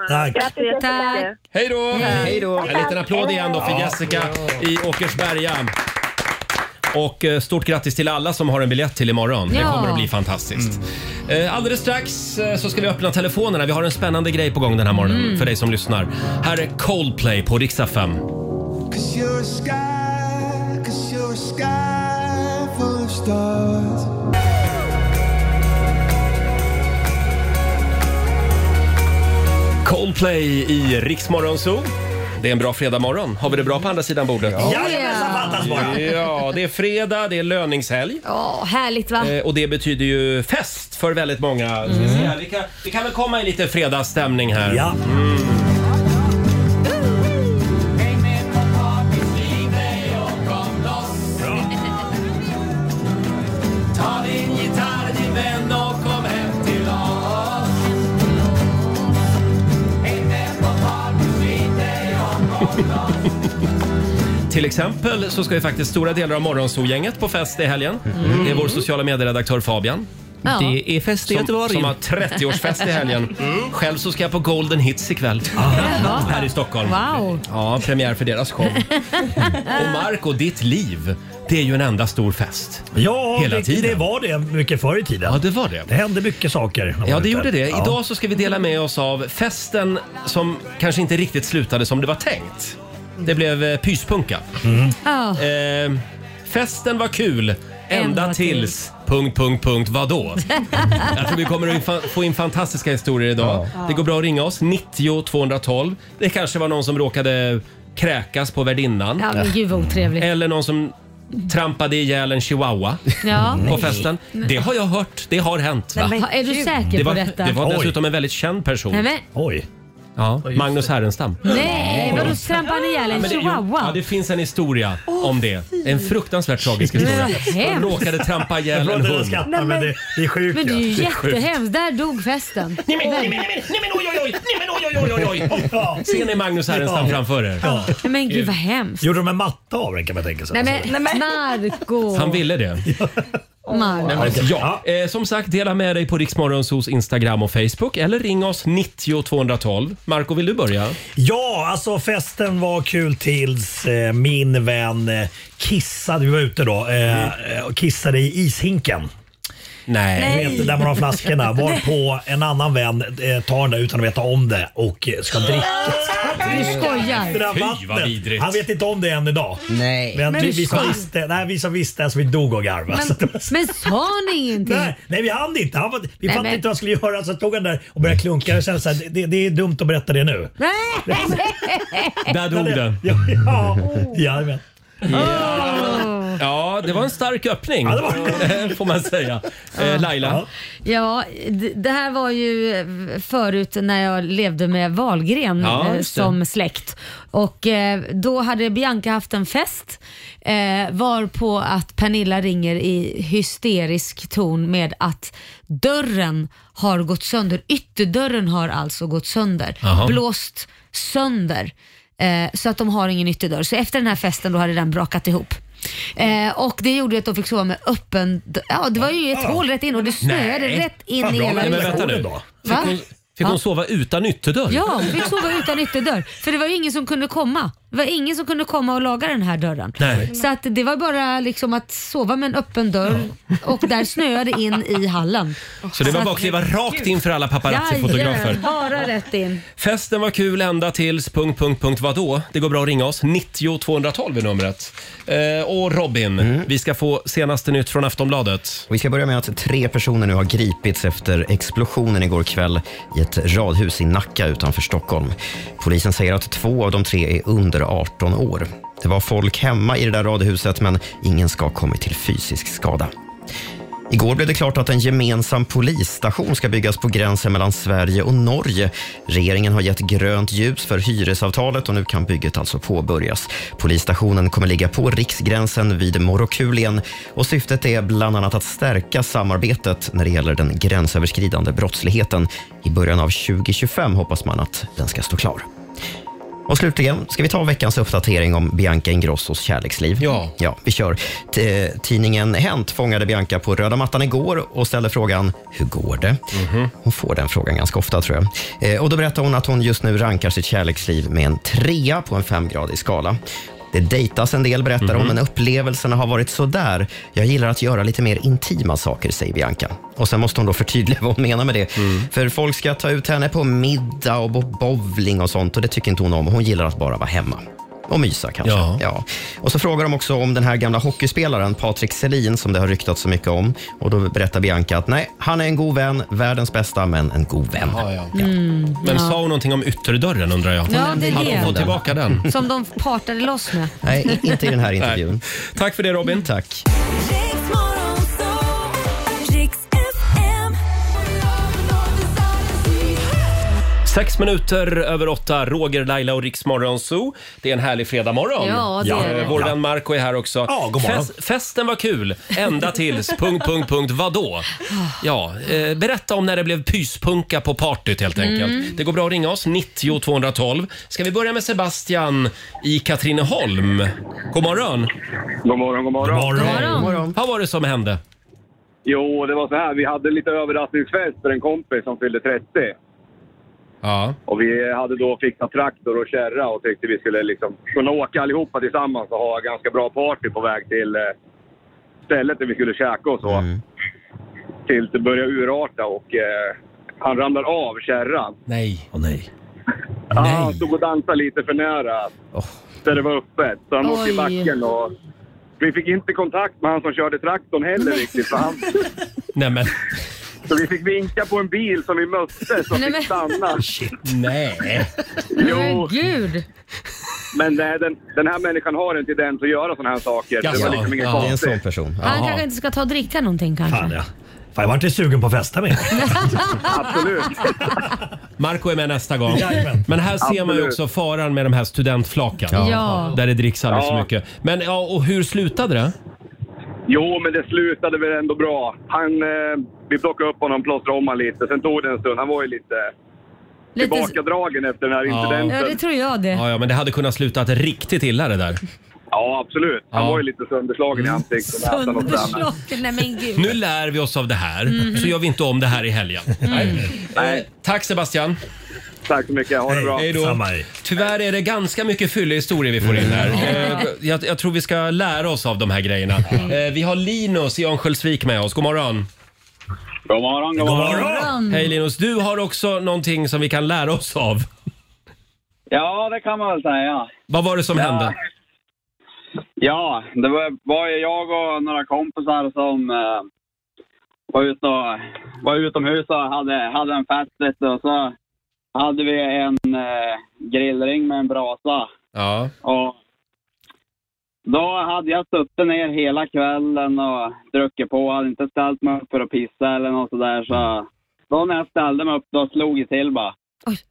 Speaker 9: Tack.
Speaker 14: Grattis,
Speaker 2: Tack.
Speaker 1: Hej då!
Speaker 2: Hej då.
Speaker 1: En liten applåd igen då för Jessica i Åkersberga. Och eh, stort grattis till alla som har en biljett till imorgon. Det
Speaker 2: Ja.
Speaker 1: kommer att bli fantastiskt. Eh, Alldeles strax eh, så ska vi öppna telefonerna. Vi har en spännande grej på gång den här morgonen
Speaker 2: Mm.
Speaker 1: för dig som lyssnar. Här är Coldplay på riksdag 5.
Speaker 4: Cause you're a sky, cause you're a sky full of stars.
Speaker 1: Coldplay i Riksmorgon Zoo. Det är en bra fredagmorgon. Har vi det bra på andra sidan bordet?
Speaker 9: Jajamensan, fattas bara.
Speaker 1: Ja, det är fredag, det är löningshelg.
Speaker 2: Ja, härligt va?
Speaker 1: Eh, Och det betyder ju fest för väldigt många. Ska vi se här, Vi, kan, vi kan väl komma i lite fredagsstämning här.
Speaker 9: Ja.
Speaker 1: Mm.
Speaker 4: Ta din gitarr din vän och kom hem till oss. Häng med på party, skit dig om
Speaker 1: Till exempel
Speaker 9: Mm.
Speaker 1: så ska ju faktiskt stora delar av Morgonzoo-gänget på fest i helgen. Det är vår sociala medieredaktör Fabian.
Speaker 2: Ja.
Speaker 6: Det är fest i
Speaker 1: som,
Speaker 6: Göteborg. Mm.
Speaker 1: Som har 30-årsfest i helgen. Själv så ska jag på Golden Hits ikväll. Här i Stockholm.
Speaker 2: Wow.
Speaker 1: Ja, premiär för deras show. Och Marco, ditt liv, det är ju en enda stor fest.
Speaker 9: Ja,
Speaker 1: Hela
Speaker 9: det,
Speaker 1: tiden.
Speaker 9: det var det mycket förr i tiden. Ja,
Speaker 1: det var det.
Speaker 9: Det hände mycket saker. när man
Speaker 1: Ja,
Speaker 9: var
Speaker 1: det
Speaker 9: ute.
Speaker 1: gjorde det.
Speaker 9: Ja.
Speaker 1: Idag så ska vi dela med oss av festen som kanske inte riktigt slutade som det var tänkt. Det blev eh, pyspunka. Eh, festen var kul, ända tills... Punkt, punkt, punkt, vadå? Jag tror vi kommer att infa- få in fantastiska historier idag.
Speaker 16: Ja.
Speaker 1: Det går bra att ringa oss, 90 212. Det kanske var någon som råkade kräkas på värdinnan.
Speaker 2: Ja, men gud vad otrevligt.
Speaker 1: Eller någon som trampade ihjäl en chihuahua
Speaker 2: Ja.
Speaker 1: på festen. Det har jag hört, det har hänt.
Speaker 2: Nej,
Speaker 1: va?
Speaker 2: men Ha- är du gud. säker
Speaker 1: det
Speaker 2: på
Speaker 1: var,
Speaker 2: detta?
Speaker 1: Det var
Speaker 2: Oj.
Speaker 1: dessutom en väldigt känd person.
Speaker 2: Nej, men-
Speaker 1: Oj. Ja, Magnus Härenstam.
Speaker 2: Nej, vadå trampade ni ihjäl
Speaker 1: Ja,
Speaker 2: en
Speaker 1: men det- jo, Ja,
Speaker 2: chihuahua?
Speaker 1: det finns en historia om det. En fruktansvärt tragisk
Speaker 2: Men vad
Speaker 1: historia. Han
Speaker 2: hemskt.
Speaker 1: råkade trampa ihjäl
Speaker 9: Jag
Speaker 1: en
Speaker 9: trodde
Speaker 1: hund.
Speaker 9: den skrattade, Nej, men men- det-
Speaker 1: är sjukt.
Speaker 2: Men det är ju jättehemskt. Där dog festen.
Speaker 1: Nej men, nej men, nej men, nej men, oj, oj, oj, nej men, oj, oj, oj, oj, oj. Ser ni Magnus Härenstam
Speaker 9: Ja.
Speaker 1: framför er?
Speaker 2: Nej, men gud vad hemskt.
Speaker 9: Gjorde de en matta av den kan man tänka sig.
Speaker 2: Nej men narko.
Speaker 1: Han ville det. Nej, men,
Speaker 2: Marco.
Speaker 1: ja. Eh, som sagt, dela med dig på Riksmorgonsos Instagram och Facebook eller ring oss 90 212. Marco, vill du börja?
Speaker 9: Ja, alltså festen var kul tills eh, min vän eh, kissade, vi var ute då, eh, eh, kissade i ishinken.
Speaker 1: Nej.
Speaker 9: Ni Vet, där man har flaskorna. Varpå en annan vän eh, tar den där utan att veta om det och eh, ska dricka.
Speaker 2: Du skojar.
Speaker 9: Det där vattnet. Han vet inte om det än idag.
Speaker 3: Nej.
Speaker 9: Men,
Speaker 2: Men
Speaker 9: vi, vi, som
Speaker 2: fan.
Speaker 9: visste, nej, vi som visste, alltså, vi dog och garvade. Så
Speaker 2: Men,
Speaker 9: det var så-
Speaker 2: men sa ni ingenting?
Speaker 9: Nej, nej, vi hann inte. Han var, vi
Speaker 2: Nej,
Speaker 9: fattade
Speaker 2: men-
Speaker 9: inte vad han skulle göra så tog han där och började klunka. Och sen, så här, det- det, det är dumt att berätta det nu.
Speaker 2: Nej.
Speaker 1: Där dog den.
Speaker 9: Ja, ja,
Speaker 2: Oh.
Speaker 9: Jajamän.
Speaker 1: Ja. ja, det var en stark öppning. Får man säga. Eh, Laila?
Speaker 2: Ja, d- det här var ju eh, förut när jag levde med Wahlgren
Speaker 1: Ja,
Speaker 2: eh,
Speaker 1: just det.
Speaker 2: som släkt. Och eh, då hade Bianca haft en fest eh, varpå att Pernilla ringer i hysterisk ton med att dörren har gått sönder. Ytterdörren har alltså gått sönder.
Speaker 17: Jaha.
Speaker 2: Blåst sönder. Eh, så att de har ingen ytterdörr. Så efter den här festen då hade den brakat ihop. Eh, och det gjorde ju att de fick sova med öppen d- Ja, det var ju ett
Speaker 1: Ja.
Speaker 2: hål rätt in och det snöade
Speaker 1: Nej.
Speaker 2: rätt in
Speaker 1: Fan,
Speaker 2: i
Speaker 1: bra.
Speaker 2: hela
Speaker 1: Nej, men vänta nu.
Speaker 2: huset.
Speaker 1: Fick
Speaker 2: Va?
Speaker 1: hon, fick hon
Speaker 2: Ja.
Speaker 1: sova utan ytterdörr?
Speaker 2: Ja, hon fick sova utan ytterdörr. För det var ju ingen som kunde komma. Det var ingen som kunde komma och laga den här dörren.
Speaker 1: Nej.
Speaker 2: Så att det var bara liksom att sova med en öppen dörr och där snöade in i hallen.
Speaker 1: Så det var
Speaker 2: att-
Speaker 1: bara att kliva rakt in för alla paparazzi-fotografer.
Speaker 2: Jajamän, bara rätt in.
Speaker 1: Festen var kul ända tills... Punkt, punkt, punkt, vadå? Det går bra att ringa oss. 90 212 är numret. Eh, och Robin, vi ska få senaste nytt från Aftonbladet.
Speaker 3: Och Vi ska börja med att tre personer nu har gripits efter explosionen igår kväll i ett radhus i Nacka utanför Stockholm. Polisen säger att två av de tre är under 18 år. Det var folk hemma i det där radhuset, men ingen ska ha kommit till fysisk skada. Igår blev det klart att en gemensam polisstation ska byggas på gränsen mellan Sverige och Norge. Regeringen har gett grönt ljus för hyresavtalet och nu kan bygget alltså påbörjas. Polisstationen kommer ligga på riksgränsen vid Morokulien och syftet är bland annat att stärka samarbetet när det gäller den gränsöverskridande brottsligheten. I början av 2025 hoppas man att den ska stå klar. Och slutligen ska vi ta veckans uppdatering om Bianca Ingrossos kärleksliv. Ja. ja vi kör. T- eh, tidningen Hänt fångade Bianca på röda mattan igår och ställde frågan “Hur går det?” Hon får den frågan ganska ofta tror jag. Eh, och då berättar hon att hon just nu rankar sitt kärleksliv med en trea på en femgradig skala. Det dejtas en del, berättar hon, men upplevelserna har varit sådär. Jag gillar att göra lite mer intima saker, säger Bianca. Och sen måste hon då förtydliga vad hon menar med det.
Speaker 1: Mm.
Speaker 3: För folk ska ta ut henne på middag och på bowling och sånt och det tycker inte hon om. Hon gillar att bara vara hemma. Och mysa kanske. Ja. Och så frågar de också om den här gamla hockeyspelaren Patrik Selin som det har ryktats så mycket om. Och då berättar Bianca att nej, han är en god vän, världens bästa, men en god vän.
Speaker 2: Mm,
Speaker 1: Men sa
Speaker 2: ja.
Speaker 1: hon någonting om ytterdörren undrar jag?
Speaker 2: Ja, det är
Speaker 1: Hade hon
Speaker 2: det.
Speaker 1: fått tillbaka den?
Speaker 2: Som de partade loss med.
Speaker 3: Nej, inte i den här intervjun.
Speaker 1: Tack för det Robin.
Speaker 3: Tack.
Speaker 1: Sex minuter över åtta, Roger, Laila och Riksmorgon Zoo. Det är en härlig fredagmorgon.
Speaker 2: Ja, det är det.
Speaker 1: Eh, Vår vän Marco är här också.
Speaker 2: Ja, god morgon.
Speaker 1: festen var kul, ända tills... punkt, punkt, punkt, vadå? Ja, eh, berätta om när det blev pyspunka på partyt helt enkelt.
Speaker 16: Mm.
Speaker 1: Det går bra att ringa oss, 90 212. Ska vi börja med Sebastian i Katrineholm? God morgon!
Speaker 18: God morgon, god morgon.
Speaker 1: Vad var det som hände?
Speaker 16: Jo, det var så här. Vi hade lite överraskningsfest för en kompis som fyllde 30.
Speaker 1: Ja.
Speaker 16: Och vi hade då fixat traktor och kärra och tyckte vi skulle liksom kunna åka allihopa tillsammans och ha ganska bra party på väg till eh, stället där vi skulle käka och så. Tills det började urarta och eh, han ramlar av kärran.
Speaker 1: Nej. Åh nej.
Speaker 16: Ja, Han stod och dansade lite för nära där det var öppet. Så han åkte i
Speaker 17: Oj.
Speaker 16: backen och... Vi fick inte kontakt med han som körde traktorn heller riktigt. För han...
Speaker 1: Nej men.
Speaker 16: Så vi fick vinka på en bil som vi mötte som
Speaker 2: Nej, men-
Speaker 16: fick stanna.
Speaker 1: Nej.
Speaker 16: Jo,
Speaker 2: Gud.
Speaker 16: men nej, den, den här människan har inte den att göra sådana här saker. Det
Speaker 3: Jaså,
Speaker 16: var liksom inget
Speaker 3: ja. Det är en
Speaker 16: konstigt.
Speaker 3: sån person.
Speaker 2: Han kanske inte ska ta och dricka någonting kanske.
Speaker 16: Fan, ja.
Speaker 9: Fan, jag vart inte sugen på att festa med
Speaker 16: Absolut.
Speaker 1: Marco är med nästa gång.
Speaker 9: Jajamän.
Speaker 1: Men här ser man ju också
Speaker 9: Absolut.
Speaker 1: faran med de här studentflakan.
Speaker 16: Ja. Ja.
Speaker 1: Där det dricks alldeles för
Speaker 16: Ja.
Speaker 1: mycket. Men ja, och hur slutade det?
Speaker 16: Jo, men det slutade väl ändå bra. Han, eh, vi plockade upp honom, plåstrade om honom lite. Sen tog det en stund. Han var ju lite,
Speaker 2: Lite-
Speaker 16: tillbakadragen efter den här incidenten.
Speaker 2: Ja, det tror jag det.
Speaker 1: Ja, ja, men det hade kunnat slutat riktigt illa det där.
Speaker 16: Ja, absolut. Han
Speaker 1: Ja.
Speaker 16: var ju lite sönderslagen i ansiktet. och näsan och sådär.
Speaker 2: Sönderslagen, nej men gud.
Speaker 1: Nu lär vi oss av det här,
Speaker 2: Mhm.
Speaker 1: så gör vi inte om det här i helgen. Eh, Tack Sebastian.
Speaker 16: Tack så mycket. Ha det bra.
Speaker 1: Hej då.
Speaker 16: Samma.
Speaker 1: Tyvärr är det ganska mycket fylliga historier vi får in här. Eh, Jag, jag tror vi ska lära oss av de här grejerna. Eh, Vi har Linus i Örnsköldsvik med oss. God morgon.
Speaker 18: God morgon, god morgon. God morgon.
Speaker 1: Hej Linus. Du har också någonting som vi kan lära oss av.
Speaker 18: Ja, det kan man väl säga.
Speaker 1: Vad var det som hände?
Speaker 18: Ja, det var, var ju jag och några kompisar som eh, var, ute och, var utomhus och hade, hade en fest lite och så hade vi en eh, grillring med en brasa.
Speaker 1: Ja.
Speaker 18: Och då hade jag suttit ner hela kvällen och druckit på. Hade inte ställt mig upp för att pissa eller något sådär. Så då när jag ställde mig upp då slog jag till bara.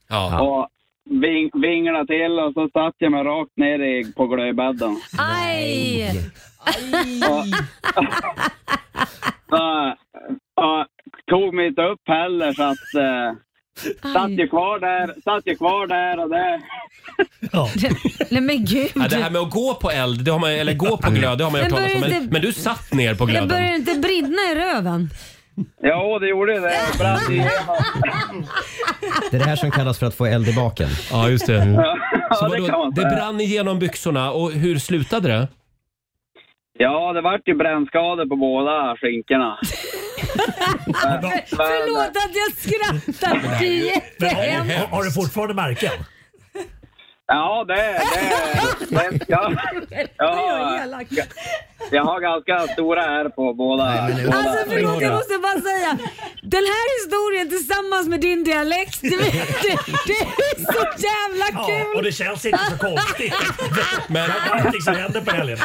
Speaker 1: Ja.
Speaker 18: Och ving, vinglade till och så satt jag mig rakt ner i, på glödbädden.
Speaker 2: Aj!
Speaker 18: Så, och tog mig inte upp heller så att eh, satt ju kvar där, satt ju kvar där och det.
Speaker 2: Nej men gud.
Speaker 1: Ja, det här med att gå på eld, det har man, eller gå på glöd, det har man ju hört
Speaker 2: Men
Speaker 1: talas om.
Speaker 2: börjar
Speaker 1: Men,
Speaker 2: inte-
Speaker 1: men du satt ner på
Speaker 2: Det
Speaker 1: glöden.
Speaker 2: börjar inte brinna i röven.
Speaker 18: Ja, det gjorde det. Det brann ju igenom.
Speaker 3: Det är det här som kallas för att få eld i baken.
Speaker 1: Ja, just det. Så
Speaker 18: Ja, det kan
Speaker 1: vadå,
Speaker 18: man
Speaker 1: det
Speaker 18: säga.
Speaker 1: brann igenom byxorna och hur slutade det?
Speaker 18: Ja, det vart ju brännskador på båda skinkorna.
Speaker 2: Förlåt att jag skrattar. Det är
Speaker 9: Men har,
Speaker 2: jättehemskt.
Speaker 9: har du fortfarande märken?
Speaker 18: Ja, det... det, det ja, ja, jag har ganska stora ärr på båda. båda.
Speaker 2: Alltså förlåt, jag måste bara säga. Den här historien tillsammans med din dialekt, det, det, det är så jävla kul!
Speaker 9: och det känns inte så konstigt.
Speaker 1: Men
Speaker 9: Allting som händer på helgerna.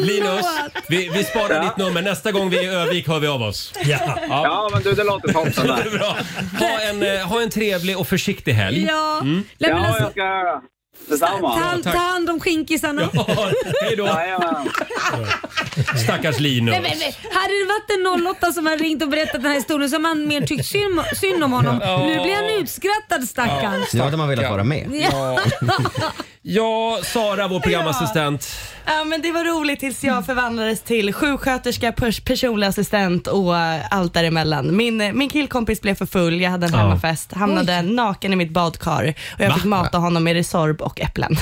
Speaker 1: Linus, vi, vi sparar ditt nummer. Nästa gång vi är i Övik hör vi av oss.
Speaker 9: Ja,
Speaker 18: ja men du, det låter toppen.
Speaker 1: det är bra. Ha en, eh, ha en trevlig och försiktig helg.
Speaker 2: Ja.
Speaker 1: Mm.
Speaker 2: Nej, men alltså-
Speaker 18: ska göra detsamma.
Speaker 2: Ta, ta hand om skinkisarna.
Speaker 1: Ja, hej då. Stackars Linus.
Speaker 2: Nej, men, men, hade det varit en 08 som hade ringt och berättat den här historien så hade man mer tyckt synd, synd om honom.
Speaker 1: Ja.
Speaker 2: Nu blir han utskrattad stackarn.
Speaker 3: Nu hade man velat vara med.
Speaker 1: Ja. ja, Sara vår programassistent.
Speaker 19: Ja, men det var roligt tills jag förvandlades till sjuksköterska, pers- personlig assistent och eh, allt däremellan. Min, eh, min killkompis blev för full, jag hade en
Speaker 1: Ja.
Speaker 19: hemmafest, hamnade naken i mitt badkar och jag
Speaker 1: Va?
Speaker 19: fick mata honom med Resorb och äpplen.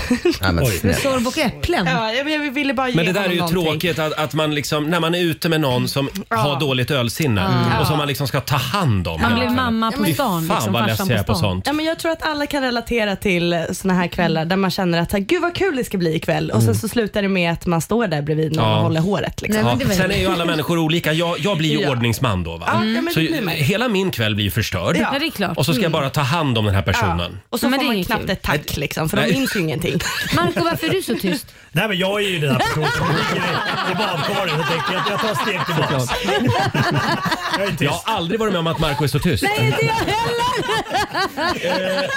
Speaker 2: Resorb och äpplen?
Speaker 19: Ja, jag, jag ville bara ge
Speaker 1: Men det där är
Speaker 19: honom
Speaker 1: ju
Speaker 19: någonting.
Speaker 1: tråkigt att, att man liksom, när man är ute med någon som har dåligt ölsinne
Speaker 19: Mm.
Speaker 1: och som man liksom ska ta hand om.
Speaker 19: Man
Speaker 1: hela
Speaker 19: blir
Speaker 1: tiden.
Speaker 19: mamma på
Speaker 1: Fy
Speaker 19: stan,
Speaker 1: Fan
Speaker 19: liksom,
Speaker 1: vad
Speaker 19: farsan
Speaker 1: less
Speaker 19: på
Speaker 1: jag är på
Speaker 19: stan.
Speaker 1: sånt.
Speaker 19: Ja, men jag tror att alla kan relatera till såna här kvällar där man känner att gud vad kul det ska bli ikväll och sen
Speaker 1: Mm.
Speaker 19: så slutar det med att man står där bredvid någon och håller håret. Liksom.
Speaker 1: Ja. Sen är ju alla människor olika. Jag, jag blir ju
Speaker 19: Ja.
Speaker 1: ordningsman då. Va?
Speaker 19: Ja, ja, men
Speaker 1: så
Speaker 19: det blir man ju.
Speaker 1: hela min kväll blir ju förstörd.
Speaker 19: Ja. Ja, det är klart.
Speaker 1: Och så ska jag
Speaker 19: Mm.
Speaker 1: bara ta hand om den här personen.
Speaker 19: Och så får man knappt ett tack liksom, för
Speaker 1: Nej.
Speaker 19: de minns ju ingenting.
Speaker 2: Marco, varför är du så tyst?
Speaker 9: Nej men jag är ju den här personen som ligger i- i badkaret och tänker att jag tar steg tillbaks.
Speaker 1: Jag har aldrig varit med om att Marco är så tyst.
Speaker 2: Nej, inte jag
Speaker 1: heller!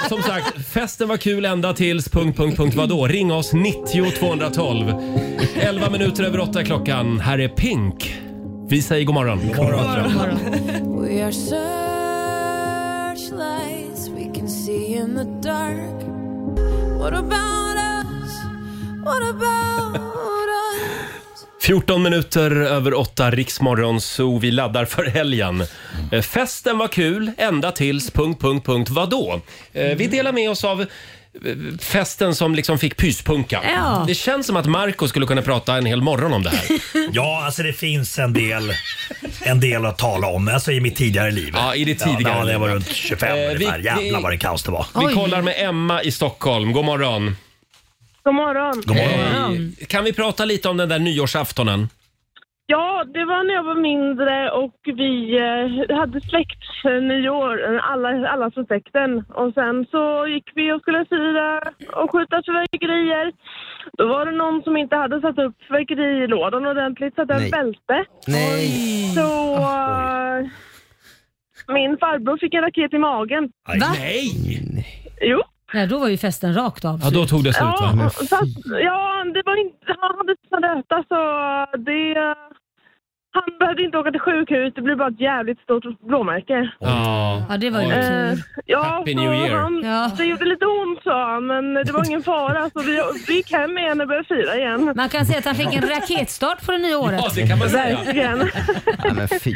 Speaker 1: Som sagt, festen var kul ända tills... Punkt, punkt, punkt, vadå? Ring oss 90 212. 11 minuter över 8 klockan. Här är Pink. Vi säger god morgon. God morgon.
Speaker 8: We are searchlights we can see in the dark. What about us? What about us?
Speaker 1: 14 minuter över 8, Riksmorgon Zoo. Vi laddar för helgen. Eh, Festen var kul, ända tills... Punkt, punkt, punkt. Vadå? Eh, Vi delar med oss av eh, festen som liksom fick pyspunka.
Speaker 2: Ja.
Speaker 1: Det känns som att Marco skulle kunna prata en hel morgon om det här.
Speaker 9: Ja, alltså det finns en del, en del att tala om. Alltså i mitt tidigare liv. Ja,
Speaker 1: i ditt tidigare
Speaker 9: Ja, när jag var
Speaker 1: liv.
Speaker 9: runt 25
Speaker 1: Eh, vi-
Speaker 9: ungefär. Jävlar vad det kaos det var.
Speaker 1: Vi kollar med Emma i Stockholm. God morgon.
Speaker 5: God morgon.
Speaker 1: Hej. Kan vi prata lite om den där nyårsaftonen?
Speaker 5: Ja, det var när jag var mindre och vi eh, hade släkt eh, nyår, eh, alla, alla från släkten. Och sen så gick vi och skulle fira och skjuta fyrverkerier. Då var det någon som inte hade satt upp fyrverkerilådan ordentligt så att den
Speaker 3: Nej.
Speaker 5: välte.
Speaker 3: Nej. Ah,
Speaker 5: Så eh, min farbror fick en raket i magen.
Speaker 2: Va?
Speaker 1: Nej!
Speaker 5: Jo.
Speaker 2: Nej, då var ju festen rakt av.
Speaker 1: Ja, då tog det slut, va?
Speaker 5: Ja,
Speaker 1: Men
Speaker 5: fast, ja det var inte, han hade sina röta så det... Han behövde inte åka till sjukhus, det blev bara ett jävligt stort blåmärke.
Speaker 1: Ja.
Speaker 2: Ja, det var ju
Speaker 5: Eh,
Speaker 2: tur.
Speaker 5: ja,
Speaker 1: Happy
Speaker 5: så
Speaker 1: New Year.
Speaker 5: Han, Det gjorde lite ont sa han, men det var ingen fara så vi, vi gick hem igen och började fira igen.
Speaker 2: Man kan säga att han fick en raketstart på det nya året.
Speaker 1: Ja, det kan man säga. Eh.
Speaker 5: Verkligen.
Speaker 1: Ja, men fy.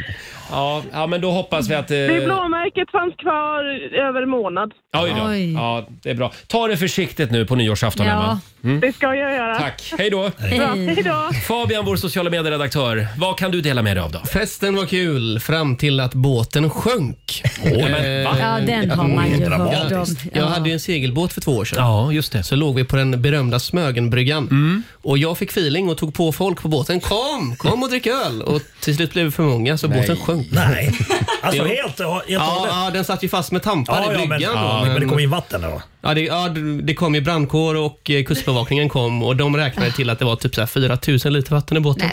Speaker 1: Ja, men då hoppas vi att... eh,
Speaker 5: Det blåmärket fanns kvar över en månad.
Speaker 1: Oj då. Ja, det är bra. Ta det försiktigt nu på nyårsafton,
Speaker 5: Ja.
Speaker 1: Emma. Mm.
Speaker 5: Det ska jag göra.
Speaker 1: Tack. Hej då.
Speaker 5: Hej. Bra, hej då.
Speaker 1: Fabian, vår sociala medieredaktör. Vad kan du dela med dig av då?
Speaker 6: Festen var kul fram till att båten sjönk.
Speaker 1: men va? Ja, den har man ju hört
Speaker 6: Dramatiskt.
Speaker 1: om. Ja.
Speaker 6: Jag hade ju en segelbåt för två år sedan.
Speaker 1: Ja, just det.
Speaker 6: Så låg vi på den berömda Smögenbryggan.
Speaker 9: Mm.
Speaker 6: Och jag fick feeling och tog på folk på båten. Kom, kom och drick öl! Och till slut blev vi för många så
Speaker 9: Nej.
Speaker 6: båten sjönk.
Speaker 9: Nej. Alltså,
Speaker 6: Jo.
Speaker 9: helt- helt och hållet.
Speaker 6: ja, ja, den satt ju fast med
Speaker 9: Ja,
Speaker 6: tampar
Speaker 9: ja,
Speaker 6: i
Speaker 9: men-
Speaker 6: bryggan.
Speaker 9: ja, men det kom in vatten då?
Speaker 6: Ja, det, ja, det- det kom ju brandkår och eh, kustbevakningen kom och de räknade till att det var typ så här 4 000 liter vatten i båten.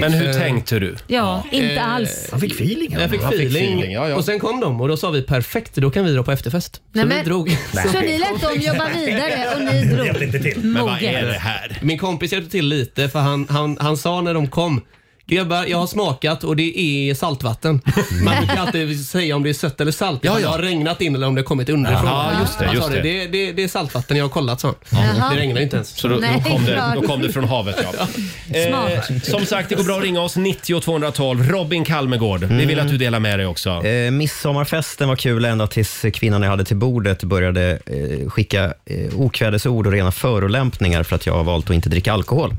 Speaker 1: Men hur tänkte du?
Speaker 2: Ja, inte
Speaker 6: Eh,
Speaker 2: alls.
Speaker 9: Han fick feeling.
Speaker 6: Jag fick
Speaker 1: Han fick
Speaker 6: feeling,
Speaker 1: feeling, ja, ja.
Speaker 6: och sen kom de och då sa vi perfekt, då kan vi dra på efterfest. Så
Speaker 2: Nej,
Speaker 6: vi
Speaker 2: men-
Speaker 6: drog.
Speaker 2: Så ni lät dem jobba vidare och ni drog.
Speaker 6: Men vad
Speaker 2: Moget.
Speaker 6: är det här? Min kompis hjälpte till lite för han, han, han sa när de kom Grabbar, jag har smakat och det är saltvatten.
Speaker 1: Mm.
Speaker 6: Man brukar alltid säga om det är sött eller salt. Ja, Det har regnat in eller om det har kommit underifrån.
Speaker 1: Jaha, just det,
Speaker 6: Han sa
Speaker 1: just det.
Speaker 6: Det, det, det är saltvatten, jag har kollat så.
Speaker 1: Jaha.
Speaker 6: Det regnar ju inte ens. Så
Speaker 1: då, då, kom det, då kom det från havet, ja. Eh,
Speaker 6: Smart.
Speaker 1: som sagt, det går bra att ringa oss. 90 212. Robin Kalmegård, vi vill att du delar med dig också.
Speaker 3: Eh, midsommarfesten var kul ända tills kvinnan jag hade till bordet började eh, skicka eh, okvädesord och rena förolämpningar för att jag har valt att inte dricka alkohol.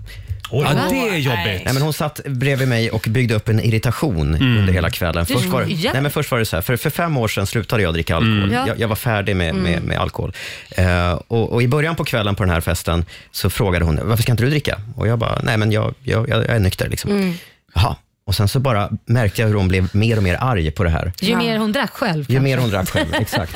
Speaker 1: Oj. Ja, det är jobbigt.
Speaker 3: Nej, men hon satt bredvid mig och byggde upp en irritation under hela kvällen.
Speaker 2: Du
Speaker 3: Först var,
Speaker 2: skojar.
Speaker 3: nej, men först var det så här, för, för fem år sedan slutade jag dricka alkohol.
Speaker 2: Mm. Ja.
Speaker 3: Jag, jag var färdig med, med,
Speaker 1: Mm.
Speaker 3: med alkohol. Eh, och, och I början på kvällen på den här festen så frågade hon, varför ska inte du dricka? Och jag bara, nej men jag, jag, jag, jag är nykter. Liksom.
Speaker 1: Mm.
Speaker 3: Jaha. Och sen så bara märkte jag hur hon blev mer och mer arg på det här.
Speaker 2: Ju mer hon drack själv.
Speaker 3: Ju mer hon drack själv, exakt.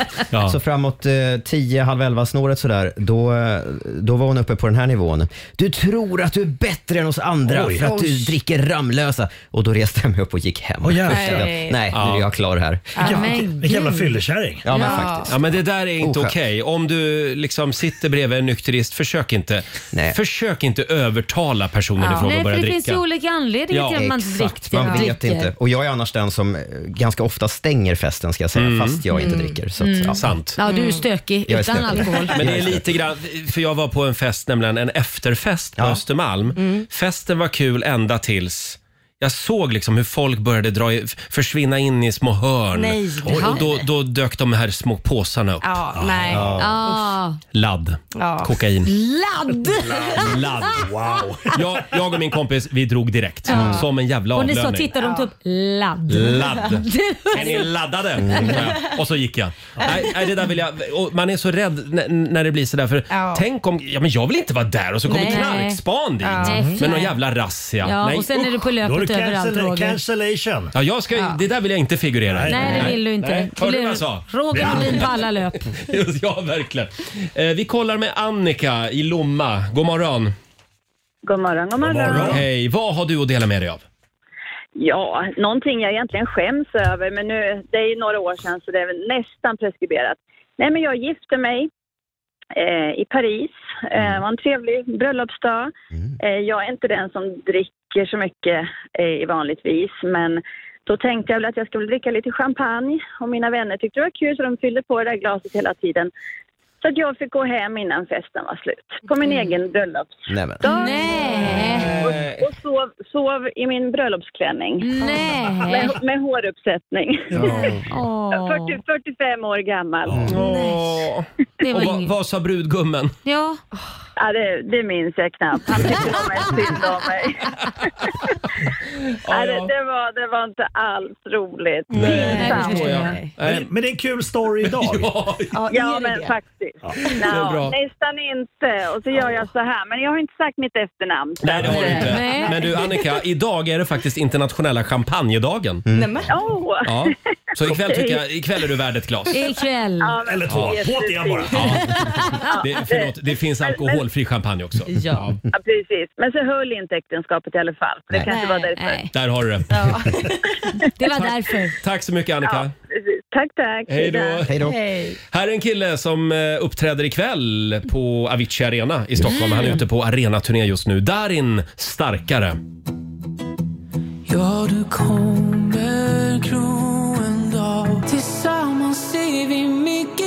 Speaker 3: Så framåt eh, tio, halv elva snåret sådär, då, eh, då var hon uppe på den här nivån. Du tror att du är bättre än oss andra
Speaker 9: Oj.
Speaker 3: för att du
Speaker 9: Oj.
Speaker 3: dricker Ramlösa. Och då reste jag mig upp och gick hem.
Speaker 9: Åh, jävlar.
Speaker 3: Jag kände att,
Speaker 9: Nej.
Speaker 3: Nej, nu är jag klar här.
Speaker 9: Ja, men vilken- vilken jävla gud. fyllekärring.
Speaker 3: Ja, men
Speaker 9: Ja.
Speaker 3: faktiskt.
Speaker 1: Ja, men det där är inte
Speaker 3: Oskönt.
Speaker 1: okej. Om du liksom sitter bredvid en nykterist, försök inte, försök inte övertala personen
Speaker 2: Ja.
Speaker 1: ifrån
Speaker 2: Nej,
Speaker 1: att
Speaker 2: för
Speaker 1: börja
Speaker 2: det
Speaker 1: dricka.
Speaker 2: finns ju olika anledningar till att man inte
Speaker 3: exakt.
Speaker 2: dricker.
Speaker 3: Man
Speaker 2: Ja.
Speaker 3: vet inte. Och jag är annars den som eh, ganska ofta stänger festen, ska jag säga, fast jag inte
Speaker 2: Mm.
Speaker 3: dricker. Så att,
Speaker 2: Mm.
Speaker 3: ja.
Speaker 1: Sant.
Speaker 2: Ja, du är stökig
Speaker 3: Jag är
Speaker 2: utan
Speaker 3: stökig.
Speaker 2: alkohol.
Speaker 1: Men det är lite grann, för jag var på en fest, nämligen en efterfest på Östermalm.
Speaker 2: Mm.
Speaker 1: Festen var kul ända tills jag såg liksom hur folk började dra i, försvinna in i små hörn.
Speaker 19: Nej.
Speaker 1: Oj. och då, då dök de här små påsarna upp.
Speaker 19: Ja, nej.
Speaker 1: Ja.
Speaker 2: Ah.
Speaker 1: Ladd.
Speaker 19: Ja.
Speaker 1: Kokain.
Speaker 2: Ladd!
Speaker 1: Ladd. Wow. Jag, jag och min kompis, vi drog direkt.
Speaker 2: Ja.
Speaker 1: Som en jävla
Speaker 2: Och ni så
Speaker 1: avlöning.
Speaker 2: tittar de upp ladd.
Speaker 1: Ladd. Är ni laddade?
Speaker 2: Mm.
Speaker 1: Ja. Och så gick jag. Nej, nej, det där vill jag. Och man är så rädd n- när det blir sådär. För tänk om, ja men jag vill inte vara där och så kommer
Speaker 2: Nej.
Speaker 1: knarkspan dit.
Speaker 2: Ja. Nej,
Speaker 1: Med någon
Speaker 2: fy.
Speaker 1: jävla razzia.
Speaker 2: Ja,
Speaker 1: Nej,
Speaker 2: och sen är du
Speaker 1: usch.
Speaker 2: på löpet överallt Roger.
Speaker 9: Cancellation.
Speaker 1: Ja, jag ska, Det där vill jag inte figurera i.
Speaker 2: Nej, det vill du inte.
Speaker 1: Nej. Hörde du vad jag sa?
Speaker 2: Roger Molin på alla löp.
Speaker 1: Just, ja, verkligen. Eh, vi kollar med Annika i Lomma. God morgon.
Speaker 17: God morgon, god morgon.
Speaker 1: Hej, vad har du att dela med dig av?
Speaker 17: Ja, någonting jag egentligen skäms över, men nu, det är ju några år sedan så det är väl nästan preskriberat. Nej, men jag gifte mig eh, i Paris. Eh, det var en trevlig bröllopsdag. Eh, jag är inte den som dricker så mycket eh, vanligtvis, men då tänkte jag väl att jag skulle dricka lite champagne och mina vänner tyckte det var kul så de fyllde på det där glaset hela tiden. Så att jag fick gå hem innan festen var slut. På min egen bröllops.
Speaker 3: Nej, men.
Speaker 17: Eh, Och, och sov, sov i min bröllopsklänning.
Speaker 2: Nej.
Speaker 17: Med, med håruppsättning.
Speaker 2: Åh.
Speaker 17: 40, 45 år gammal.
Speaker 1: Åh.
Speaker 17: Det var
Speaker 1: Och vad,
Speaker 17: inget.
Speaker 1: vad sa brudgummen?
Speaker 2: Ja.
Speaker 17: Ja, det, det minns jag knappt. Han tyckte de mest synd om mig. ja, det, det, var, det var inte alls roligt. Nej,
Speaker 9: det förstår jag. Men, men det är en kul story idag.
Speaker 17: Ja, men faktiskt.
Speaker 9: Det är
Speaker 17: Nå,
Speaker 9: bra.
Speaker 17: nästan inte. Och så gör jag så här. Men jag har inte sagt mitt efternamn.
Speaker 1: Nej, det har du inte.
Speaker 17: Nej.
Speaker 1: Men du Annika, idag är det faktiskt internationella champagnedagen.
Speaker 17: men. Åh.
Speaker 1: Ja. Så ikväll, tycker jag,
Speaker 17: Okej.
Speaker 1: ikväll är du värd ett glas.
Speaker 2: Ikväll.
Speaker 1: Eller två.
Speaker 17: Ja.
Speaker 1: På det bara. Det, förlåt, det finns alkoholfri champagne också.
Speaker 2: Ja.
Speaker 17: Ja, precis. Men så höll inte äktenskapet i alla fall. För det
Speaker 1: Nej.
Speaker 17: kanske var därför.
Speaker 1: Där har du det.
Speaker 2: Det var därför.
Speaker 1: Tack så mycket Annika.
Speaker 17: Precis. Tack, tack.
Speaker 1: Hej då. Hej då.
Speaker 17: Hej.
Speaker 1: Här är en kille som eh, uppträder ikväll på Avicii Arena i Stockholm.
Speaker 20: Mm.
Speaker 1: Han är ute på arenaturné just nu. Darin Starkare.
Speaker 20: Ja, du kommer gro en dag Tillsammans är vi mycket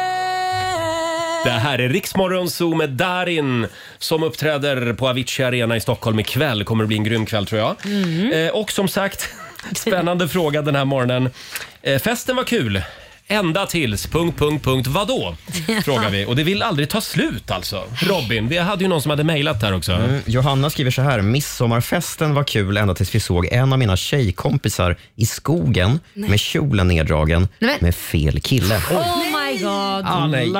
Speaker 20: starkare
Speaker 1: Det här är Riksmorgon Zoo med Darin som uppträder på Avicii Arena i Stockholm ikväll. Kommer det bli en grym kväll tror jag. Eh, och som sagt, spännande fråga den här morgonen. Eh, festen var kul. Ända tills... Punkt, punkt, punkt. Vadå? Frågar vi. Och det vill aldrig ta slut alltså. Robin, vi hade ju någon som hade mejlat där också.
Speaker 3: Mm. Johanna skriver så här. Midsommarfesten var kul ända tills vi såg en av mina tjejkompisar i skogen
Speaker 2: Nej.
Speaker 3: med kjolen neddragen
Speaker 2: Nej, men-
Speaker 3: med fel kille.
Speaker 2: Oh my god.
Speaker 3: Alla
Speaker 2: Nej.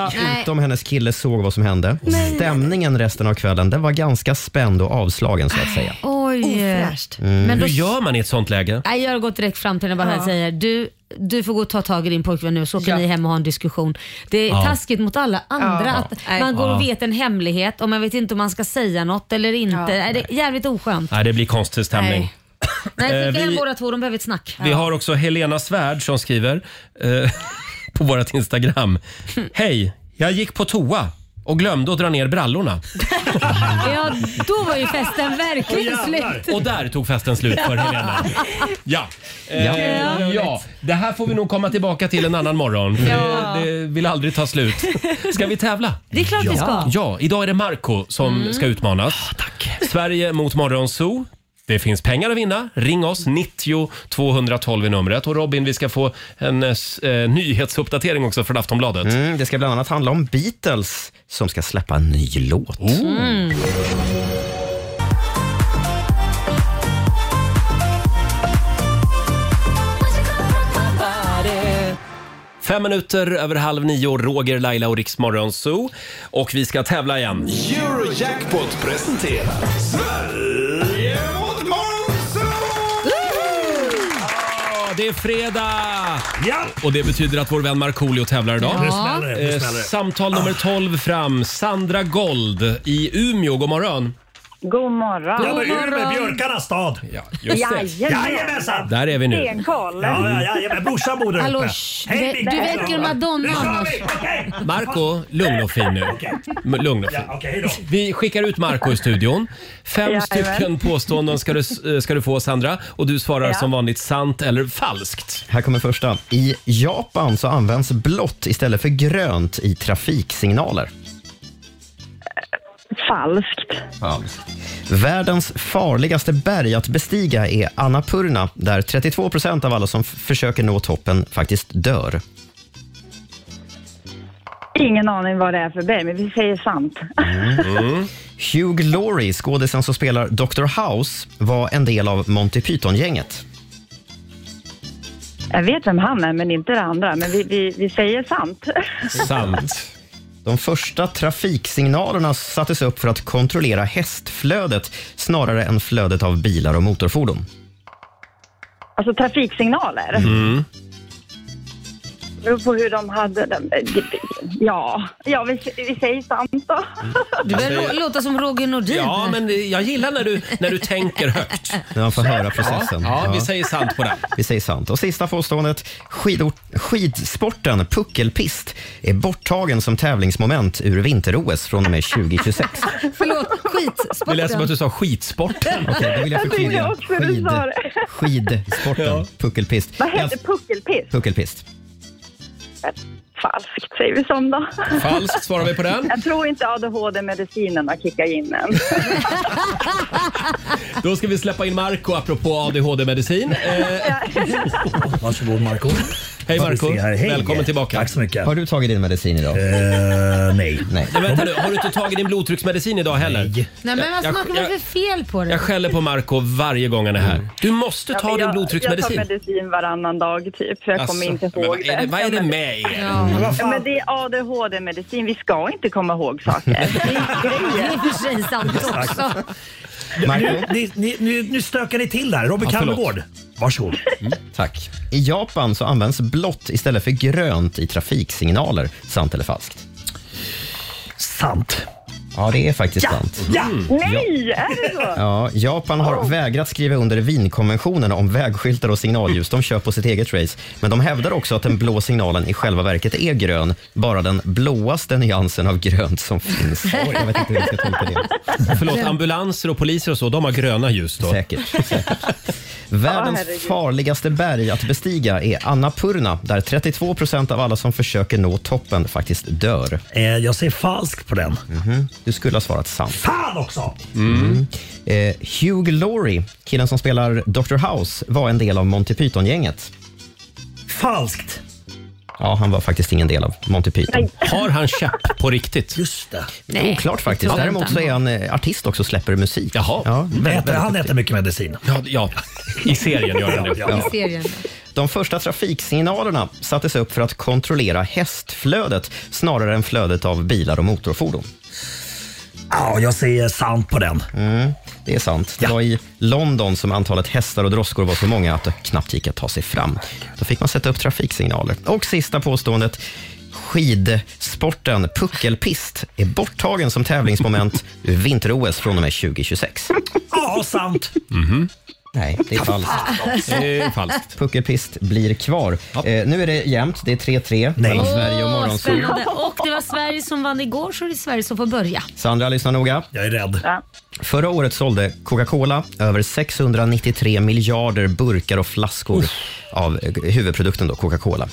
Speaker 3: utom hennes kille såg vad som hände.
Speaker 2: Nej.
Speaker 3: Stämningen resten av kvällen den var ganska spänd och avslagen så att säga.
Speaker 2: Oj.
Speaker 3: Mm.
Speaker 2: Men då- Hur
Speaker 1: gör man i ett sånt läge?
Speaker 2: Nej, jag har gått direkt fram till henne och bara
Speaker 3: Ja.
Speaker 2: säger du, du får gå och ta tag i din pojkvän nu så åker ni hem och ha en diskussion. Det är
Speaker 1: Ja.
Speaker 2: taskigt mot alla andra
Speaker 1: Ja.
Speaker 2: att
Speaker 1: Nej.
Speaker 2: man går
Speaker 1: Ja.
Speaker 2: och vet en hemlighet och man vet inte om man ska säga något eller inte. Nej, det är jävligt oskönt.
Speaker 1: Nej, det blir konstig stämning.
Speaker 2: Nej. Nej,
Speaker 1: Eh,
Speaker 2: skicka hem
Speaker 1: vi-
Speaker 2: båda två, de behöver ett snack.
Speaker 1: Vi har också Helena Svärd som skriver eh, på vårt Instagram. Hej, jag gick på toa och glömde att dra ner brallorna.
Speaker 2: Ja, då var ju festen verkligen
Speaker 1: Åh, jävlar.
Speaker 2: slut.
Speaker 1: Och där tog festen slut för Helena. Ja.
Speaker 2: Ja.
Speaker 1: Eh, ja. Det här får vi nog komma tillbaka till en annan morgon. för
Speaker 2: Ja.
Speaker 1: Det, det vill aldrig ta slut. Ska vi tävla?
Speaker 2: Det är klart
Speaker 1: ja.
Speaker 2: vi ska.
Speaker 1: Ja, idag är det Marco som
Speaker 2: Mm.
Speaker 1: ska utmanas. Sverige mot Morgonzoo. Det finns pengar att vinna. Ring oss, 90 212 är numret. Och Robin, vi ska få en eh, s- eh, nyhetsuppdatering också från Aftonbladet.
Speaker 3: Mm, det ska bland annat handla om Beatles som ska släppa en ny låt.
Speaker 20: Oh.
Speaker 2: Mm.
Speaker 1: Fem minuter över halv nio, Roger, Laila och Riks Morgonzoo. Och vi ska tävla igen.
Speaker 4: Eurojackpot presenterar Sverige mot
Speaker 1: Ja, Det är fredag! Ja! Och det betyder att vår vän Markoolio tävlar idag.
Speaker 4: Ja. Det smäller, det
Speaker 1: Eh,
Speaker 4: smäller.
Speaker 1: Samtal
Speaker 9: Ah.
Speaker 1: nummer 12 fram. Sandra Gold i Umeå. God morgon!
Speaker 11: God morgon.
Speaker 9: Ja, men Umeå, björkarnas stad.
Speaker 1: Ja, just det.
Speaker 9: Jajamensan!
Speaker 1: Där är vi nu.
Speaker 9: Ja, ja, jajamän, brorsan bor där
Speaker 2: Hallå,
Speaker 1: uppe.
Speaker 2: shh,
Speaker 9: Hej,
Speaker 2: du,
Speaker 9: Bigge.
Speaker 2: du väcker Madonna
Speaker 9: Nu kör vi!
Speaker 2: annars.
Speaker 1: Marco, lugn och fin nu. M- Lugn och fin. Vi skickar ut Marco i studion. Fem
Speaker 4: Jajamän.
Speaker 1: stycken påståenden ska du, s- eh, ska du få Sandra och du svarar
Speaker 3: Ja.
Speaker 1: som vanligt sant eller falskt.
Speaker 3: Här kommer första. I Japan så används blått istället för grönt i trafiksignaler.
Speaker 11: Falskt.
Speaker 3: Världens farligaste berg att bestiga är Annapurna där 32 procent av alla som f- försöker nå toppen faktiskt dör.
Speaker 11: Ingen aning vad det är för berg, men vi säger sant.
Speaker 3: Hugh Laurie, skådisen som spelar Dr. House, var en del av Monty Python-gänget.
Speaker 11: Jag vet vem han är, men inte det andra. Men vi, vi, vi säger sant.
Speaker 1: Sant.
Speaker 3: De första trafiksignalerna sattes upp för att kontrollera hästflödet snarare än flödet av bilar och motorfordon.
Speaker 11: Alltså trafiksignaler. Det beror på hur de hade den. Ja, ja vi, vi säger sant då.
Speaker 2: Du börjar låta som Roger Nordin.
Speaker 1: Ja, men eh, jag gillar när du, när du tänker högt.
Speaker 3: När man får höra processen.
Speaker 1: Ja, ja, vi säger sant på den.
Speaker 3: Vi säger sant. Och sista påståendet. Skidor, skidsporten puckelpist är borttagen som tävlingsmoment ur vinter-OS från och med 2026.
Speaker 2: Förlåt,
Speaker 1: Det
Speaker 2: skitsporten.
Speaker 1: lät som att du sa skitsporten.
Speaker 3: Okej, då vill jag förtydliga.
Speaker 11: Jag tyckte också du sa det.
Speaker 3: Skidsporten puckelpist.
Speaker 11: Vad hette puckelpiss?
Speaker 3: Puckelpist.
Speaker 11: Falskt säger vi som då.
Speaker 1: Falskt svarar vi på den.
Speaker 11: Jag tror inte ADHD-medicinerna kickar in än.
Speaker 1: Då ska vi släppa in Marco apropå ADHD-medicin. Eh,
Speaker 21: Varsågod Marco.
Speaker 1: hej Marco, välkommen tillbaka.
Speaker 3: Tack så mycket. Har du tagit din medicin idag? Uh, nej. nej.
Speaker 1: Nej, vänta nu, har du inte tagit din blodtrycksmedicin idag heller? Nej.
Speaker 2: Nej men vad
Speaker 1: jag,
Speaker 2: smakar det
Speaker 1: jag,
Speaker 2: för fel på det?
Speaker 1: jag skäller på Marco varje gång han är här. Du måste ta
Speaker 11: Ja, men
Speaker 1: din
Speaker 11: jag-
Speaker 1: blodtrycksmedicin.
Speaker 11: Jag tar medicin varannan dag typ, för jag
Speaker 1: Alltså,
Speaker 11: kommer inte
Speaker 1: men
Speaker 11: ihåg
Speaker 1: vad är det- vad är det med er? Ja.
Speaker 11: Ja. men det är ADHD-medicin, vi ska inte komma ihåg saker.
Speaker 2: Det är i och för sig sant också.
Speaker 21: Nu, ni, ni, nu, nu stökar ni till där. Robin
Speaker 3: Ja, förlåt.
Speaker 21: Calmegård. Varsågod. Mm.
Speaker 3: Tack. I Japan så används blått istället för grönt i trafiksignaler. Sant eller falskt?
Speaker 21: Sant.
Speaker 3: Ja, det är faktiskt sant. Mm.
Speaker 11: Nej, är det så?
Speaker 3: Ja, Japan har vägrat skriva under Wienkonventionen om vägskyltar och signalljus. De kör på sitt eget race. Men de hävdar också att den blå signalen i själva verket är grön. Bara den blåaste nyansen av grönt som finns. Jag vet inte hur jag ska tolka det.
Speaker 1: Förlåt, ambulanser och poliser och så, de har gröna ljus då?
Speaker 3: Säkert. Världens
Speaker 1: Ja, herregud.
Speaker 3: farligaste berg att bestiga är Annapurna där 32 procent av alla som försöker nå toppen faktiskt dör.
Speaker 21: Eh,
Speaker 3: Mhm.
Speaker 21: jag säger falskt på den.
Speaker 3: Du skulle ha svarat sant.
Speaker 21: Fan också!
Speaker 3: Mm. Eh, Hugh Laurie, killen som spelar Dr. House, var en del av Monty Python-gänget.
Speaker 21: Falskt.
Speaker 3: Ja, han var faktiskt ingen del av Monty Python.
Speaker 11: Nej. Har
Speaker 1: han käpp på riktigt?
Speaker 21: Just det.
Speaker 11: Nej,
Speaker 3: Oklart
Speaker 11: det
Speaker 3: faktiskt.
Speaker 11: tror jag
Speaker 3: Däremot
Speaker 11: inte
Speaker 3: så
Speaker 11: han
Speaker 3: är han eh, artist också, släpper musik. Jaha. Ja,
Speaker 21: Äter- han äter mycket medicin.
Speaker 1: Ja, i serien gör han det.
Speaker 3: Ja.
Speaker 2: I serien.
Speaker 3: De första trafiksignalerna sattes upp för att kontrollera hästflödet snarare än flödet av bilar och motorfordon.
Speaker 21: Ja, jag säger sant på den.
Speaker 3: Mm, det är sant. Det var i London som antalet hästar och droskor var så många att det knappt gick att ta sig fram. Då fick man sätta upp trafiksignaler. Och sista påståendet. Skidsporten puckelpist är borttagen som tävlingsmoment ur vinter-OS från och med 2026.
Speaker 21: Ja, sant.
Speaker 3: Nej, det är falskt.
Speaker 21: Det
Speaker 1: är falskt.
Speaker 3: Puckelpist blir kvar. Eh, nu är det jämnt. Det är 3-3 mellan Sverige och
Speaker 2: Åh,
Speaker 3: Morgonzoo.
Speaker 2: spännande. Och det var Sverige som vann igår så det är Sverige som får börja.
Speaker 3: Sandra, lyssna noga.
Speaker 21: Jag är rädd.
Speaker 11: Ja.
Speaker 3: Förra året sålde Coca-Cola över 693 miljarder burkar och flaskor av eh, huvudprodukten då, Coca-Cola.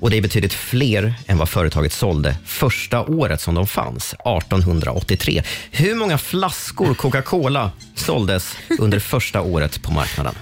Speaker 3: Och Det är betydligt fler än vad företaget sålde första året som de fanns, 1883. Hur många flaskor Coca-Cola såldes under första året på marknaden?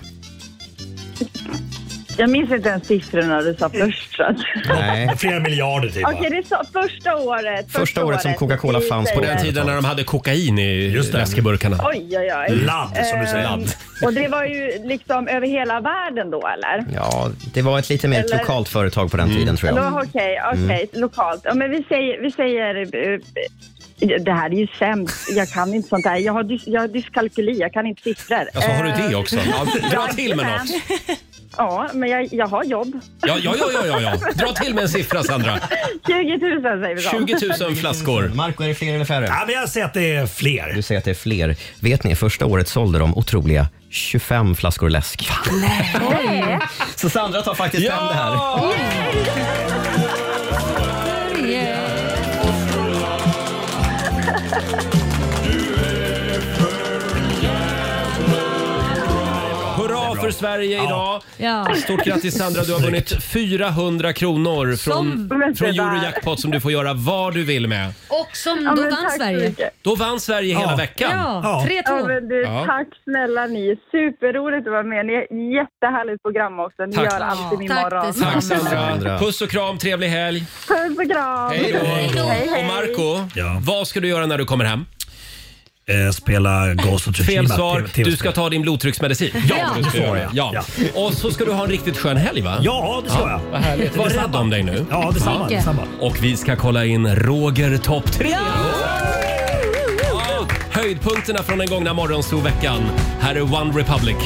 Speaker 11: Jag minns inte ens siffrorna du sa först. så att-
Speaker 3: Nej.
Speaker 21: Flera miljarder typ.
Speaker 11: Okej, det sa första året. Vi
Speaker 1: På
Speaker 11: säger-
Speaker 1: den tiden när de hade kokain i läskeburkarna.
Speaker 11: Oj, oj, oj.
Speaker 1: Ladd, som du säger.
Speaker 11: Ehm,
Speaker 1: Ladd.
Speaker 11: Och det var ju liksom över hela världen då, eller?
Speaker 3: Ja, det var ett lite mer
Speaker 11: Eller-
Speaker 3: lokalt företag på den
Speaker 21: Mm.
Speaker 3: tiden tror jag. Mm.
Speaker 11: Då- Okej, okej, lokalt. Ja, men vi säger... Vi säger eh, det här är ju sämst. Jag kan inte sånt där. Jag har, dys, jag har dyskalkyli, jag kan inte siffror.
Speaker 1: Alltså, har du
Speaker 11: Eh,
Speaker 1: det också? Ja, dra till med
Speaker 11: jajamän.
Speaker 1: något.
Speaker 11: Ja, men jag, jag har jobb.
Speaker 1: Ja, ja, ja, ja, ja, ja.
Speaker 3: Mm.
Speaker 1: Dra till med en siffra,
Speaker 11: 20
Speaker 1: Sandra.
Speaker 11: 000 säger vi då.
Speaker 1: 20 000 flaskor.
Speaker 3: Marco, är det fler eller färre?
Speaker 21: Ja, men jag säger att det är fler.
Speaker 3: Du säger att det är fler. Vet ni, första året sålde de otroliga 25 flaskor läsk.
Speaker 2: Nej.
Speaker 3: Så Sandra tar faktiskt hem det här.
Speaker 1: Hurra för Sverige idag!
Speaker 2: Ja.
Speaker 1: Stort grattis Sandra, du har vunnit 400 kronor från,
Speaker 2: Som-
Speaker 1: från Eurojackpot som du får göra vad du vill med.
Speaker 2: Och som
Speaker 11: Ja,
Speaker 2: då
Speaker 11: men
Speaker 2: vann
Speaker 11: tack så
Speaker 2: Sverige.
Speaker 11: mycket.
Speaker 1: Då vann Sverige hela veckan.
Speaker 11: Ja, men du,
Speaker 1: Ja.
Speaker 11: Tack snälla ni. Superroligt att vara med. Ni är jättehärligt program också. Ni
Speaker 1: Tack.
Speaker 11: gör alltid min morgon.
Speaker 1: Tack Sandra. Puss och kram, trevlig helg.
Speaker 11: Puss och kram.
Speaker 1: Hej då.
Speaker 11: Hej, hej.
Speaker 1: Och Marco, vad ska du göra när du kommer hem?
Speaker 21: Eh, spela Ghost of Tsushima.
Speaker 1: Fel svar.
Speaker 21: TV- TV-spel.
Speaker 1: Du ska ta din blodtrycksmedicin.
Speaker 21: Ja,
Speaker 1: det ska
Speaker 21: det
Speaker 1: du
Speaker 21: får
Speaker 1: göra.
Speaker 21: jag.
Speaker 1: ja. Och så ska du ha en riktigt skön helg va?
Speaker 21: Ja, det ska jag.
Speaker 1: Vad härligt. Var
Speaker 21: Detsamma.
Speaker 1: rädd om dig nu.
Speaker 21: Ja, detsamma,
Speaker 1: Ja.
Speaker 21: detsamma.
Speaker 1: Och vi ska kolla in Roger topp 3. Höjdpunkterna från den gångna morgonsovveckan. Här är One Republic.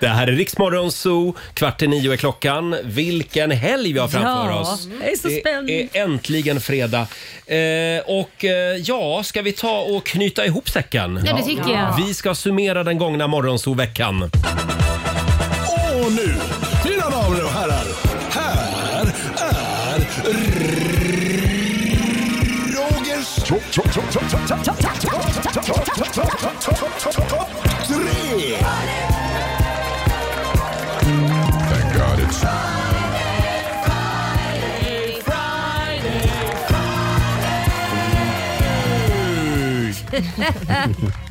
Speaker 1: Det här är Riksmorgon Zoo. Kvart i nio är klockan. Vilken helg vi har framför
Speaker 2: Ja,
Speaker 1: oss.
Speaker 2: jag är så spänd.
Speaker 1: Det är äntligen fredag. Eh, och eh, ja, ska vi ta och knyta ihop säcken?
Speaker 2: Ja, det tycker jag.
Speaker 1: Vi ska summera den gångna morgonsovveckan.
Speaker 4: Och nu, mina damer och herrar, här är Rogers... Tre!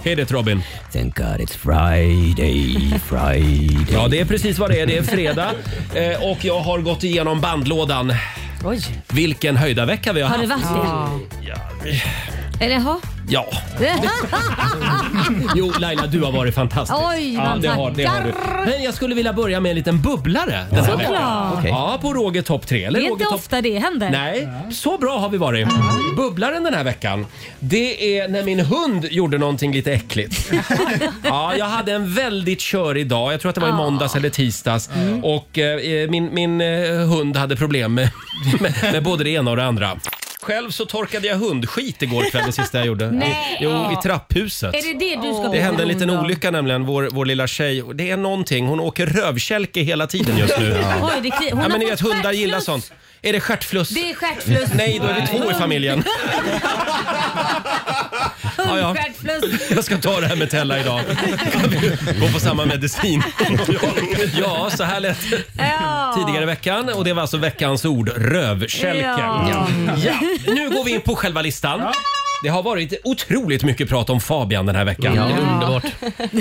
Speaker 1: Hej det Robin.
Speaker 22: Thank God it's Friday, Friday.
Speaker 1: Ja, det är precis vad det är. Det är fredag eh, och jag har gått igenom bandlådan.
Speaker 2: Oj.
Speaker 1: Vilken höjdarvecka vi har,
Speaker 2: Har det varit
Speaker 1: haft.
Speaker 2: det? Eller jaha?
Speaker 1: Ja. Jo, Laila, du har varit fantastisk.
Speaker 2: Oj,
Speaker 1: ja,
Speaker 2: vad
Speaker 1: det har, det har du.
Speaker 2: tackar.
Speaker 1: Men jag skulle vilja börja med en liten bubblare den här
Speaker 2: Såklart.
Speaker 1: veckan.
Speaker 2: Okej.
Speaker 1: Ja, på Roger topp 3.
Speaker 2: Det
Speaker 1: Eller
Speaker 2: är
Speaker 1: Roger
Speaker 2: inte
Speaker 1: topp
Speaker 2: ofta det händer.
Speaker 1: Nej, så bra har vi varit. Bubblaren den här veckan, det är när min hund gjorde någonting lite äckligt. Ja, jag hade en väldigt körig dag. Jag tror att det var i
Speaker 6: Ah.
Speaker 1: måndags eller tisdags.
Speaker 2: Mm.
Speaker 1: Och eh, min, min eh, hund hade problem med, med, med både det ena och det andra. Själv så torkade jag hundskit igår kväll, det sista jag gjorde.
Speaker 2: Nej.
Speaker 1: Jo, i trapphuset.
Speaker 2: Är det det du ska
Speaker 1: Det
Speaker 2: bli
Speaker 1: hände en liten
Speaker 2: beroende av?
Speaker 1: olycka nämligen, vår, vår lilla tjej. Det är någonting, hon åker rövkälke hela tiden just nu.
Speaker 2: Ja. Oj, det kli- hon
Speaker 1: ja,
Speaker 2: har
Speaker 1: men ni
Speaker 2: fått
Speaker 1: vet, hundar gillar sånt. Är det stjärtfluss?
Speaker 2: Det är stjärtfluss.
Speaker 1: Nej, då är vi två i familjen. Ja, ja.
Speaker 2: Hundstjärtfluss.
Speaker 1: Jag ska ta det här med Tella idag. Gå på samma medicin. Ja, så här lät det
Speaker 2: Ja.
Speaker 1: tidigare i veckan. Och det var alltså veckans ord, rövkälke.
Speaker 2: Ja.
Speaker 1: Ja. Nu går vi in på själva listan. Det har varit otroligt mycket prat om Fabian den här veckan.
Speaker 6: Ja. Det är underbart.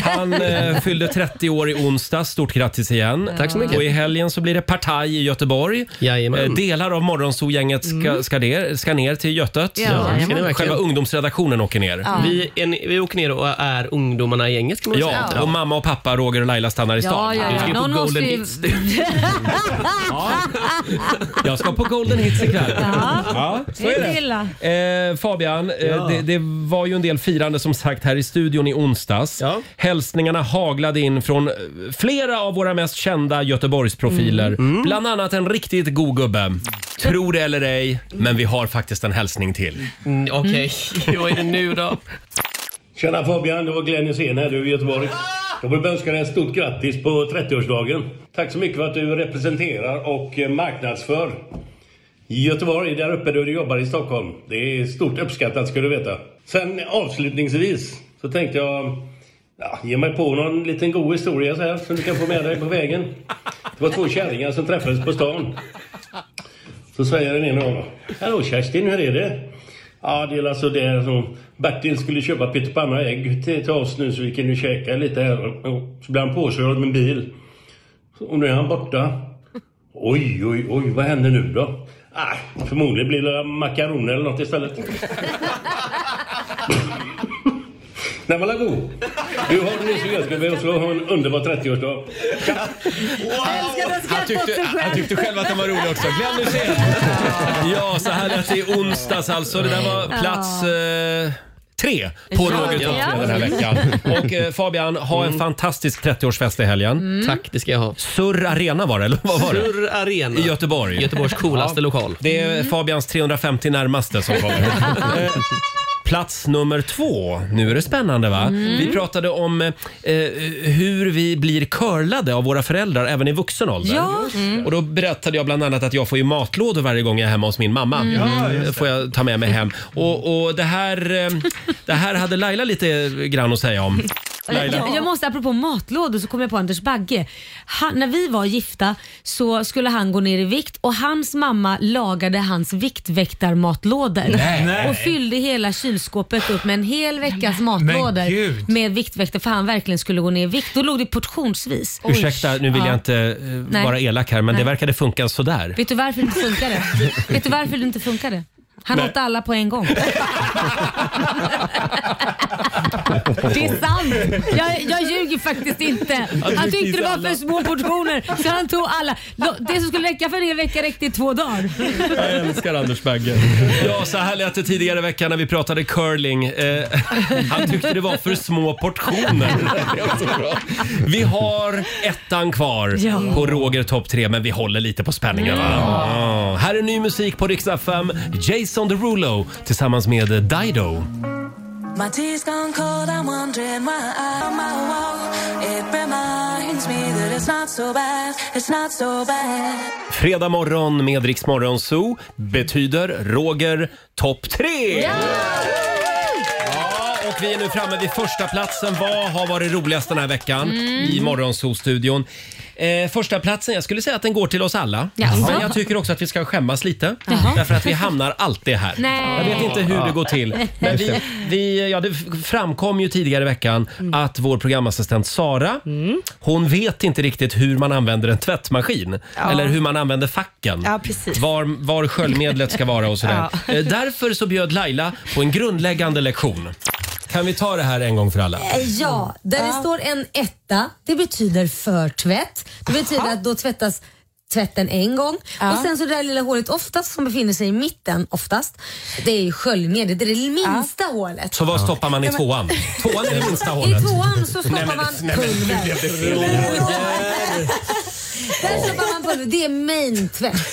Speaker 1: Han eh, fyllde 30 år i onsdags. Stort grattis igen.
Speaker 6: Tack så mycket.
Speaker 1: Och i helgen så blir det partaj i Göteborg. Eh, delar av Morgonzoo-gänget ska,
Speaker 6: Mm.
Speaker 1: ska, ner- ska ner till Götet.
Speaker 6: Ja, jajamän. Ska ni verkligen?
Speaker 1: Själva ungdomsredaktionen åker ner.
Speaker 6: Ja. Vi, är, ni- vi åker ner och är ungdomarna i gänget kan man
Speaker 1: Ja,
Speaker 6: säga.
Speaker 1: och mamma och pappa, Roger och Laila stannar i
Speaker 6: Ja,
Speaker 1: stan.
Speaker 6: ja, ja.
Speaker 1: Vi ska ju på
Speaker 6: Någon måste
Speaker 1: Golden
Speaker 6: ju-
Speaker 1: Hits. Jag ska på Golden Hits ikväll.
Speaker 2: Ja.
Speaker 1: så
Speaker 2: Det är
Speaker 1: är
Speaker 2: inte illa.
Speaker 1: det. Eh, Fabian, eh,
Speaker 2: Ja.
Speaker 1: det, det var ju en del firande som sagt här i studion i onsdags. Hälsningarna haglade in från eh, flera av våra mest kända Göteborgsprofiler.
Speaker 6: Mm.
Speaker 1: Bland annat en riktigt god gubbe. Tro det eller ej, men vi har faktiskt en hälsning till.
Speaker 6: Mm, Okej, vad är det nu då?
Speaker 12: Tjena Fabian, det var Glenn Hysén här du i Göteborg. Jag vill önska dig ett stort grattis på 30-årsdagen. Tack så mycket för att du representerar och eh, marknadsför Göteborg där uppe där du jobbar i Stockholm. Det är stort uppskattat ska du veta. Sen avslutningsvis så tänkte jag ja, ge mig på någon liten god historia så här som du kan få med dig på vägen. Det var två kärringar som träffades på stan. Så säger den ena av dem. Hallå Kerstin, hur är det? Ja, det är alltså det som Bertil skulle köpa pyttipanna och ägg till, till oss nu så vi kan ju käka lite här. Och Så blir han påkörd med en bil. Och nu är han borta. Oj, oj, oj, vad händer nu då? Ah, förmodligen blir det makaroner eller något istället. Nej, men la god. Du har det nu så gött och så ha en underbar 30-årsdag.
Speaker 1: Han tyckte, han tyckte själv att den var rolig också. Glenn Hysén. Ja, så här lät det i onsdags alltså. Det där var plats eh, tre på
Speaker 6: Ja.
Speaker 1: Roger Topp tre
Speaker 6: Ja.
Speaker 1: den här veckan. Och eh, Fabian, ha en fantastisk 30-årsfest i helgen.
Speaker 6: Mm. Tack, det ska jag ha.
Speaker 1: Surr Arena var det, eller vad var det?
Speaker 6: Surr Arena.
Speaker 1: I Göteborg.
Speaker 6: Göteborgs coolaste lokal.
Speaker 1: Det är
Speaker 6: Mm.
Speaker 1: Fabians 350 närmaste som kommer. Eh, Plats nummer två. Nu är det spännande va?
Speaker 6: Mm.
Speaker 1: Vi pratade om eh, hur vi blir curlade av våra föräldrar även i vuxen ålder.
Speaker 2: Ja. Mm.
Speaker 1: Och då berättade jag bland annat att jag får ju matlådor varje gång jag är hemma hos min mamma.
Speaker 2: Mm. Ja, just
Speaker 1: det. får jag ta med mig hem. Och, och det, här, eh, det här hade Laila lite grann att säga om. Laila.
Speaker 2: Jag, jag måste, apropå matlådor, så kom jag på Anders Bagge. Han, när vi var gifta så skulle han gå ner i vikt och hans mamma lagade hans viktväktarmatlådor.
Speaker 20: Nej. Nej.
Speaker 2: Och fyllde hela kylskåpet upp med en hel veckas matlådor
Speaker 1: gud.
Speaker 2: med viktväktare för han verkligen skulle gå ner i vikt. Då låg det portionsvis.
Speaker 1: Ursäkta, nu vill
Speaker 2: Ja.
Speaker 1: jag inte eh,
Speaker 2: Nej.
Speaker 1: vara elak här, men
Speaker 2: Nej.
Speaker 1: det verkade funka sådär.
Speaker 2: Vet du varför det inte funkade? Vet du varför det inte funkade? Han
Speaker 1: Nej.
Speaker 2: åt alla på en gång. Det är sant! Jag, jag ljuger faktiskt inte. Han tyckte det var för små portioner så han tog alla. Då- Det som skulle räcka för en hel vecka räckte i två dagar.
Speaker 1: Jag älskar Anders Bagge. Ja, så här lät det tidigare i veckan när vi pratade curling. Eh, han tyckte det var för små portioner. Det var så bra. Vi har ettan kvar
Speaker 6: Ja.
Speaker 1: på Roger topp 3, men vi håller lite på spänningen. va? Ja. Här är ny musik på Rix FM. Jason Derulo tillsammans med Dido.
Speaker 20: My tea's gone cold, I'm wondering why I'm out wall. It reminds me that it's not so bad, it's not so bad.
Speaker 1: Fredag morgon med Rix Morgon Zoo betyder Roger topp 3. Ja! och Och vi är nu framme vid första platsen. Vad har varit roligast den här veckan
Speaker 6: Mm.
Speaker 1: i Morgonzoo-studion? Eh, första platsen, jag skulle säga att den går till oss alla.
Speaker 6: Jaså?
Speaker 1: Men jag tycker också att vi ska skämmas lite. Därför att vi hamnar alltid här.
Speaker 6: Nej.
Speaker 1: Jag vet inte hur det går till. Men
Speaker 6: Just
Speaker 1: vi,
Speaker 6: det.
Speaker 1: vi, ja, det framkom ju tidigare i veckan
Speaker 19: Mm.
Speaker 1: att vår programassistent Sara, hon vet inte riktigt hur man använder en tvättmaskin.
Speaker 19: Ja.
Speaker 1: Eller hur man använder facken.
Speaker 19: Ja, precis.
Speaker 1: Var, var sköljmedlet ska vara och sådär.
Speaker 19: Ja.
Speaker 1: Eh, Därför så bjöd Laila på en grundläggande lektion. Kan vi ta det här en gång för alla?
Speaker 2: Eh, Ja, där det står en etta, det betyder förtvätt. Det betyder att då tvättas tvätten en gång
Speaker 6: Ja.
Speaker 2: och sen så det där lilla hålet oftast som befinner sig i mitten oftast, det är ju sköljmedlet, det är det minsta hålet.
Speaker 1: Så var stoppar man i
Speaker 2: Ja, men-
Speaker 1: tvåan? Tvåan är det minsta
Speaker 2: I
Speaker 1: hålet.
Speaker 2: tvåan så
Speaker 1: Nej,
Speaker 2: stoppar
Speaker 1: men-
Speaker 2: man
Speaker 1: nej, men nu
Speaker 2: pulver.
Speaker 1: blev det fel.
Speaker 2: Där stoppar man pulver, det är main-tvätt.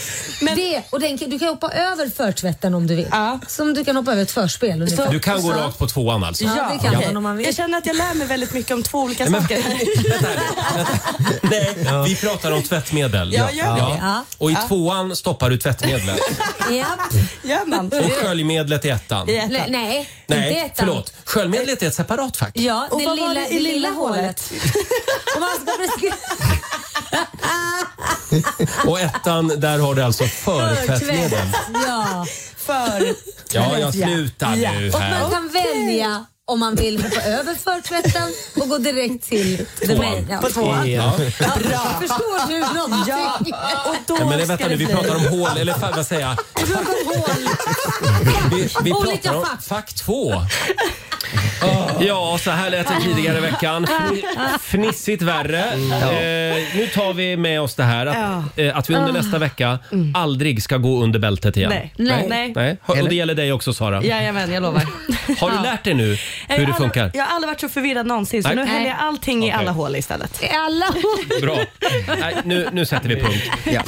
Speaker 2: Det, och den, kan- du kan hoppa över förtvätten om du vill. Som du kan hoppa över ett förspel. ungefär.
Speaker 1: Du kan gå rakt på tvåan alltså?
Speaker 2: Ja, det kan
Speaker 1: Ja.
Speaker 2: man om man vill.
Speaker 19: Jag känner att jag lär mig väldigt mycket om två olika
Speaker 1: Nej, men-
Speaker 19: saker.
Speaker 1: Nej, vi pratar om tvättmedel.
Speaker 19: Ja, gör vi det? Ja.
Speaker 1: Och i
Speaker 19: Ja.
Speaker 1: tvåan stoppar du tvättmedlet.
Speaker 2: Japp.
Speaker 19: Gör man?
Speaker 1: Och sköljmedlet i ettan.
Speaker 2: Nej, nej, inte
Speaker 1: Nej,
Speaker 2: ettan.
Speaker 1: förlåt. Sköljmedlet är ett separat fack.
Speaker 2: Ja,
Speaker 19: Och
Speaker 2: det
Speaker 19: vad var
Speaker 2: lilla,
Speaker 19: det i
Speaker 2: det
Speaker 19: lilla
Speaker 2: lilla, hålet. Om man ska beskriva...
Speaker 1: Och ettan, där har du alltså förtvättmedel.
Speaker 2: Ja.
Speaker 19: För...
Speaker 1: Ja, jag slutar
Speaker 2: Ja.
Speaker 1: nu
Speaker 2: Och
Speaker 1: här.
Speaker 2: man kan välja om man vill hoppa över förtvätten och gå direkt till the
Speaker 1: Tvåan.
Speaker 2: main.
Speaker 1: På tvåan. Ja.
Speaker 2: Bra. Förstår du någonting?
Speaker 19: Ja. Och då
Speaker 1: Nej, men det,
Speaker 19: ska
Speaker 1: vänta
Speaker 19: det
Speaker 1: nu, vi
Speaker 19: bli-
Speaker 1: pratar om hål, eller fa- vad säger jag? Vi, vi
Speaker 2: Olika
Speaker 1: pratar om
Speaker 2: fack.
Speaker 1: fack två. Ja, så här lät det tidigare i veckan. Fni- Fnissigt värre. Eh, nu tar vi med oss det här att, eh, att vi under
Speaker 19: Ah.
Speaker 1: nästa vecka aldrig ska gå under bältet igen.
Speaker 19: Nej. Nej.
Speaker 1: Hör- Och det gäller dig också Sara.
Speaker 19: Jajamän, jag lovar.
Speaker 1: Har du
Speaker 19: Ja.
Speaker 1: lärt dig nu
Speaker 19: Jag har
Speaker 1: hur det
Speaker 19: aldrig-
Speaker 1: funkar?
Speaker 19: Jag har aldrig varit så förvirrad någonsin så
Speaker 1: Nej.
Speaker 19: nu
Speaker 1: Nej.
Speaker 19: häller jag allting i
Speaker 1: Okej.
Speaker 19: alla hål istället.
Speaker 2: I alla hål?
Speaker 1: Bra. Nej, nu, nu sätter vi punkt. Ja.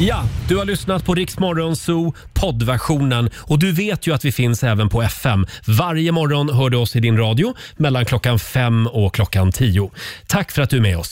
Speaker 1: Ja, du har lyssnat på Rix Morgon Zoo poddversionen och du vet ju att vi finns även på FM. Varje morgon hör du oss i din radio mellan klockan fem och klockan tio. Tack för att du är med oss.